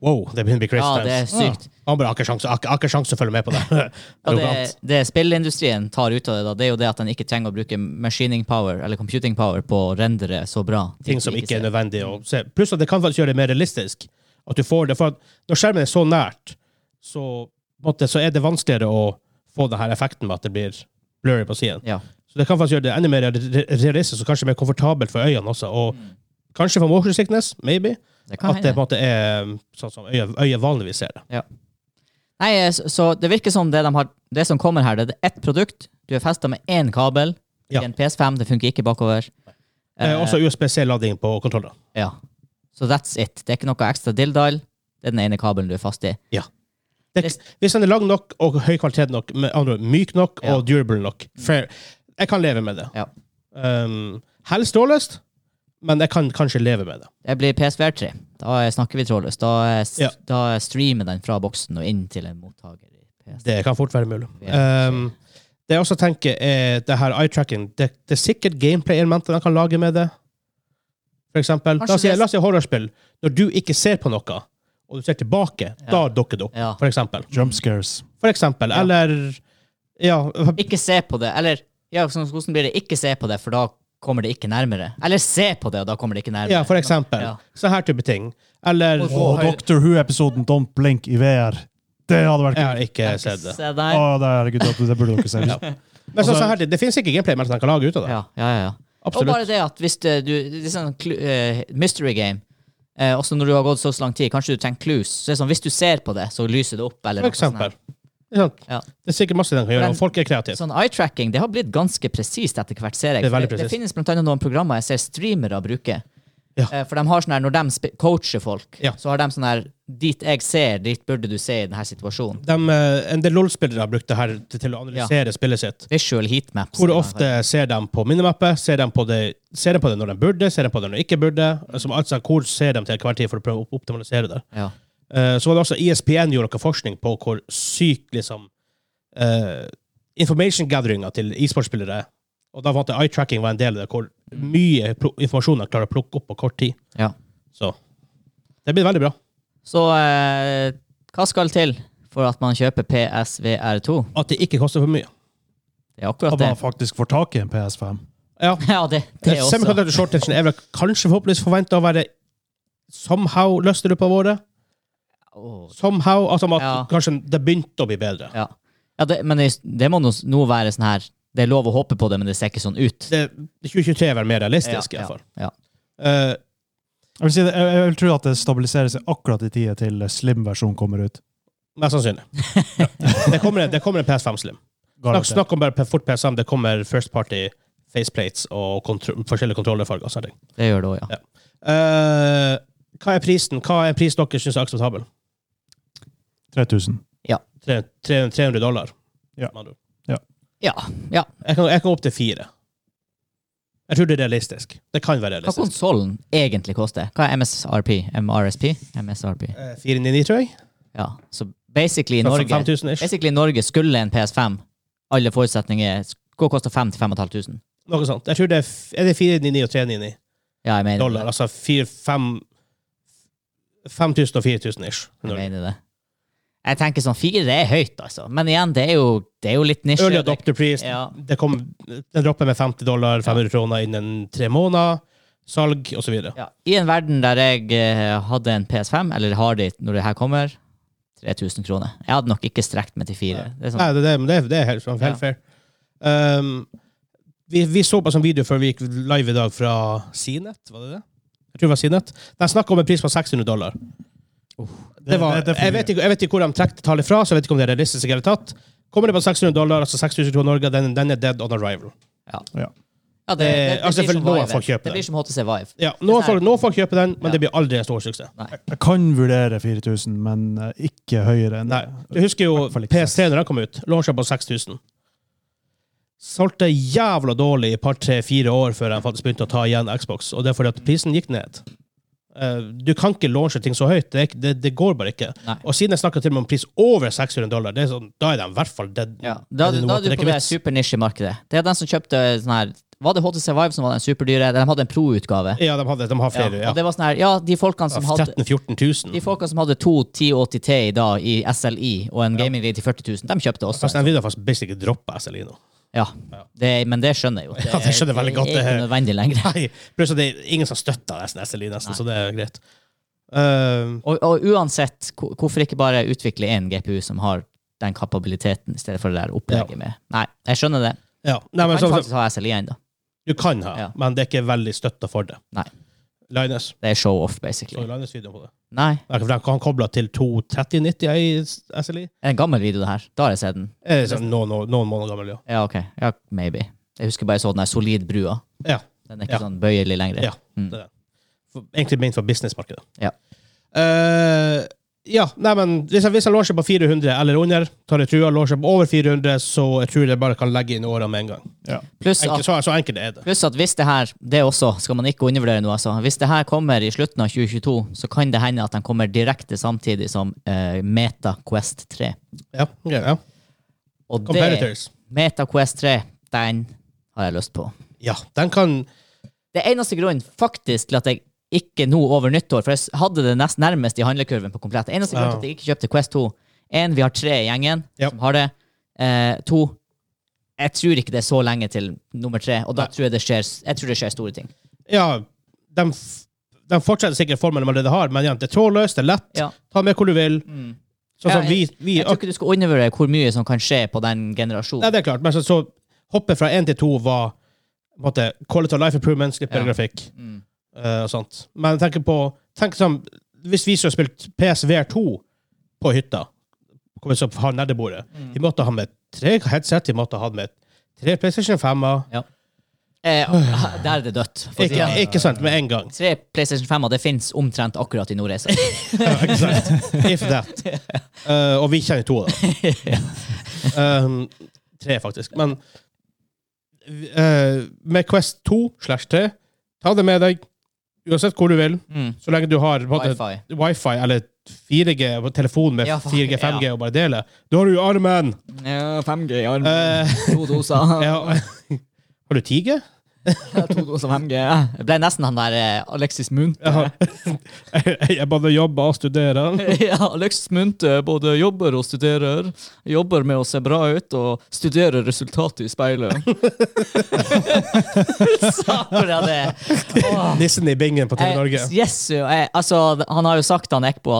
[SPEAKER 1] Wow, det begynner å bli crazy
[SPEAKER 2] Mm. Ja,
[SPEAKER 1] times.
[SPEAKER 2] det er sykt.
[SPEAKER 1] Han bare har ikke sjanse, har ikke- har ikke sjanse å følge med på det.
[SPEAKER 2] Ja,
[SPEAKER 1] Arrogant.
[SPEAKER 2] det, det spillindustrien tar ut av det, da, det er jo det at den ikke trenger å bruke machining power eller computing power på å rendere så bra.
[SPEAKER 1] ting som ikke er
[SPEAKER 2] ser. Mm.
[SPEAKER 1] nødvendig å se. Pluss at det kan faktisk gjøre det mer realistisk. At du får det, for at Når skjermen er så nært, så, på en måte, så er det vanskeligere å få den her effekten med at det blir blurry på siden.
[SPEAKER 2] Ja.
[SPEAKER 1] Så det kan faktisk gjøre det enda mer re- re- realistisk og kanskje mer komfortabelt for øynene også. Og kanskje for motion sickness, maybe.
[SPEAKER 2] Mm. Det kan
[SPEAKER 1] At det på
[SPEAKER 2] hende.
[SPEAKER 1] en måte er sånn som øyet, øyet vanligvis ser det.
[SPEAKER 2] Nei, eh, så så det virker som det, de har, det som kommer her, det er ett produkt. Du er festa med én kabel i
[SPEAKER 1] Ja.
[SPEAKER 2] en PS5. Det funker ikke bakover.
[SPEAKER 1] Eh, også USBC-lading på kontroller.
[SPEAKER 2] Ja. Så that's it. Det er ikke noe ekstra dilldall. Det er den ene kabelen du er fast i.
[SPEAKER 1] Det, hvis den er lang nok og høy kvalitet nok, med andre ord myk nok
[SPEAKER 2] Ja. Mm.
[SPEAKER 1] og durable nok, fair. Jeg kan leve med det.
[SPEAKER 2] Ja.
[SPEAKER 1] Um, helst trådløst, men jeg kan kanskje leve med det.
[SPEAKER 2] Det blir PSVR 3. Da eh, snakker vi trådløst. Da, eh, s-
[SPEAKER 1] Ja.
[SPEAKER 2] da streamer den fra boksen og inn til en mottaker. i PS.
[SPEAKER 1] Det kan fort være mulig.
[SPEAKER 2] Ja.
[SPEAKER 1] Um, det jeg også tenker, er det her eye-tracking. Det, det er sikkert gameplay-elementer man kan lage med det. For eksempel, la oss, si,
[SPEAKER 2] Kanskje det-
[SPEAKER 1] la oss si horrorspill. Når du ikke ser på noe, og du ser tilbake, da dukker det opp,
[SPEAKER 2] Ja.
[SPEAKER 1] for eksempel.
[SPEAKER 3] Jump scares.
[SPEAKER 1] For eksempel.
[SPEAKER 2] Ja.
[SPEAKER 1] Eller ja,
[SPEAKER 2] Ikke se på det. Eller ja, sånn, hvordan blir det? Ikke se på det, for da kommer det ikke nærmere. Eller se på det, og da kommer det ikke nærmere.
[SPEAKER 1] ja, for eksempel.
[SPEAKER 2] Ja.
[SPEAKER 1] Sånn her type ting. Eller
[SPEAKER 2] Og-
[SPEAKER 3] Og Doctor Who-episoden Don't Blink i VR. Det hadde vært
[SPEAKER 1] Jeg
[SPEAKER 3] kult.
[SPEAKER 1] har ikke sett det.
[SPEAKER 2] Se
[SPEAKER 3] Å,
[SPEAKER 2] der.
[SPEAKER 3] herregud, det det burde dere se.
[SPEAKER 1] Men sånn, sånn her, det, det finnes ikke gameplay-elementer man kan lage ut av det.
[SPEAKER 2] Ja, ja, ja. Og
[SPEAKER 1] Absolutt.
[SPEAKER 2] bare det at hvis det, du Det er sånn clu- eh, mystery game. Eh, også når du har gått så lang tid, kanskje du trenger clues. Så det er sånn, Hvis du ser på det, så lyser det opp. Eller
[SPEAKER 1] For
[SPEAKER 2] noe sånt sånn her.
[SPEAKER 1] eksempel. Ikke sant?
[SPEAKER 2] Ja.
[SPEAKER 1] Det er sånn- sikkert masse den kan gjøre,
[SPEAKER 2] Men-
[SPEAKER 1] og folk er kreative.
[SPEAKER 2] Sånn Eye-tracking det har blitt ganske presist etter hvert, ser jeg.
[SPEAKER 1] Det er veldig
[SPEAKER 2] det, det
[SPEAKER 1] presist.
[SPEAKER 2] finnes blant annet noen programmer jeg ser streamere bruke.
[SPEAKER 1] Ja.
[SPEAKER 2] Eh, For de har sånn her, Når de spe- coacher folk,
[SPEAKER 1] Ja.
[SPEAKER 2] så har de sånn her Dit jeg ser, dit burde du se i denne situasjonen.
[SPEAKER 1] De, eh, en del LOL-spillere har brukt det her til, til å analysere spillet sitt.
[SPEAKER 2] Visual heatmaps.
[SPEAKER 1] Hvor ofte ser de på minimappet? Ser de på det, ser de på det når de burde? Ser de på det når de ikke burde?
[SPEAKER 2] Mm.
[SPEAKER 1] Som, altså, hvor ser de til hver tid for å prøve å optimalisere det?
[SPEAKER 2] Ja.
[SPEAKER 1] Eh, så var det også ESPN gjorde noe forskning på hvor syk liksom, eh, information-gatheringa til e-sportspillere er. Og da fant jeg eye-tracking var en del av det, hvor
[SPEAKER 2] Mm.
[SPEAKER 1] mye plo- informasjon de klarer å plukke opp på kort tid.
[SPEAKER 2] ja.
[SPEAKER 1] Så det blir veldig bra.
[SPEAKER 2] Så eh, hva skal til for at man kjøper PSVR2?
[SPEAKER 1] At det ikke koster for mye.
[SPEAKER 2] Det er akkurat
[SPEAKER 3] Hadde
[SPEAKER 2] det.
[SPEAKER 3] man faktisk får tak i en PS5.
[SPEAKER 1] Ja,
[SPEAKER 2] Ja, det, det er også.
[SPEAKER 1] Semiconductor shortagen er vel kanskje forhåpentligvis forventa å være somehow løste løpet av året.
[SPEAKER 2] Åh,
[SPEAKER 1] Somehow, altså at
[SPEAKER 2] Ja.
[SPEAKER 1] kanskje det begynte å bli bedre.
[SPEAKER 2] ja. ja det, men det, det må nå nå være sånn her Det er lov å håpe på det, men det ser ikke sånn ut.
[SPEAKER 1] Det, 2023 er vel mer realistisk, i
[SPEAKER 2] ja,
[SPEAKER 1] hvert fall.
[SPEAKER 2] ja.
[SPEAKER 1] Eh,
[SPEAKER 3] Jeg vil, si det, jeg, jeg vil tro at det stabiliserer seg akkurat i tida til slim-versjonen kommer ut.
[SPEAKER 1] mest sannsynlig. det, kommer, en- det kommer en PS5 Slim. Snakk,
[SPEAKER 3] Garantert.
[SPEAKER 1] snakk om bare fort PS5, det kommer first party faceplates og kontro forskjellige kontrollerfarger. og sånne ting.
[SPEAKER 2] Det gjør det òg, ja.
[SPEAKER 1] Eh, hva er prisen? Hva er en pris dere syns er akseptabel?
[SPEAKER 3] 3000.
[SPEAKER 1] Tre- 300 dollar?
[SPEAKER 3] Ja.
[SPEAKER 1] med andre ord.
[SPEAKER 2] Ja, ja.
[SPEAKER 1] Jeg kan, jeg kan opp til fire. Jeg tror det er realistisk. Det kan være
[SPEAKER 2] Hva
[SPEAKER 1] realistisk.
[SPEAKER 2] konsollen egentlig koster? Hva er MSRP? MRSP? MSRP.
[SPEAKER 1] Eh, 499, tror jeg.
[SPEAKER 2] Ja, så basically i
[SPEAKER 1] Sånn som
[SPEAKER 2] Norge
[SPEAKER 1] 5000 ish.
[SPEAKER 2] Basically i Norge skulle en PS5, alle forutsetninger, gå og koste 5 5500.
[SPEAKER 1] Noe sånt. Jeg tror det er, f- er det 499 og 399
[SPEAKER 2] Ja, jeg mener
[SPEAKER 1] dollar.
[SPEAKER 2] det.
[SPEAKER 1] Altså 5000 og 4000 ish.
[SPEAKER 2] Jeg, mener det. jeg tenker sånn, fire er høyt, altså. Men igjen, det er jo, det er jo litt nisje.
[SPEAKER 1] Early adopter pris.
[SPEAKER 2] Ja.
[SPEAKER 1] Det kom, den dropper med 50 dollar, 500 kroner innen tre måneder. Salg osv.
[SPEAKER 2] Ja. I en verden der jeg eh, hadde en PS5, eller har det når det her kommer, 3000 kroner. Jeg hadde nok ikke strekt meg til fire. Det er sånn,
[SPEAKER 1] Nei, det, det, det, er- det er helt, helt
[SPEAKER 2] Ja.
[SPEAKER 1] fair. Um, vi, vi så på en sånn video før vi gikk live i dag fra Cnet, var det det? Jeg tror det var Cnet. De snakka om en pris på 600 dollar. Det var,
[SPEAKER 3] det- det er for
[SPEAKER 1] jeg,
[SPEAKER 3] mye.
[SPEAKER 1] vet ikke, jeg vet ikke hvor de trekte tallet fra, så jeg vet ikke om det er realistisk i det hele tatt. Kommer det på 600 dollar, altså 6000 kroner Norge, den, den er dead on arrival.
[SPEAKER 3] Ja.
[SPEAKER 2] ja, det, det, det,
[SPEAKER 1] Eh, altså,
[SPEAKER 2] blir
[SPEAKER 1] for
[SPEAKER 2] som
[SPEAKER 1] nå
[SPEAKER 2] Vive.
[SPEAKER 1] har folk kjøpt
[SPEAKER 2] det
[SPEAKER 1] den.
[SPEAKER 2] blir som HTC Vive.
[SPEAKER 1] Ja, noen, folk, noen folk kjøper den, men
[SPEAKER 2] Ja.
[SPEAKER 1] det blir aldri en stor suksess.
[SPEAKER 3] Jeg kan vurdere 4000, men eh, ikke høyere enn
[SPEAKER 1] Nei. Du husker jo
[SPEAKER 3] hvert fall ikke
[SPEAKER 1] PS3 når den kom ut. Launcha på 6000. Solgte jævla dårlig i et par, tre, fire år før de faktisk begynte å ta igjen Xbox, og det er fordi at prisen gikk ned. Eh, du kan ikke launche ting så høyt. Det, er ikke- det, det går bare ikke.
[SPEAKER 2] Nei.
[SPEAKER 1] Og siden jeg snakka til og med om pris over 600 dollar, det er sånn, da er de i hvert fall dead.
[SPEAKER 2] Ja, da,
[SPEAKER 1] dead in the water. Det er
[SPEAKER 2] da er du på
[SPEAKER 1] ikke
[SPEAKER 2] det
[SPEAKER 1] vits.
[SPEAKER 2] supernisjemarkedet. Det er den som kjøpte sånn her Var det HTC Vive som var den superdyre? De hadde en pro-utgave.
[SPEAKER 1] Ja, de, hadde, de har flere. Ja,
[SPEAKER 2] Og det var sånn her, ja, de folkene som hadde
[SPEAKER 1] 13 000-14
[SPEAKER 2] de
[SPEAKER 1] 000.
[SPEAKER 2] folkene som hadde to 1080 Ti da i SLI og en gaming-rig til 40 000, de kjøpte også.
[SPEAKER 1] Altså, de vil da faktisk basically droppe SLI nå.
[SPEAKER 2] Ja, det, men det skjønner jeg jo.
[SPEAKER 1] Ja, det skjønner jeg veldig godt.
[SPEAKER 2] Det er ikke nødvendig lenger.
[SPEAKER 1] Nei, pluss at det er ingen som støtter nesten SLI, nesten, så det er greit. Eh,
[SPEAKER 2] Og, og uansett, ko- hvorfor ikke bare utvikle én GPU som har den kapabiliteten, i stedet for det der
[SPEAKER 1] Ja.
[SPEAKER 2] opplegget med Nei, jeg skjønner det.
[SPEAKER 1] ja. Nei, men, sånn
[SPEAKER 2] Kan
[SPEAKER 1] så,
[SPEAKER 2] faktisk ha SLI ennå.
[SPEAKER 1] du kan ha,
[SPEAKER 2] Ja.
[SPEAKER 1] men det er ikke veldig støtta for det.
[SPEAKER 2] Nei.
[SPEAKER 1] Linus.
[SPEAKER 2] Det er show-off,
[SPEAKER 1] Så
[SPEAKER 2] basically.
[SPEAKER 1] Linus-videoen på det.
[SPEAKER 2] Nei,
[SPEAKER 1] Nei, for den kan koble til 2.3090 i SLI.
[SPEAKER 2] det er en gammel video, det her. Da har jeg sett den.
[SPEAKER 1] Eh, sånn Noen, noen, noen måneder gammel, ja.
[SPEAKER 2] Ja, ok. Ja, maybe. Jeg husker bare jeg så den der solid brua.
[SPEAKER 1] Ja,
[SPEAKER 2] Den er ikke
[SPEAKER 1] Ja.
[SPEAKER 2] sånn bøyelig lenger.
[SPEAKER 1] ja det er det. For, egentlig ment for businessmarkedet.
[SPEAKER 2] Ja.
[SPEAKER 1] Eh, ja, nei, men hvis jeg, hvis jeg launcher på 400 eller under, tar jeg trua, launcher på over 400, så jeg tror jeg bare kan legge inn åra med en gang.
[SPEAKER 2] Pluss
[SPEAKER 1] Enkel,
[SPEAKER 2] at,
[SPEAKER 1] så, så enkelt er det.
[SPEAKER 2] pluss at hvis det her, det også, skal man ikke undervurdere noe, altså. Hvis det her kommer i slutten av 2022, så kan det hende at den kommer direkte samtidig som eh, Meta Quest 3.
[SPEAKER 1] Ja, ok, ja.
[SPEAKER 2] Og det,
[SPEAKER 1] Competitors.
[SPEAKER 2] Meta Quest 3, den har jeg lyst på.
[SPEAKER 1] Ja, den kan
[SPEAKER 2] Det er eneste grunnen faktisk til at jeg ikke nå over nyttår, for jeg s- hadde det nest nærmest i handlekurven på komplett. Eneste grunn
[SPEAKER 1] Ja.
[SPEAKER 2] til at jeg ikke kjøpte Quest 2. En, vi har tre i gjengen
[SPEAKER 1] Ja.
[SPEAKER 2] som har det. Eh, to, jeg tror ikke det er så lenge til nummer tre, og da
[SPEAKER 1] Nei.
[SPEAKER 2] tror jeg det skjer, s- jeg tror det skjer store ting.
[SPEAKER 1] Ja, de, f- de fortsetter sikkert formen de allerede har, men igjen, det er trådløst, det er lett.
[SPEAKER 2] Ja. Mm.
[SPEAKER 1] Ta med hvor du vil. Sånn
[SPEAKER 2] Ja,
[SPEAKER 1] som vi, vi
[SPEAKER 2] Jeg tror ikke du skal undervurdere hvor mye som kan skje på den generasjonen.
[SPEAKER 1] Nei, det er klart, men så, så hoppet fra én til to var på en måte, quality of life improvement, slipp
[SPEAKER 2] Ja.
[SPEAKER 1] grafikk
[SPEAKER 2] Mm.
[SPEAKER 1] eh, og sånt. Men jeg tenker på tenk som, Hvis vi skulle spilt PSVR2 på hytta, kommer vi til å ha nerdebordet.
[SPEAKER 2] Mm.
[SPEAKER 1] Vi måtte ha med tre headset, vi måtte ha med tre PlayStation 5-er.
[SPEAKER 2] Eh, der er det dødt. for
[SPEAKER 1] Ikke,
[SPEAKER 2] tiden.
[SPEAKER 1] ikke sant, med en gang.
[SPEAKER 2] Tre PlayStation 5-er, det finnes omtrent akkurat i Nordreisa.
[SPEAKER 1] Ja, ikke sant? If that. Eh, og vi kjenner to, da. Um, tre, faktisk. Men eh, med Quest 2 slash 3, ta det med deg uansett hvor du vil,
[SPEAKER 2] Mm.
[SPEAKER 1] så lenge du har både,
[SPEAKER 2] Wifi.
[SPEAKER 1] wifi eller 4G og telefon med
[SPEAKER 2] Ja, fuck,
[SPEAKER 1] 4G, 5G
[SPEAKER 2] ja.
[SPEAKER 1] og bare dele. Da har du jo armen!
[SPEAKER 2] Ja, 5G i
[SPEAKER 1] Eh,
[SPEAKER 2] To doser.
[SPEAKER 1] ja. Har du 10G?
[SPEAKER 2] to doser 5G. Jeg ble nesten han der eh, Alexis Munthe.
[SPEAKER 1] Jeg, har, jeg både jobber og studerer.
[SPEAKER 2] ja, Alexis Munthe både jobber og studerer. Jobber med å se bra ut og studerer resultatet i speilet. Saker av det! Åh.
[SPEAKER 1] Nissen i bingen på TV Norge.
[SPEAKER 2] Eh, yes, jo, eh, altså, han har jo sagt han Ekbo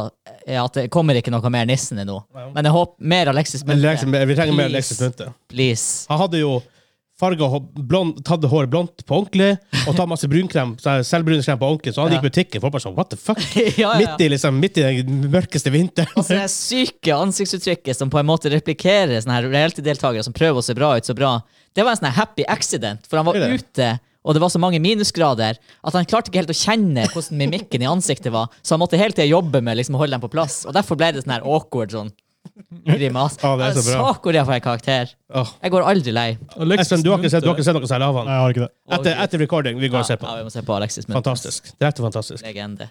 [SPEAKER 2] eh, at det kommer ikke noe mer Nissen nå. Men jeg håper mer Alexis
[SPEAKER 1] Men Alexis-
[SPEAKER 2] Munthe.
[SPEAKER 1] Vi trenger mer
[SPEAKER 2] Please.
[SPEAKER 1] Alexis Munthe.
[SPEAKER 2] Please.
[SPEAKER 1] Han hadde jo farga blond, tatt håret blondt på ordentlig og tatt masse brunkrem, så- selvbruningskrem på ordentlig, så han
[SPEAKER 2] Ja.
[SPEAKER 1] gikk i butikken. Folk bare sånn, what the fuck?
[SPEAKER 2] ja, ja.
[SPEAKER 1] Midt i liksom, midt i den mørkeste vinteren.
[SPEAKER 2] Altså det er syke ansiktsuttrykket som på en måte replikerer sånne her reality-deltakere som prøver å se bra ut så bra. Det var en sånn her happy accident, for han var
[SPEAKER 1] Det er det.
[SPEAKER 2] ute, og det var så mange minusgrader at han klarte ikke helt å kjenne hvordan mimikken i ansiktet var, så han måtte hele tida jobbe med liksom, å holde dem på plass, og derfor ble det sånn her awkward sånn grimas.
[SPEAKER 1] Ja, det er så bra.
[SPEAKER 2] Sak hvor jeg får en karakter.
[SPEAKER 1] Åh.
[SPEAKER 2] Jeg går aldri lei.
[SPEAKER 1] Espen, du har ikke sett, du har ikke sett noe særlig av
[SPEAKER 3] Nei,
[SPEAKER 1] han?
[SPEAKER 3] jeg har ikke det.
[SPEAKER 1] Etter, etter recording. Vi går
[SPEAKER 2] Ja,
[SPEAKER 1] og ser
[SPEAKER 2] ja,
[SPEAKER 1] på.
[SPEAKER 2] vi må se på Alexis Munthe.
[SPEAKER 1] Fantastisk. Direkte fantastisk.
[SPEAKER 2] Legende.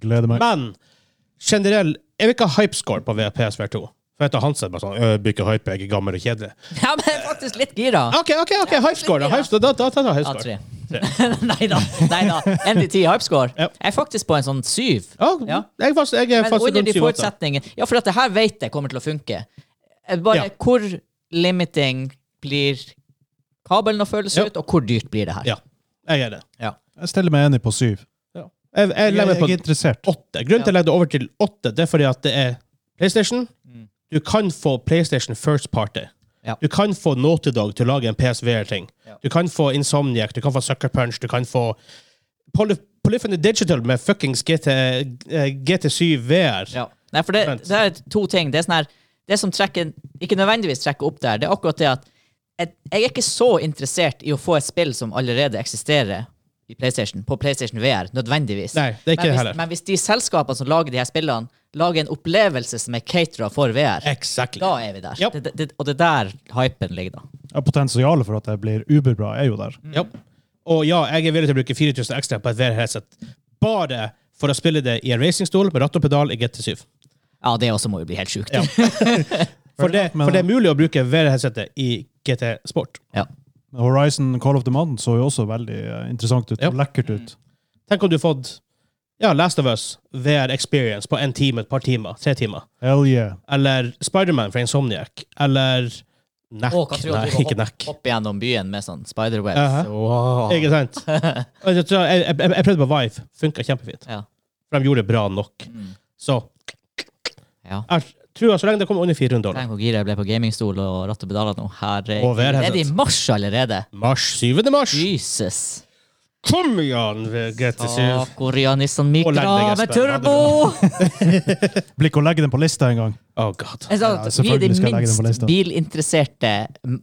[SPEAKER 3] Gleder meg.
[SPEAKER 1] Men generell Jeg vil ikke ha hypescore på PSVR2. For jeg tar Hansen bare sånn «Øh, Blir ikke hype, jeg er gammel og kjedelig.
[SPEAKER 2] Ja, men jeg er faktisk litt gira.
[SPEAKER 1] OK, OK, ok, hypescore. da. Hypescore, Da, da, da, tar jeg
[SPEAKER 2] Ja,
[SPEAKER 1] hypescore.
[SPEAKER 2] tre. Nei da. Nei da. En til ti hypescore.
[SPEAKER 1] Ja.
[SPEAKER 2] Jeg er faktisk på en sånn syv.
[SPEAKER 1] Ja, jeg er fast, jeg er
[SPEAKER 2] Men
[SPEAKER 1] fast
[SPEAKER 2] under
[SPEAKER 1] rundt
[SPEAKER 2] de
[SPEAKER 1] 7-8.
[SPEAKER 2] forutsetningene Ja, for at det her vet jeg kommer til å funke. Eh, Bare
[SPEAKER 1] Ja.
[SPEAKER 2] hvor limiting blir kabelen å føles
[SPEAKER 1] Ja.
[SPEAKER 2] ut, og hvor dyrt blir det her?
[SPEAKER 1] Ja, jeg er det.
[SPEAKER 3] Jeg stiller meg enig på syv.
[SPEAKER 1] Jeg, jeg
[SPEAKER 3] Jeg,
[SPEAKER 1] legger meg
[SPEAKER 3] jeg
[SPEAKER 1] på
[SPEAKER 3] er interessert.
[SPEAKER 1] åtte. Grunnen til
[SPEAKER 2] Ja.
[SPEAKER 1] at jeg legger det over til åtte, det er fordi at det er PlayStation. Du kan få PlayStation First Party.
[SPEAKER 2] Mm. Ja.
[SPEAKER 1] Du kan få Naughty Dog til å lage en PSVR-ting.
[SPEAKER 2] Ja.
[SPEAKER 1] Du kan få Insomniac, du kan få Sucker Punch, du kan få Poly Polyphony Digital med fuckings GT, eh, GT7 VR.
[SPEAKER 2] Ja. Nei, for det,
[SPEAKER 1] Vent.
[SPEAKER 2] det er to ting. Det er sånn her Det som trekker Ikke nødvendigvis trekker opp der, det er akkurat det at jeg, jeg er ikke så interessert i å få et spill som allerede eksisterer i PlayStation, på PlayStation VR, nødvendigvis.
[SPEAKER 1] Nei, det er ikke det
[SPEAKER 2] men, hvis,
[SPEAKER 1] heller.
[SPEAKER 2] men hvis de selskapene som lager de her spillene, lager en opplevelse som er catera for VR,
[SPEAKER 1] Exactly.
[SPEAKER 2] da er vi der.
[SPEAKER 1] Ja.
[SPEAKER 2] Det, det, det, og det er der hypen ligger, da.
[SPEAKER 3] Ja, Potensialet for at jeg blir uberbra, er jo der.
[SPEAKER 1] Ja. Og ja, jeg er villig til å bruke 4000 ekstra på et VR-headset. Bare for å spille det i en racingstol med ratt og pedal i GT7.
[SPEAKER 2] Ja, det også må jo bli helt sjukt.
[SPEAKER 1] Ja. For det, for det er mulig å bruke VR-headsetet i GT Sport.
[SPEAKER 2] Ja.
[SPEAKER 3] Horizon Call of the Mountain så jo også veldig eh, interessant ut.
[SPEAKER 1] Ja.
[SPEAKER 3] og Lekkert ut.
[SPEAKER 1] Tenk om du fått ja, Last of Us VR Experience på en time, et par timer, tre timer.
[SPEAKER 3] Hell yeah.
[SPEAKER 1] Eller Spiderman fra Insomniac. Eller Neck.
[SPEAKER 2] Og Katrine
[SPEAKER 1] Nei,
[SPEAKER 2] driver og
[SPEAKER 1] ikke
[SPEAKER 2] hopp-
[SPEAKER 1] Neck.
[SPEAKER 2] hopper gjennom byen med sånn spiderwebs.
[SPEAKER 1] Aha.
[SPEAKER 2] wow.
[SPEAKER 1] Ikke sant? Og Jeg, tror- jeg, jeg, jeg prøvde på Vive. Funka kjempefint.
[SPEAKER 2] Ja.
[SPEAKER 1] For de gjorde det bra nok.
[SPEAKER 2] Mm.
[SPEAKER 1] Så
[SPEAKER 2] Ja.
[SPEAKER 1] jeg tror at så lenge det kommer under 400 dollar
[SPEAKER 2] Tenk hvor gira jeg ble på gamingstol og ratt og pedaler nå.
[SPEAKER 1] Og
[SPEAKER 2] Herregud.
[SPEAKER 1] VR-headset.
[SPEAKER 2] Er det i mars allerede?
[SPEAKER 1] Mars 7. mars!
[SPEAKER 2] Jesus.
[SPEAKER 1] Kom igjen, GT7!
[SPEAKER 2] Sakuria Nissan
[SPEAKER 1] Og legg deg,
[SPEAKER 2] Micra med
[SPEAKER 1] Espen.
[SPEAKER 2] turbo!
[SPEAKER 3] Blir ikke å legge den på lista engang.
[SPEAKER 1] Oh god.
[SPEAKER 2] Jeg sa
[SPEAKER 3] Ja,
[SPEAKER 2] at vi er de
[SPEAKER 3] selvfølgelig skal jeg legge den på
[SPEAKER 2] minst
[SPEAKER 3] lista.
[SPEAKER 2] bilinteresserte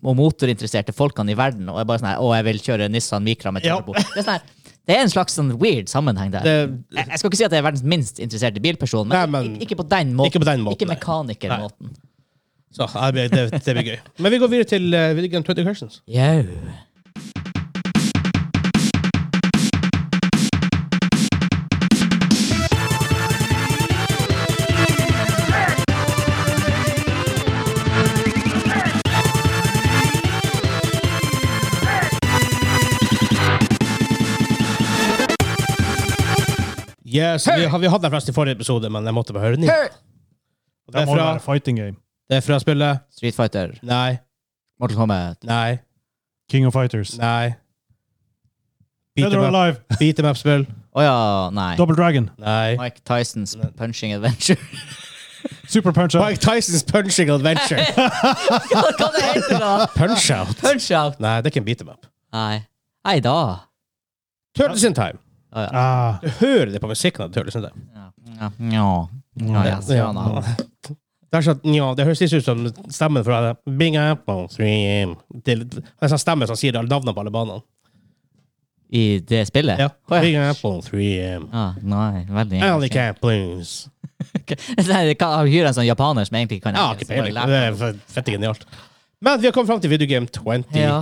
[SPEAKER 2] og motorinteresserte folkene i verden, og jeg bare sånn her, å, jeg vil kjøre Nissan Micra med
[SPEAKER 1] Ja.
[SPEAKER 2] turbo. Det, er sånn her, det er en slags sånn weird sammenheng der.
[SPEAKER 1] Det-
[SPEAKER 2] jeg, jeg skal ikke si at jeg er verdens minst interesserte bilperson, men,
[SPEAKER 1] Nei, men-
[SPEAKER 2] ik- ikke på den måten.
[SPEAKER 1] Ikke på den måten,
[SPEAKER 2] Ikke
[SPEAKER 1] nei.
[SPEAKER 2] mekanikermåten.
[SPEAKER 1] Så ja, det blir- det, det blir gøy. Men vi går videre til uh, Video Game 20 Questions.
[SPEAKER 2] Yo.
[SPEAKER 1] Yes, vi, har- vi hadde den flest i forrige episode, men jeg måtte bare høre den igjen.
[SPEAKER 2] Hey!
[SPEAKER 1] Og Det
[SPEAKER 3] Det
[SPEAKER 1] er
[SPEAKER 3] må jo
[SPEAKER 1] fra,
[SPEAKER 3] være fighting game.
[SPEAKER 1] det er fra spillet
[SPEAKER 2] Street Fighter,
[SPEAKER 1] Nei,
[SPEAKER 2] Mortal Kombat,
[SPEAKER 1] nei,
[SPEAKER 3] King of Fighters.
[SPEAKER 1] nei. Beat
[SPEAKER 3] Dead or
[SPEAKER 1] them up-
[SPEAKER 3] Alive.
[SPEAKER 1] beat them up-spill.
[SPEAKER 2] å ja, nei.
[SPEAKER 3] Double Dragon.
[SPEAKER 1] Nei.
[SPEAKER 2] Mike Tysons Punching Adventure.
[SPEAKER 3] Super Punch Out.
[SPEAKER 1] Mike Tysons Punching Adventure.
[SPEAKER 2] Hva hva det heter da?
[SPEAKER 1] Punch-out?
[SPEAKER 2] Punch Out!
[SPEAKER 1] Nei, det er ikke en beat them up.
[SPEAKER 2] Nei. Nei da.
[SPEAKER 1] Turtles in Time.
[SPEAKER 2] Å ja.
[SPEAKER 3] Ah,
[SPEAKER 1] Du hører det på musikken av Turtles in Time.
[SPEAKER 2] Ja. Ja. Ja. Ja, ja,
[SPEAKER 1] Ja.
[SPEAKER 2] sånn, ja.
[SPEAKER 1] Det, er sånn, ja, det høres litt ut som stemmen fra det. Bing Apple Stream. Det er litt- det er en sånn stemme som sier alle navnene på alle banene.
[SPEAKER 2] I det spillet?
[SPEAKER 1] Ja.
[SPEAKER 2] Å, ja.
[SPEAKER 1] Big Apple 3M.
[SPEAKER 2] Ah, nei, veldig
[SPEAKER 1] Alley Cat Blues.
[SPEAKER 2] Nei, det kan han hyrer en sånn japaner som egentlig ikke kan
[SPEAKER 1] Ja, ikke peiling. Det er f- fette genialt. Men vi har kommet fram til Video Game 20.
[SPEAKER 2] Ja.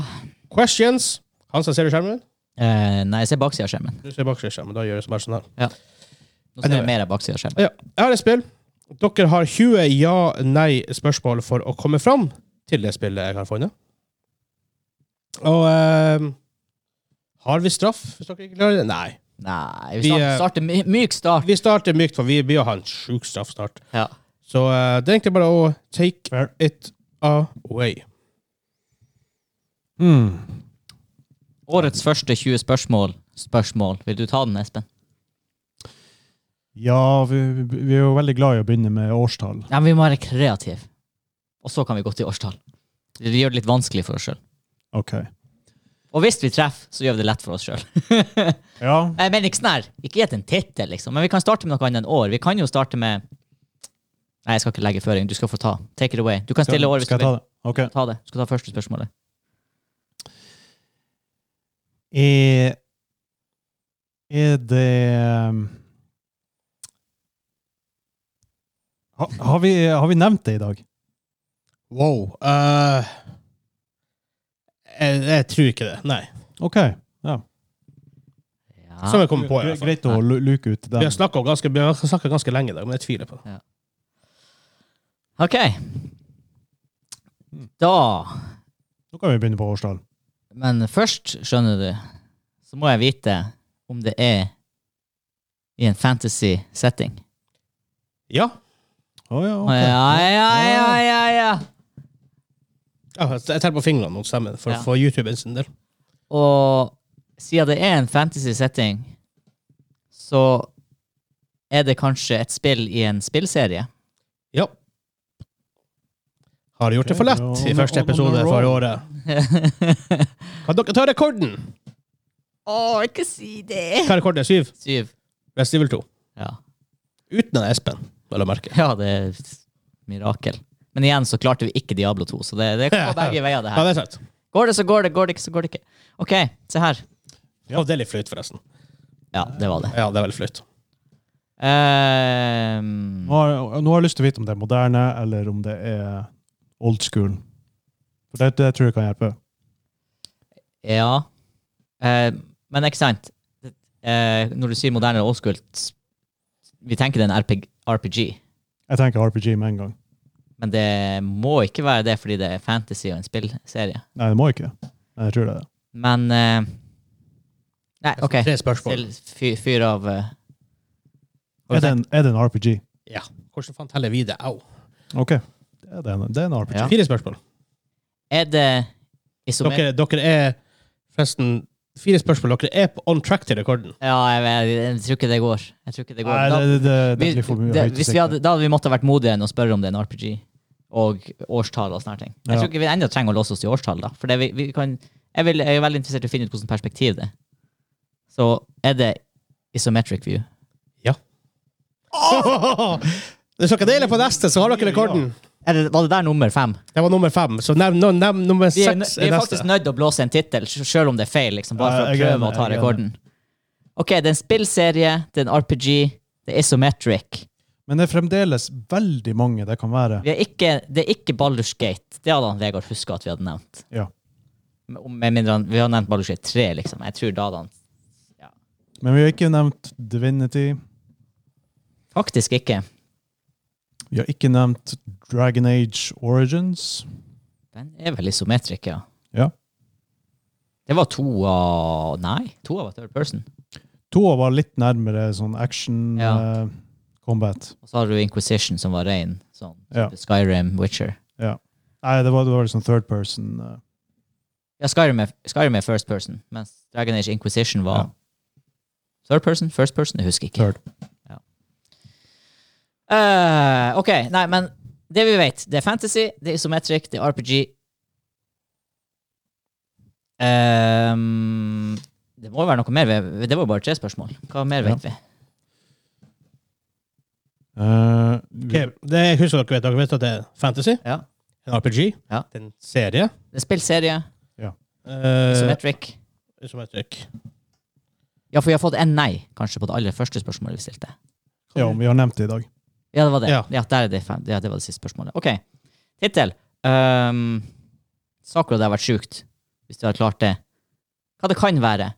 [SPEAKER 1] Questions. Hansa, ser du skjermen?
[SPEAKER 2] Eh, nei, jeg ser baksida av skjermen.
[SPEAKER 1] Du ser bakskjermen. Da gjør jeg som bare sånn her.
[SPEAKER 2] Nå ser
[SPEAKER 1] Anyway.
[SPEAKER 2] jeg mer av baksida av skjermen.
[SPEAKER 1] Ja. Jeg har et spill. Dere har 20 ja-nei-spørsmål for å komme fram til det spillet jeg har funnet. Og eh, har vi straff hvis dere ikke klarer det? Nei.
[SPEAKER 2] Nei, vi
[SPEAKER 1] Vi,
[SPEAKER 2] starter,
[SPEAKER 1] eh,
[SPEAKER 2] starter my- myk start.
[SPEAKER 1] Vi starter mykt, for vi blir å ha en sjuk straff snart.
[SPEAKER 2] Ja.
[SPEAKER 1] Så eh, det er egentlig bare å take
[SPEAKER 3] fair.
[SPEAKER 1] it away.
[SPEAKER 3] Mm.
[SPEAKER 2] Årets første 20 spørsmål. Spørsmål. Vil du ta den, Espen?
[SPEAKER 3] Ja, vi, vi- vi er jo veldig glad i å begynne med årstall.
[SPEAKER 2] Nei, men vi må være kreative. Og så kan vi gå til årstall. Vi gjør det litt vanskelig for oss sjøl.
[SPEAKER 3] Ok.
[SPEAKER 2] Og hvis vi treffer, så gjør vi det lett for oss sjøl.
[SPEAKER 3] Ja.
[SPEAKER 2] Jeg mener ikke sånn her. Ikke gjett en tittel, liksom. Men vi kan starte med noe annet enn år. Vi kan jo starte med Nei, jeg skal ikke legge føring. Du skal få ta. Take it away. Du kan stille år hvis du
[SPEAKER 3] Skal jeg
[SPEAKER 2] vil.
[SPEAKER 3] ta det? Ok.
[SPEAKER 2] Ta det. Du skal ta første spørsmålet.
[SPEAKER 3] Er, er det ha, har, vi, har vi nevnt det i dag?
[SPEAKER 1] Wow. eh, jeg, jeg tror ikke det. Nei.
[SPEAKER 3] Ok. Ja.
[SPEAKER 2] Ja.
[SPEAKER 1] Som jeg kommer på. i hvert fall.
[SPEAKER 3] Greit å lu- luke ut
[SPEAKER 1] Vi har
[SPEAKER 3] den.
[SPEAKER 1] snakka ganske, vi har snakket ganske lenge i dag, men jeg tviler på det.
[SPEAKER 2] OK. Da
[SPEAKER 3] Nå kan vi begynne på årstall.
[SPEAKER 2] Men først, skjønner du, så må jeg vite om det er i en fantasy-setting.
[SPEAKER 1] Ja.
[SPEAKER 3] Å ja,
[SPEAKER 2] Ja,
[SPEAKER 3] ok.
[SPEAKER 2] ja, ja, ja, ja.
[SPEAKER 1] Ja, Jeg teller på fingrene mot stemmen for,
[SPEAKER 2] Ja.
[SPEAKER 1] for YouTube sin del.
[SPEAKER 2] Og siden det er en fantasy-setting, så er det kanskje et spill i en spillserie.
[SPEAKER 1] Ja. Har gjort det for lett i første episode for året. Kan dere ta rekorden?
[SPEAKER 2] Å, ikke si det!
[SPEAKER 1] Hva er rekorden? Syv?
[SPEAKER 2] Syv.
[SPEAKER 1] Resident Evil 2.
[SPEAKER 2] Ja.
[SPEAKER 1] Uten en Espen, vel å merke.
[SPEAKER 2] ja, det er et mirakel. Men igjen så klarte vi ikke Diablo 2, så det, det kan gå begge veier, det
[SPEAKER 1] Ja,
[SPEAKER 2] her.
[SPEAKER 1] det er sant.
[SPEAKER 2] Går det, så går det. Går det ikke, så går det ikke. OK, se her.
[SPEAKER 1] Og det er litt flaut, forresten.
[SPEAKER 2] Ja, det var det.
[SPEAKER 1] Ja, det er veldig flaut.
[SPEAKER 2] Ehm,
[SPEAKER 3] Nå har, nå har jeg lyst til å vite om det er moderne, eller om det er old school. For det, det tror jeg kan hjelpe.
[SPEAKER 2] ja. Eh, Ehm, men ikke sant. Eh, når du sier moderne og old school, s- vi tenker det er en RPG, RPG,
[SPEAKER 3] Jeg tenker RPG med en gang.
[SPEAKER 2] men det må ikke være det fordi det er fantasy og en spillserie.
[SPEAKER 3] Nei, det må ikke det. Men Jeg tror det er det.
[SPEAKER 2] Men eh, Nei, OK.
[SPEAKER 1] Tre spørsmål.
[SPEAKER 2] Still fyr, fyr av eh,
[SPEAKER 3] Er det en, er det en RPG?
[SPEAKER 1] Ja. Hvordan faen teller vi det? Au.
[SPEAKER 3] OK. Det er en, det er en RPG.
[SPEAKER 2] Ja.
[SPEAKER 1] Fire spørsmål.
[SPEAKER 2] Er det isomer...
[SPEAKER 1] Dere, dere er forresten Fire spørsmål. Dere er på on track til rekorden.
[SPEAKER 2] Ja, jeg, vet- jeg tror ikke det går. Jeg tror ikke det går.
[SPEAKER 3] Nei, det,
[SPEAKER 2] Da-
[SPEAKER 3] det, det, det
[SPEAKER 2] Vi-
[SPEAKER 3] blir for mye
[SPEAKER 2] det-
[SPEAKER 3] høyt
[SPEAKER 2] hvis vi hadde, da hadde vi måttet vært modige enn å spørre om det er en RPG. Og årstall og sånne ting. Jeg
[SPEAKER 3] Ja.
[SPEAKER 2] tror ikke vi ennå trenger å låse oss til årstall. da. For det vi, vi kan, jeg, vil, jeg er veldig interessert i å finne ut hvilket perspektiv det er. Så er det isometric view.
[SPEAKER 1] Hvis dere deler på neste, så har dere rekorden.
[SPEAKER 2] Er det, var det der nummer fem?
[SPEAKER 1] Det var nummer fem. Så nevn nevn- nevn nummer
[SPEAKER 2] Vi er, nø-
[SPEAKER 1] seks
[SPEAKER 2] vi
[SPEAKER 1] er
[SPEAKER 2] er faktisk
[SPEAKER 1] neste.
[SPEAKER 2] nødt til å blåse en tittel, sj- selv om det er feil. liksom, Bare for
[SPEAKER 3] Ja,
[SPEAKER 2] å
[SPEAKER 3] jeg er
[SPEAKER 2] prøve å
[SPEAKER 3] enig,
[SPEAKER 2] ta
[SPEAKER 3] jeg er
[SPEAKER 2] rekorden. OK, det er en spillserie, det er en RPG, det er isometric.
[SPEAKER 3] Men det er fremdeles veldig mange det kan være.
[SPEAKER 2] Vi er ikke, det er ikke Baldur's Gate. Det hadde han Vegard huska at vi hadde nevnt.
[SPEAKER 3] Ja.
[SPEAKER 2] Med mindre han, Vi har nevnt Baldur's Gate 3, liksom. Jeg tror da hadde han
[SPEAKER 3] Men vi har ikke nevnt Divinity.
[SPEAKER 2] Faktisk ikke.
[SPEAKER 3] Vi har ikke nevnt Dragon Age Origins.
[SPEAKER 2] Den er vel isometric, ja.
[SPEAKER 3] Ja.
[SPEAKER 2] Det var to av Nei, to av third person.
[SPEAKER 3] Toa var litt nærmere sånn action
[SPEAKER 2] Ja.
[SPEAKER 3] eh, combat.
[SPEAKER 2] Og så har du Inquisition, som var rein. Sånn,
[SPEAKER 3] Ja.
[SPEAKER 2] Skyrim, Witcher.
[SPEAKER 3] Nei, det var, det var liksom third person. eh.
[SPEAKER 2] Ja, Skyrim er, Skyrim er first person, mens Dragon Age Inquisition var
[SPEAKER 3] Ja.
[SPEAKER 2] Third person? First person? Jeg husker ikke.
[SPEAKER 3] Third.
[SPEAKER 2] Ja. Eh, ok, nei, men det vi vet, det er fantasy, det er isometric, det er RPG. Ehm, det må jo være noe mer. vi- Det var jo bare tre spørsmål. Hva mer
[SPEAKER 3] Ja.
[SPEAKER 2] vet vi?
[SPEAKER 3] Eh, vi-
[SPEAKER 1] Ok, Det jeg husker dere vet. Dere vet at det er fantasy,
[SPEAKER 2] Ja.
[SPEAKER 1] en RPG,
[SPEAKER 2] Ja.
[SPEAKER 1] det er en serie.
[SPEAKER 2] Det er spillserie,
[SPEAKER 3] Eh.
[SPEAKER 1] Uh,
[SPEAKER 2] isometric.
[SPEAKER 1] som et trykk.
[SPEAKER 2] Ja, for vi har fått en nei, kanskje, på det aller første spørsmålet vi stilte.
[SPEAKER 3] Ja, vi har nevnt det i dag.
[SPEAKER 2] Ja, det var det. Ja,
[SPEAKER 1] Ja.
[SPEAKER 2] der er det, fan- ja, det var det siste spørsmålet. Ok, tittel. Um, saker det har vært sjukt, hvis du har klart det. Hva det kan være.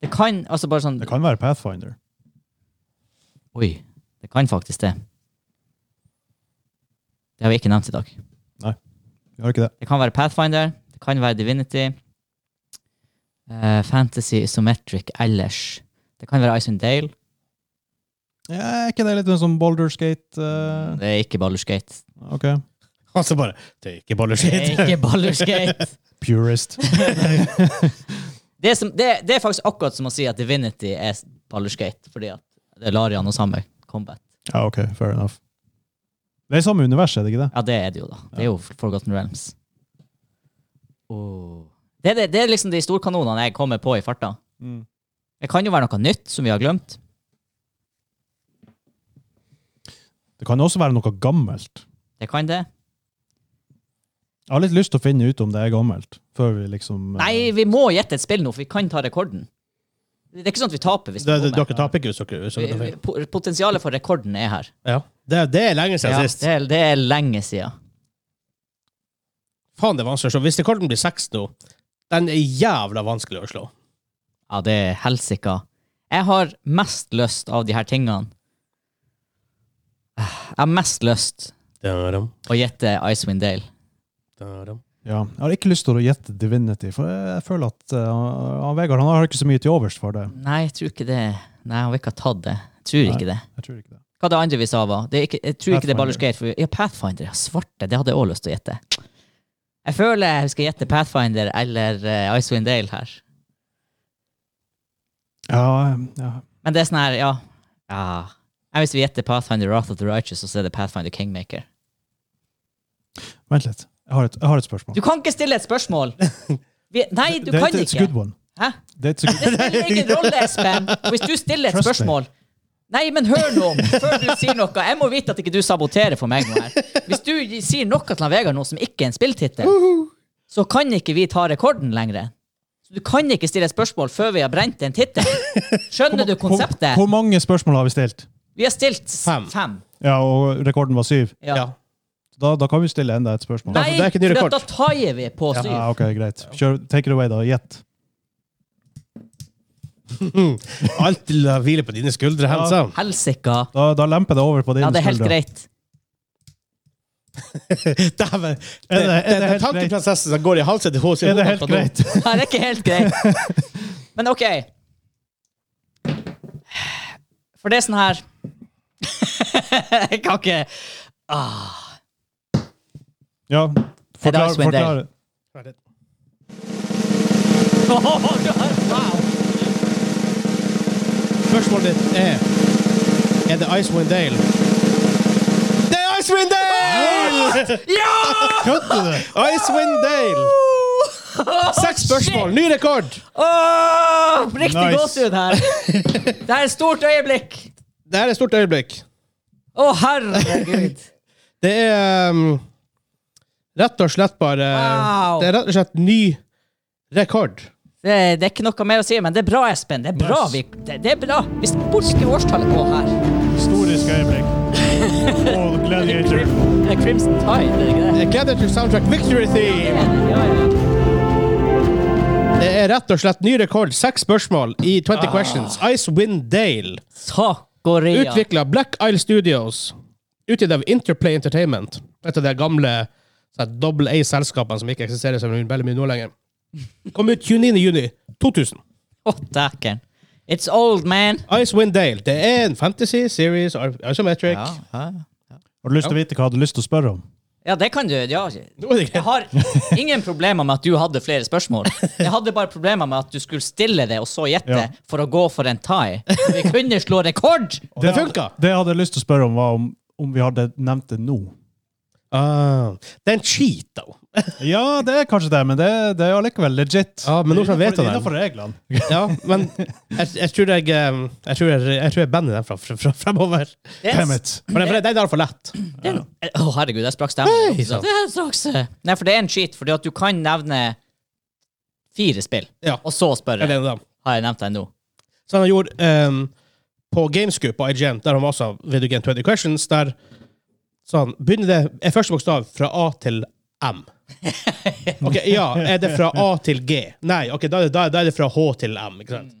[SPEAKER 2] Det kan, altså bare sånn...
[SPEAKER 3] Det kan være Pathfinder.
[SPEAKER 2] Oi, det kan faktisk det. Det har vi ikke nevnt i dag.
[SPEAKER 3] Vi har ikke det.
[SPEAKER 2] Det kan være Pathfinder, det kan være Divinity, eh, Fantasy, Isometric, ellers. Det kan være Icewind Dale.
[SPEAKER 3] Ja, er ikke det litt sånn Baldur's Gate? eh,
[SPEAKER 2] Det er ikke Baldur's Gate.
[SPEAKER 3] ok.
[SPEAKER 1] Og så bare Det er ikke Baldur's
[SPEAKER 2] Det er
[SPEAKER 1] Gate.
[SPEAKER 2] ikke Baldur's Gate.
[SPEAKER 3] Purist.
[SPEAKER 2] Det, som, det, det er faktisk akkurat som å si at Divinity er Baldur's Gate, fordi at det er Larian og samme combat.
[SPEAKER 3] ja, ok. Fair enough. Det er samme univers, er det ikke det?
[SPEAKER 2] Ja, det er det jo, da. Det er jo Forgotten Realms. Åh. Det, er det, det er liksom de storkanonene jeg kommer på i farta.
[SPEAKER 3] Mm.
[SPEAKER 2] Det kan jo være noe nytt som vi har glemt.
[SPEAKER 3] Det kan også være noe gammelt.
[SPEAKER 2] Det kan det.
[SPEAKER 3] Jeg har litt lyst til å finne ut om det er gammelt, før vi liksom eh,
[SPEAKER 2] Nei, vi må gjette et spill nå, for vi kan ta rekorden. Det er ikke sånn at vi taper hvis
[SPEAKER 1] Det- det-
[SPEAKER 2] vi
[SPEAKER 1] Dere
[SPEAKER 2] kommer.
[SPEAKER 1] taper ikke hvis dere hvis dere tar
[SPEAKER 2] Vi-
[SPEAKER 1] feil.
[SPEAKER 2] vi- po- Potensialet for rekorden er her.
[SPEAKER 1] Ja. Det, det er lenge siden
[SPEAKER 2] Ja,
[SPEAKER 1] sist.
[SPEAKER 2] det, er, det er lenge sida.
[SPEAKER 1] Faen, det er vanskelig å slå. Hvis rekorden blir seks nå, den er jævla vanskelig å slå.
[SPEAKER 2] Ja, det er helsika. Jeg har mest lyst av de her tingene. Jeg har mest lyst
[SPEAKER 1] Da-dam,
[SPEAKER 2] å gjette Icewind Dale.
[SPEAKER 1] da-dam.
[SPEAKER 3] Ja, jeg har ikke lyst til å gjette Divinity, for jeg, jeg føler at eh, han- Vegard han har ikke så mye til overs for det.
[SPEAKER 2] Nei, jeg tror ikke det. Nei, han vil ikke ha tatt det. Jeg tror
[SPEAKER 3] Nei.
[SPEAKER 2] ikke det.
[SPEAKER 3] Jeg tror ikke det.
[SPEAKER 2] Hva det andre vi sa var? Det er ikke, jeg tror ikke det er
[SPEAKER 3] Pathfinder.
[SPEAKER 2] Baldur's Gate. For, ja, Pathfinder. Ja, svarte. Det hadde jeg òg lyst til å gjette. Jeg føler jeg skal gjette Pathfinder eller eh, Icewind Dale her.
[SPEAKER 3] Ja, ja.
[SPEAKER 2] Men det er sånn her, ja. ja. Jeg Hvis vi gjetter Pathfinder Wrath of the Righteous, og så er det Pathfinder Kingmaker.
[SPEAKER 3] Vent litt. Jeg har et, jeg har et spørsmål.
[SPEAKER 2] Du kan ikke stille et spørsmål! Vi, nei, du
[SPEAKER 3] det,
[SPEAKER 2] kan
[SPEAKER 3] det, It's a
[SPEAKER 2] ikke.
[SPEAKER 3] good one.
[SPEAKER 2] Hæ?
[SPEAKER 3] Det er et good
[SPEAKER 2] Det spiller ingen rolle, Espen. Hvis du stiller et
[SPEAKER 3] Trust me.
[SPEAKER 2] spørsmål Nei, men hør nå, før du sier noe. Jeg må vite at ikke du saboterer for meg nå her. Hvis du sier noe til han Vegard nå som ikke er en spilltittel, så kan ikke vi ta rekorden lenger. Så du kan ikke stille et spørsmål før vi har brent en tittel. Skjønner du konseptet?
[SPEAKER 3] Hvor, hvor mange spørsmål har vi stilt?
[SPEAKER 2] Vi har stilt s-
[SPEAKER 1] Fem.
[SPEAKER 2] fem.
[SPEAKER 3] Ja, og rekorden var syv.
[SPEAKER 2] Ja.
[SPEAKER 1] Ja.
[SPEAKER 3] Da, da kan vi stille enda et spørsmål.
[SPEAKER 2] Nei,
[SPEAKER 1] det er ikke ny
[SPEAKER 2] for
[SPEAKER 1] rekord.
[SPEAKER 2] da taier vi på syv.
[SPEAKER 3] Ja, ok, greit. Kjør, take it away, da. Gjett.
[SPEAKER 1] Alt til å hvile på dine skuldre, Hans.
[SPEAKER 3] Ja.
[SPEAKER 2] Helsika.
[SPEAKER 3] Da, da lemper det over på din
[SPEAKER 2] Ja, det er helt greit.
[SPEAKER 1] Dæven!
[SPEAKER 3] Er det- er det
[SPEAKER 1] Den
[SPEAKER 3] helt
[SPEAKER 1] tankeprosessen som går i halsen til henne
[SPEAKER 3] Er det helt greit?
[SPEAKER 2] Nei, det er ikke helt greit. Men OK. For det er sånn her Jeg kan ikke
[SPEAKER 3] Ja. Forklar,
[SPEAKER 2] Icewind Dale?
[SPEAKER 3] forklar.
[SPEAKER 2] Wow!
[SPEAKER 1] Spørsmålet ditt er Er det Icewind Dale? Det er Icewind Dale!
[SPEAKER 3] Kødder du?
[SPEAKER 1] Icewind Dale! Seks spørsmål, ny rekord!
[SPEAKER 2] Åh, riktig
[SPEAKER 3] Nice.
[SPEAKER 2] gåsehud her. Det er et stort øyeblikk.
[SPEAKER 1] Det her er et stort øyeblikk.
[SPEAKER 2] Å, herregud.
[SPEAKER 1] Det er um, rett og slett bare
[SPEAKER 2] Wow.
[SPEAKER 1] Det er rett og slett ny rekord.
[SPEAKER 2] Det, det er ikke noe mer å si, men det er bra, Espen. Det er bra.
[SPEAKER 3] Nice.
[SPEAKER 2] Vi, det, det er bra. Vi bortskriver årstallet på her.
[SPEAKER 3] Historisk øyeblikk. Og Gladiator.
[SPEAKER 2] Det er Crimson Tide, er det ikke det?
[SPEAKER 1] Gather to soundtrack victory theme!
[SPEAKER 2] Ja, ja.
[SPEAKER 1] Det er rett og slett ny rekord. Seks spørsmål i 20
[SPEAKER 3] Ah.
[SPEAKER 1] questions. Icewind Dale.
[SPEAKER 2] Sakoria.
[SPEAKER 1] Utvikla Black Isle Studios. Utgitt av Interplay Entertainment. Et av de gamle sånn double A-selskapene som ikke eksisterer så veldig mye nå lenger. Kom ut 29. juni 2000.
[SPEAKER 2] Å, dæken. It's old, man.
[SPEAKER 1] Icewind Dale. Det er en fantasy series, ar- isometric.
[SPEAKER 3] Har du lyst til å vite hva jeg hadde lyst til å spørre om?
[SPEAKER 2] Ja, det kan du. Ja.
[SPEAKER 1] Nå er det
[SPEAKER 2] Jeg
[SPEAKER 1] greit.
[SPEAKER 2] har ingen problemer med at du hadde flere spørsmål. Jeg hadde bare problemer med at du skulle stille det og så gjette
[SPEAKER 3] Ja.
[SPEAKER 2] for å gå for en tie. Vi kunne slå rekord!
[SPEAKER 1] Og det funka!
[SPEAKER 3] Det jeg hadde lyst til å spørre om, var om, om vi hadde nevnt det nå.
[SPEAKER 1] Ah, det er en cheat, da.
[SPEAKER 3] Ja, det er kanskje det, men det, det er allikevel legit.
[SPEAKER 1] Ja, men nå skal jeg vite det.
[SPEAKER 3] Innenfor reglene.
[SPEAKER 1] Ja, men jeg, jeg tror jeg um, Jeg tror jeg, jeg, tror jeg banner den fra, fra, fra fremover.
[SPEAKER 2] Yes.
[SPEAKER 3] Damn it.
[SPEAKER 1] For den, for den er altfor lett.
[SPEAKER 2] Det er no- Å, herregud, jeg sprakk stemmen.
[SPEAKER 1] Hei, sant.
[SPEAKER 2] Det er straks. Nei, for det er en cheat, fordi at du kan nevne fire spill,
[SPEAKER 1] Ja.
[SPEAKER 2] og så spørre.
[SPEAKER 1] Eller en av dem.
[SPEAKER 2] Har jeg nevnt deg nå?
[SPEAKER 1] Så han har gjort ehm, på Gamescoop på IGN, der han var også Video Game 20 Questions, der sa han begynner det er første bokstav fra A til M. Ok, Ja, er det fra A til G? Nei, ok, da, er det- da, da er det fra H til M. ikke sant?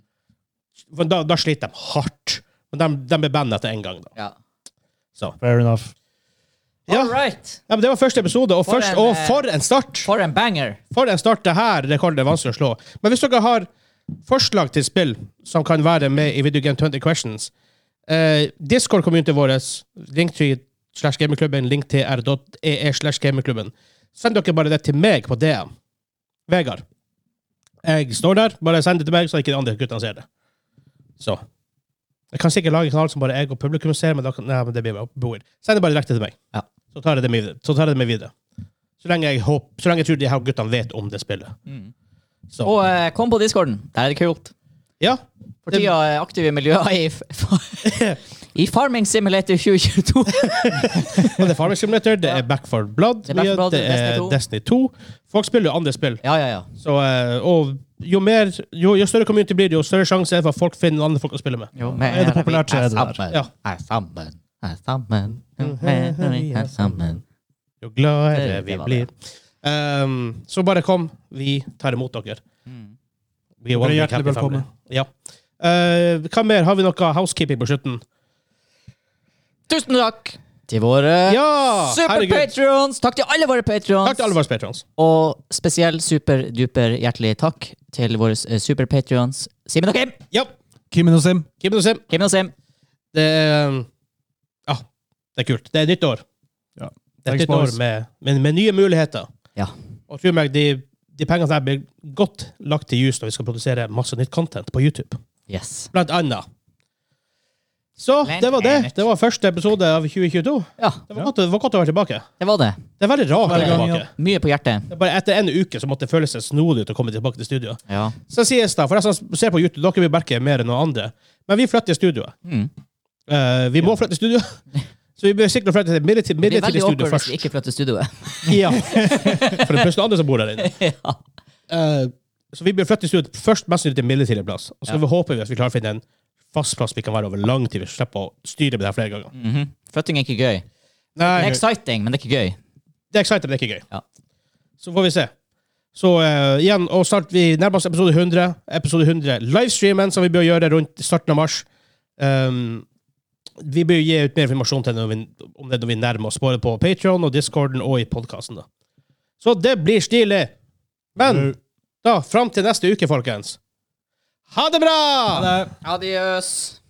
[SPEAKER 1] For da, da sliter de hardt. Men de, de ble bandet etter én gang. da.
[SPEAKER 2] Ja.
[SPEAKER 1] Så.
[SPEAKER 3] Fair enough.
[SPEAKER 1] Ja.
[SPEAKER 2] All right.
[SPEAKER 1] Ja, men Det var første episode, og,
[SPEAKER 2] For
[SPEAKER 1] først,
[SPEAKER 2] en,
[SPEAKER 1] og
[SPEAKER 2] eh,
[SPEAKER 1] for en start!
[SPEAKER 2] For en banger.
[SPEAKER 1] For en start! Det her rekorden er vanskelig å slå. Men hvis dere har forslag til spill som kan være med i Video Game 20 Questions, eh, Discord-communityen vår, link til slash gamingklubben, link til r.ee e slash gamingklubben, send dere bare det til meg på DM. Vegard. Jeg står der, bare send det til meg, så ikke de andre guttene ser det. Så. Jeg kan sikkert lage en kanal som bare jeg og publikum ser, men, da kan, nei, men det blir bare weird. Send det bare direkte til meg.
[SPEAKER 2] Ja.
[SPEAKER 1] Så tar jeg det med, videre- så tar jeg det med videre. Så lenge jeg, håper, så lenge jeg tror de her guttene vet om det spillet. Så.
[SPEAKER 2] Mm. Og eh, kom på discorden. Der er det kult.
[SPEAKER 1] ja.
[SPEAKER 2] For
[SPEAKER 1] Det-
[SPEAKER 2] tida er aktive miljøer i, f- i Farming Simulator 2022.
[SPEAKER 1] Og det er Farming Simulator, det er Back for Blood,
[SPEAKER 2] Det er Back 4 Blood,
[SPEAKER 1] det er
[SPEAKER 2] Destiny 2.
[SPEAKER 1] Destiny 2. Folk spiller jo andre spill.
[SPEAKER 2] ja, ja, ja.
[SPEAKER 1] Så, eh, og jo, mer, jo, jo større community blir det, jo større sjanse er det for at folk finner andre folk å spille med.
[SPEAKER 3] er det populært, så er det der.
[SPEAKER 2] sammen,
[SPEAKER 1] Ja.
[SPEAKER 2] Er sammen. Er sammen. Er sammen.
[SPEAKER 1] Jo gladere
[SPEAKER 2] Det- det
[SPEAKER 1] vi
[SPEAKER 2] var
[SPEAKER 1] blir.
[SPEAKER 2] det.
[SPEAKER 1] Ehm, så bare kom. Vi tar imot dere.
[SPEAKER 2] Mm.
[SPEAKER 1] Vi er one
[SPEAKER 3] Dere er
[SPEAKER 1] big
[SPEAKER 3] hjertelig
[SPEAKER 1] happy family.
[SPEAKER 3] velkommen.
[SPEAKER 1] Ja. Eh, hva mer? Har vi noe housekeeping på slutten?
[SPEAKER 2] Tusen takk til våre
[SPEAKER 1] Ja, herregud.
[SPEAKER 2] super-patrions. Takk til alle våre
[SPEAKER 1] Takk til alle
[SPEAKER 2] patrions.
[SPEAKER 1] våre patrons.
[SPEAKER 2] Og spesiell super-duper hjertelig takk til våre eh, super-patrions Simen og Kim.
[SPEAKER 1] Ja.
[SPEAKER 3] Kimen og Sim.
[SPEAKER 1] Kim og Sim.
[SPEAKER 2] Kim og Sim.
[SPEAKER 1] Det er um, Ja, det er kult. Det er nytt år. Det
[SPEAKER 3] Ja.
[SPEAKER 1] er et
[SPEAKER 3] Thanks,
[SPEAKER 1] nytt år
[SPEAKER 3] boys.
[SPEAKER 1] med, med, med nye muligheter.
[SPEAKER 2] Ja.
[SPEAKER 1] Og tro meg, de, de pengene der blir godt lagt til jus når vi skal produsere masse nytt content på YouTube.
[SPEAKER 2] Yes.
[SPEAKER 1] Blant annet. Så det var det. Det var første episode av 2022.
[SPEAKER 2] Ja,
[SPEAKER 1] Det var godt, det var godt å være tilbake.
[SPEAKER 2] det var det.
[SPEAKER 1] Det er veldig rart å være
[SPEAKER 3] Hver gang,
[SPEAKER 1] tilbake.
[SPEAKER 2] Mye på hjertet.
[SPEAKER 1] Det er Bare etter en uke så måtte det føles snodig ut å komme tilbake til studio.
[SPEAKER 2] Ja.
[SPEAKER 1] Så sies det, for jeg som ser på YouTube, dere vil merke mer enn noen andre, men vi flytter studioet.
[SPEAKER 2] Mm.
[SPEAKER 1] Eh, vi må flytte studio, så vi bør sikkert flytte til midlertidig
[SPEAKER 2] Det blir
[SPEAKER 1] midlertidig
[SPEAKER 2] veldig
[SPEAKER 1] studio
[SPEAKER 2] awkward hvis
[SPEAKER 1] først.
[SPEAKER 2] vi ikke flytter
[SPEAKER 1] Ja.
[SPEAKER 2] studioet.
[SPEAKER 1] For det er plutselig andre som bor der inne.
[SPEAKER 2] ja.
[SPEAKER 1] Eh, så vi bør flytte studioet først mest mulig til en midlertidig plass. Og så
[SPEAKER 2] Ja.
[SPEAKER 1] vi håper vi at vi klarer å finne en fast plass vi kan være over lang tid. Vi slipper å styre med det her flere ganger.
[SPEAKER 2] Mhm. Flytting er ikke gøy. Det
[SPEAKER 1] Nei,
[SPEAKER 2] er exciting, men det er ikke gøy.
[SPEAKER 1] det er exciting, men det er ikke gøy.
[SPEAKER 2] Ja.
[SPEAKER 1] Så får vi se. Så eh, igjen, og snart vi nærmer oss episode 100. Episode 100 livestreamen som vi bør gjøre rundt starten av mars. Um, vi bør gi ut mer informasjon til det når vi, om det når vi nærmer oss, både på Patreon og Discorden og i podkasten. Så det blir stilig! Men da, fram til neste uke, folkens. Ha det bra!
[SPEAKER 3] Ha det.
[SPEAKER 2] Adios.